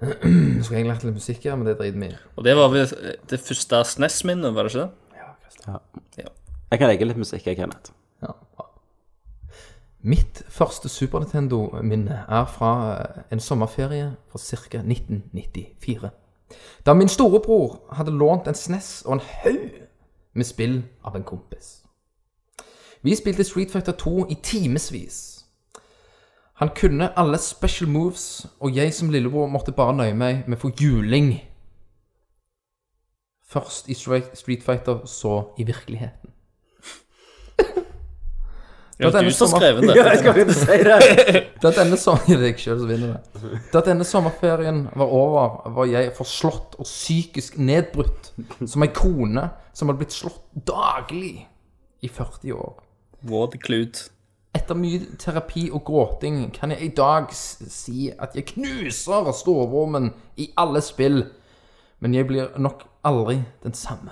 B: Skulle egentlig hatt litt musikk her, men det driter vi i.
A: Og det var vel det første SNES-minnet, var det ikke det?
C: Jeg kan legge litt musikk, jeg, Kenneth.
B: Ja. bra. Mitt første Super Nintendo-minne er fra eh, en sommerferie fra ca. 1994. Da min storebror hadde lånt en SNES og en haug med spill av en kompis. Vi spilte Street Fighter 2 i timevis. Han kunne alle special moves, og jeg som lillebror måtte bare nøye meg med å få juling. Først i Stre- Street Fighter, så i virkeligheten.
A: Det var
B: denne
A: du som
B: sommer-
A: skrev det.
C: skal ikke si det.
B: Da denne, som- det er jeg selv som vinner det. da denne sommerferien var over, var jeg forslått og psykisk nedbrutt som ei kone som hadde blitt slått daglig i 40 år.
A: Våt klut.
B: Etter mye terapi og gråting kan jeg i dag s- si at jeg knuser storvormen i alle spill, men jeg blir nok aldri den samme.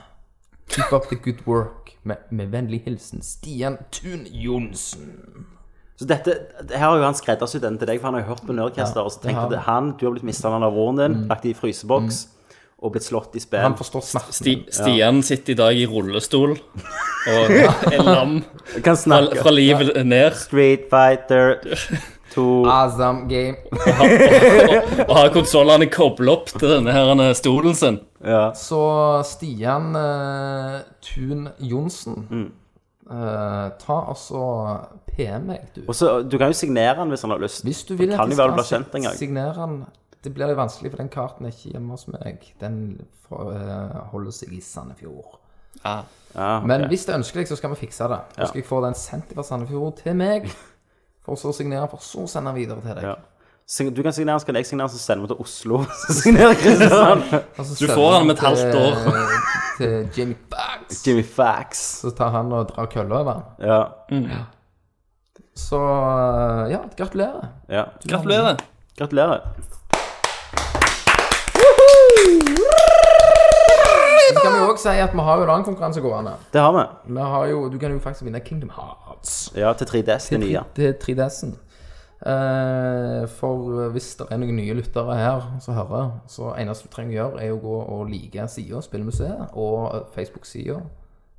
B: Keep up the good work. Med, med vennlig hilsen Stian Tun Johnsen.
C: Så dette, her har jo han skreddersydd den til deg, for han har jo hørt på Nerdcaster, og så tenkte det han, du har blitt mishandlet av våren din, lagt i fryseboks, og blitt slått i spill.
B: Han forstår smerten.
A: Sti Stian sitter i dag i rullestol og er lam
C: kan
A: fra,
C: snakke.
A: fra livet ned
C: Street Fighter 2.
B: Ah. Awesome game.
A: og har konsollene koblet opp til denne her denne stolen sin.
B: Så Stian eh, Thun Johnsen
C: Mm.
B: eh, Ta altså PM meg, du.
C: Og så, du kan jo signere han hvis han har lyst.
B: Hvis du vil
C: Det
B: at
C: kan
B: jeg
C: jo være du blir
B: skal
C: kjent en gang.
B: signere den Det blir litt vanskelig, for den karten er ikke hjemme hos meg. Den får, eh, holder seg i Sandefjord.
C: Ja, ok.
B: Men hvis det er ønskelig, så skal vi fikse det. Så skal jeg få den sendt fra Sandefjord til meg. For så å signere, for så å sende den videre til deg.
C: Ja. Sign- Du kan signere, så kan jeg signere, så sender vi til Oslo. Så signerer Kristian.
B: Og så
A: Du
B: sender
A: får den om et
B: Altså, til- eh,
A: halvt år.
B: Til Jimmy Bugs.
C: Jimmy Fax.
B: Så tar han og drar kølla over den.
C: Ja,
B: Så eh, ja, gratulerer.
C: ja.
A: Gratulerer.
C: Gratulerer.
B: Så kan vi jo også si at vi har jo en annen konkurranse gående.
C: Det har vi.
B: Vi har jo, du kan jo faktisk vinne Kingdom Hearts.
C: Ja, til 3DS, det nye.
B: Det er 3DS-en. Eh, for hvis det er noen nye lyttere her som hører, så eneste du trenger å gjøre, er å gå og like sida Spillmuseet og Facebook-sida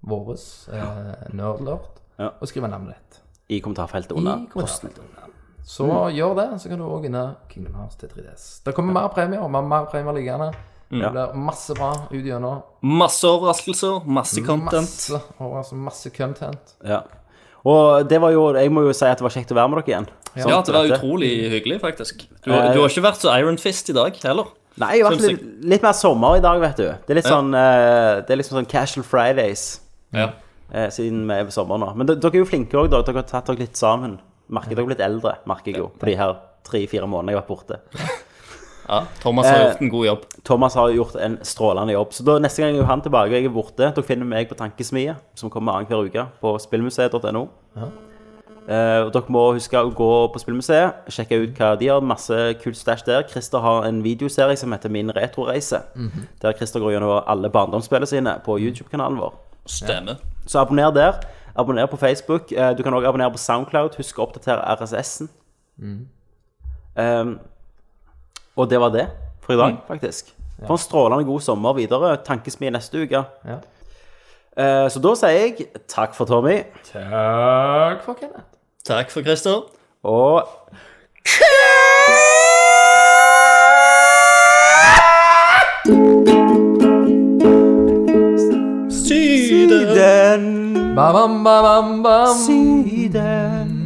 B: vår, eh, Nerdlert,
C: Ja.
B: og skrive navnet ditt.
C: I kommentarfeltet
B: I
C: under.
B: kommentarfeltet. Så
C: Mm.
B: gjør det, så kan du òg vinne Kingdom Hearts til 3DS. Det kommer mer premier, og vi har mer premier liggende.
C: Mm.
B: Det blir masse bra ut gjennom.
A: Masse overraskelser, masse content.
B: Masse, og altså masse content.
C: Ja. Og det var jo, jeg må jo si at det var kjekt å være med dere igjen. Sånn
A: Ja, Eh, det var
C: til dette.
A: utrolig hyggelig, faktisk. Du, har- du har ikke vært så Iron Fist i dag heller.
C: Nei, jeg har vært litt, litt mer sommer i dag, vet du. Det er litt
A: Ja.
C: sånn, eh, det er liksom sånn casual fridays.
A: Ja.
C: eh, siden vi er på sommeren nå. Men de- dere er jo flinke òg, dere. Dere har tatt dere litt sammen. Merker dere har blitt eldre, merker jeg jo, på de her tre-fire månedene jeg har vært borte.
A: ja. Thomas har gjort en god jobb.
C: Thomas har gjort en strålende jobb. Så da neste gang er jo han tilbake og jeg er borte. Dere finner meg på Tankesmie, som kommer annenhver uke, på spillmuseet.no. Eh, og dere må huske å gå på Spillmuseet, sjekke ut hva de har. Masse kult stæsj der. Christer har en videoserie som heter Min retroreise, der Christer går gjennom alle barndomsspillene sine på YouTube-kanalen vår.
A: Stemmer.
C: Så abonner der. Abonner på Facebook. Eh, Du kan også abonnere på Soundcloud. Husk å oppdatere RSS-en. Um, og det var det for i dag, faktisk. For en strålende god sommer videre. Tankesmie neste uke.
B: Ja.
C: Eh, så da sier jeg takk for Tommy,
B: Takk for Kenneth.
A: Takk for Christer.
C: og
A: Syden!
C: den
B: Ba-bam, ba-bam, bam.
C: siden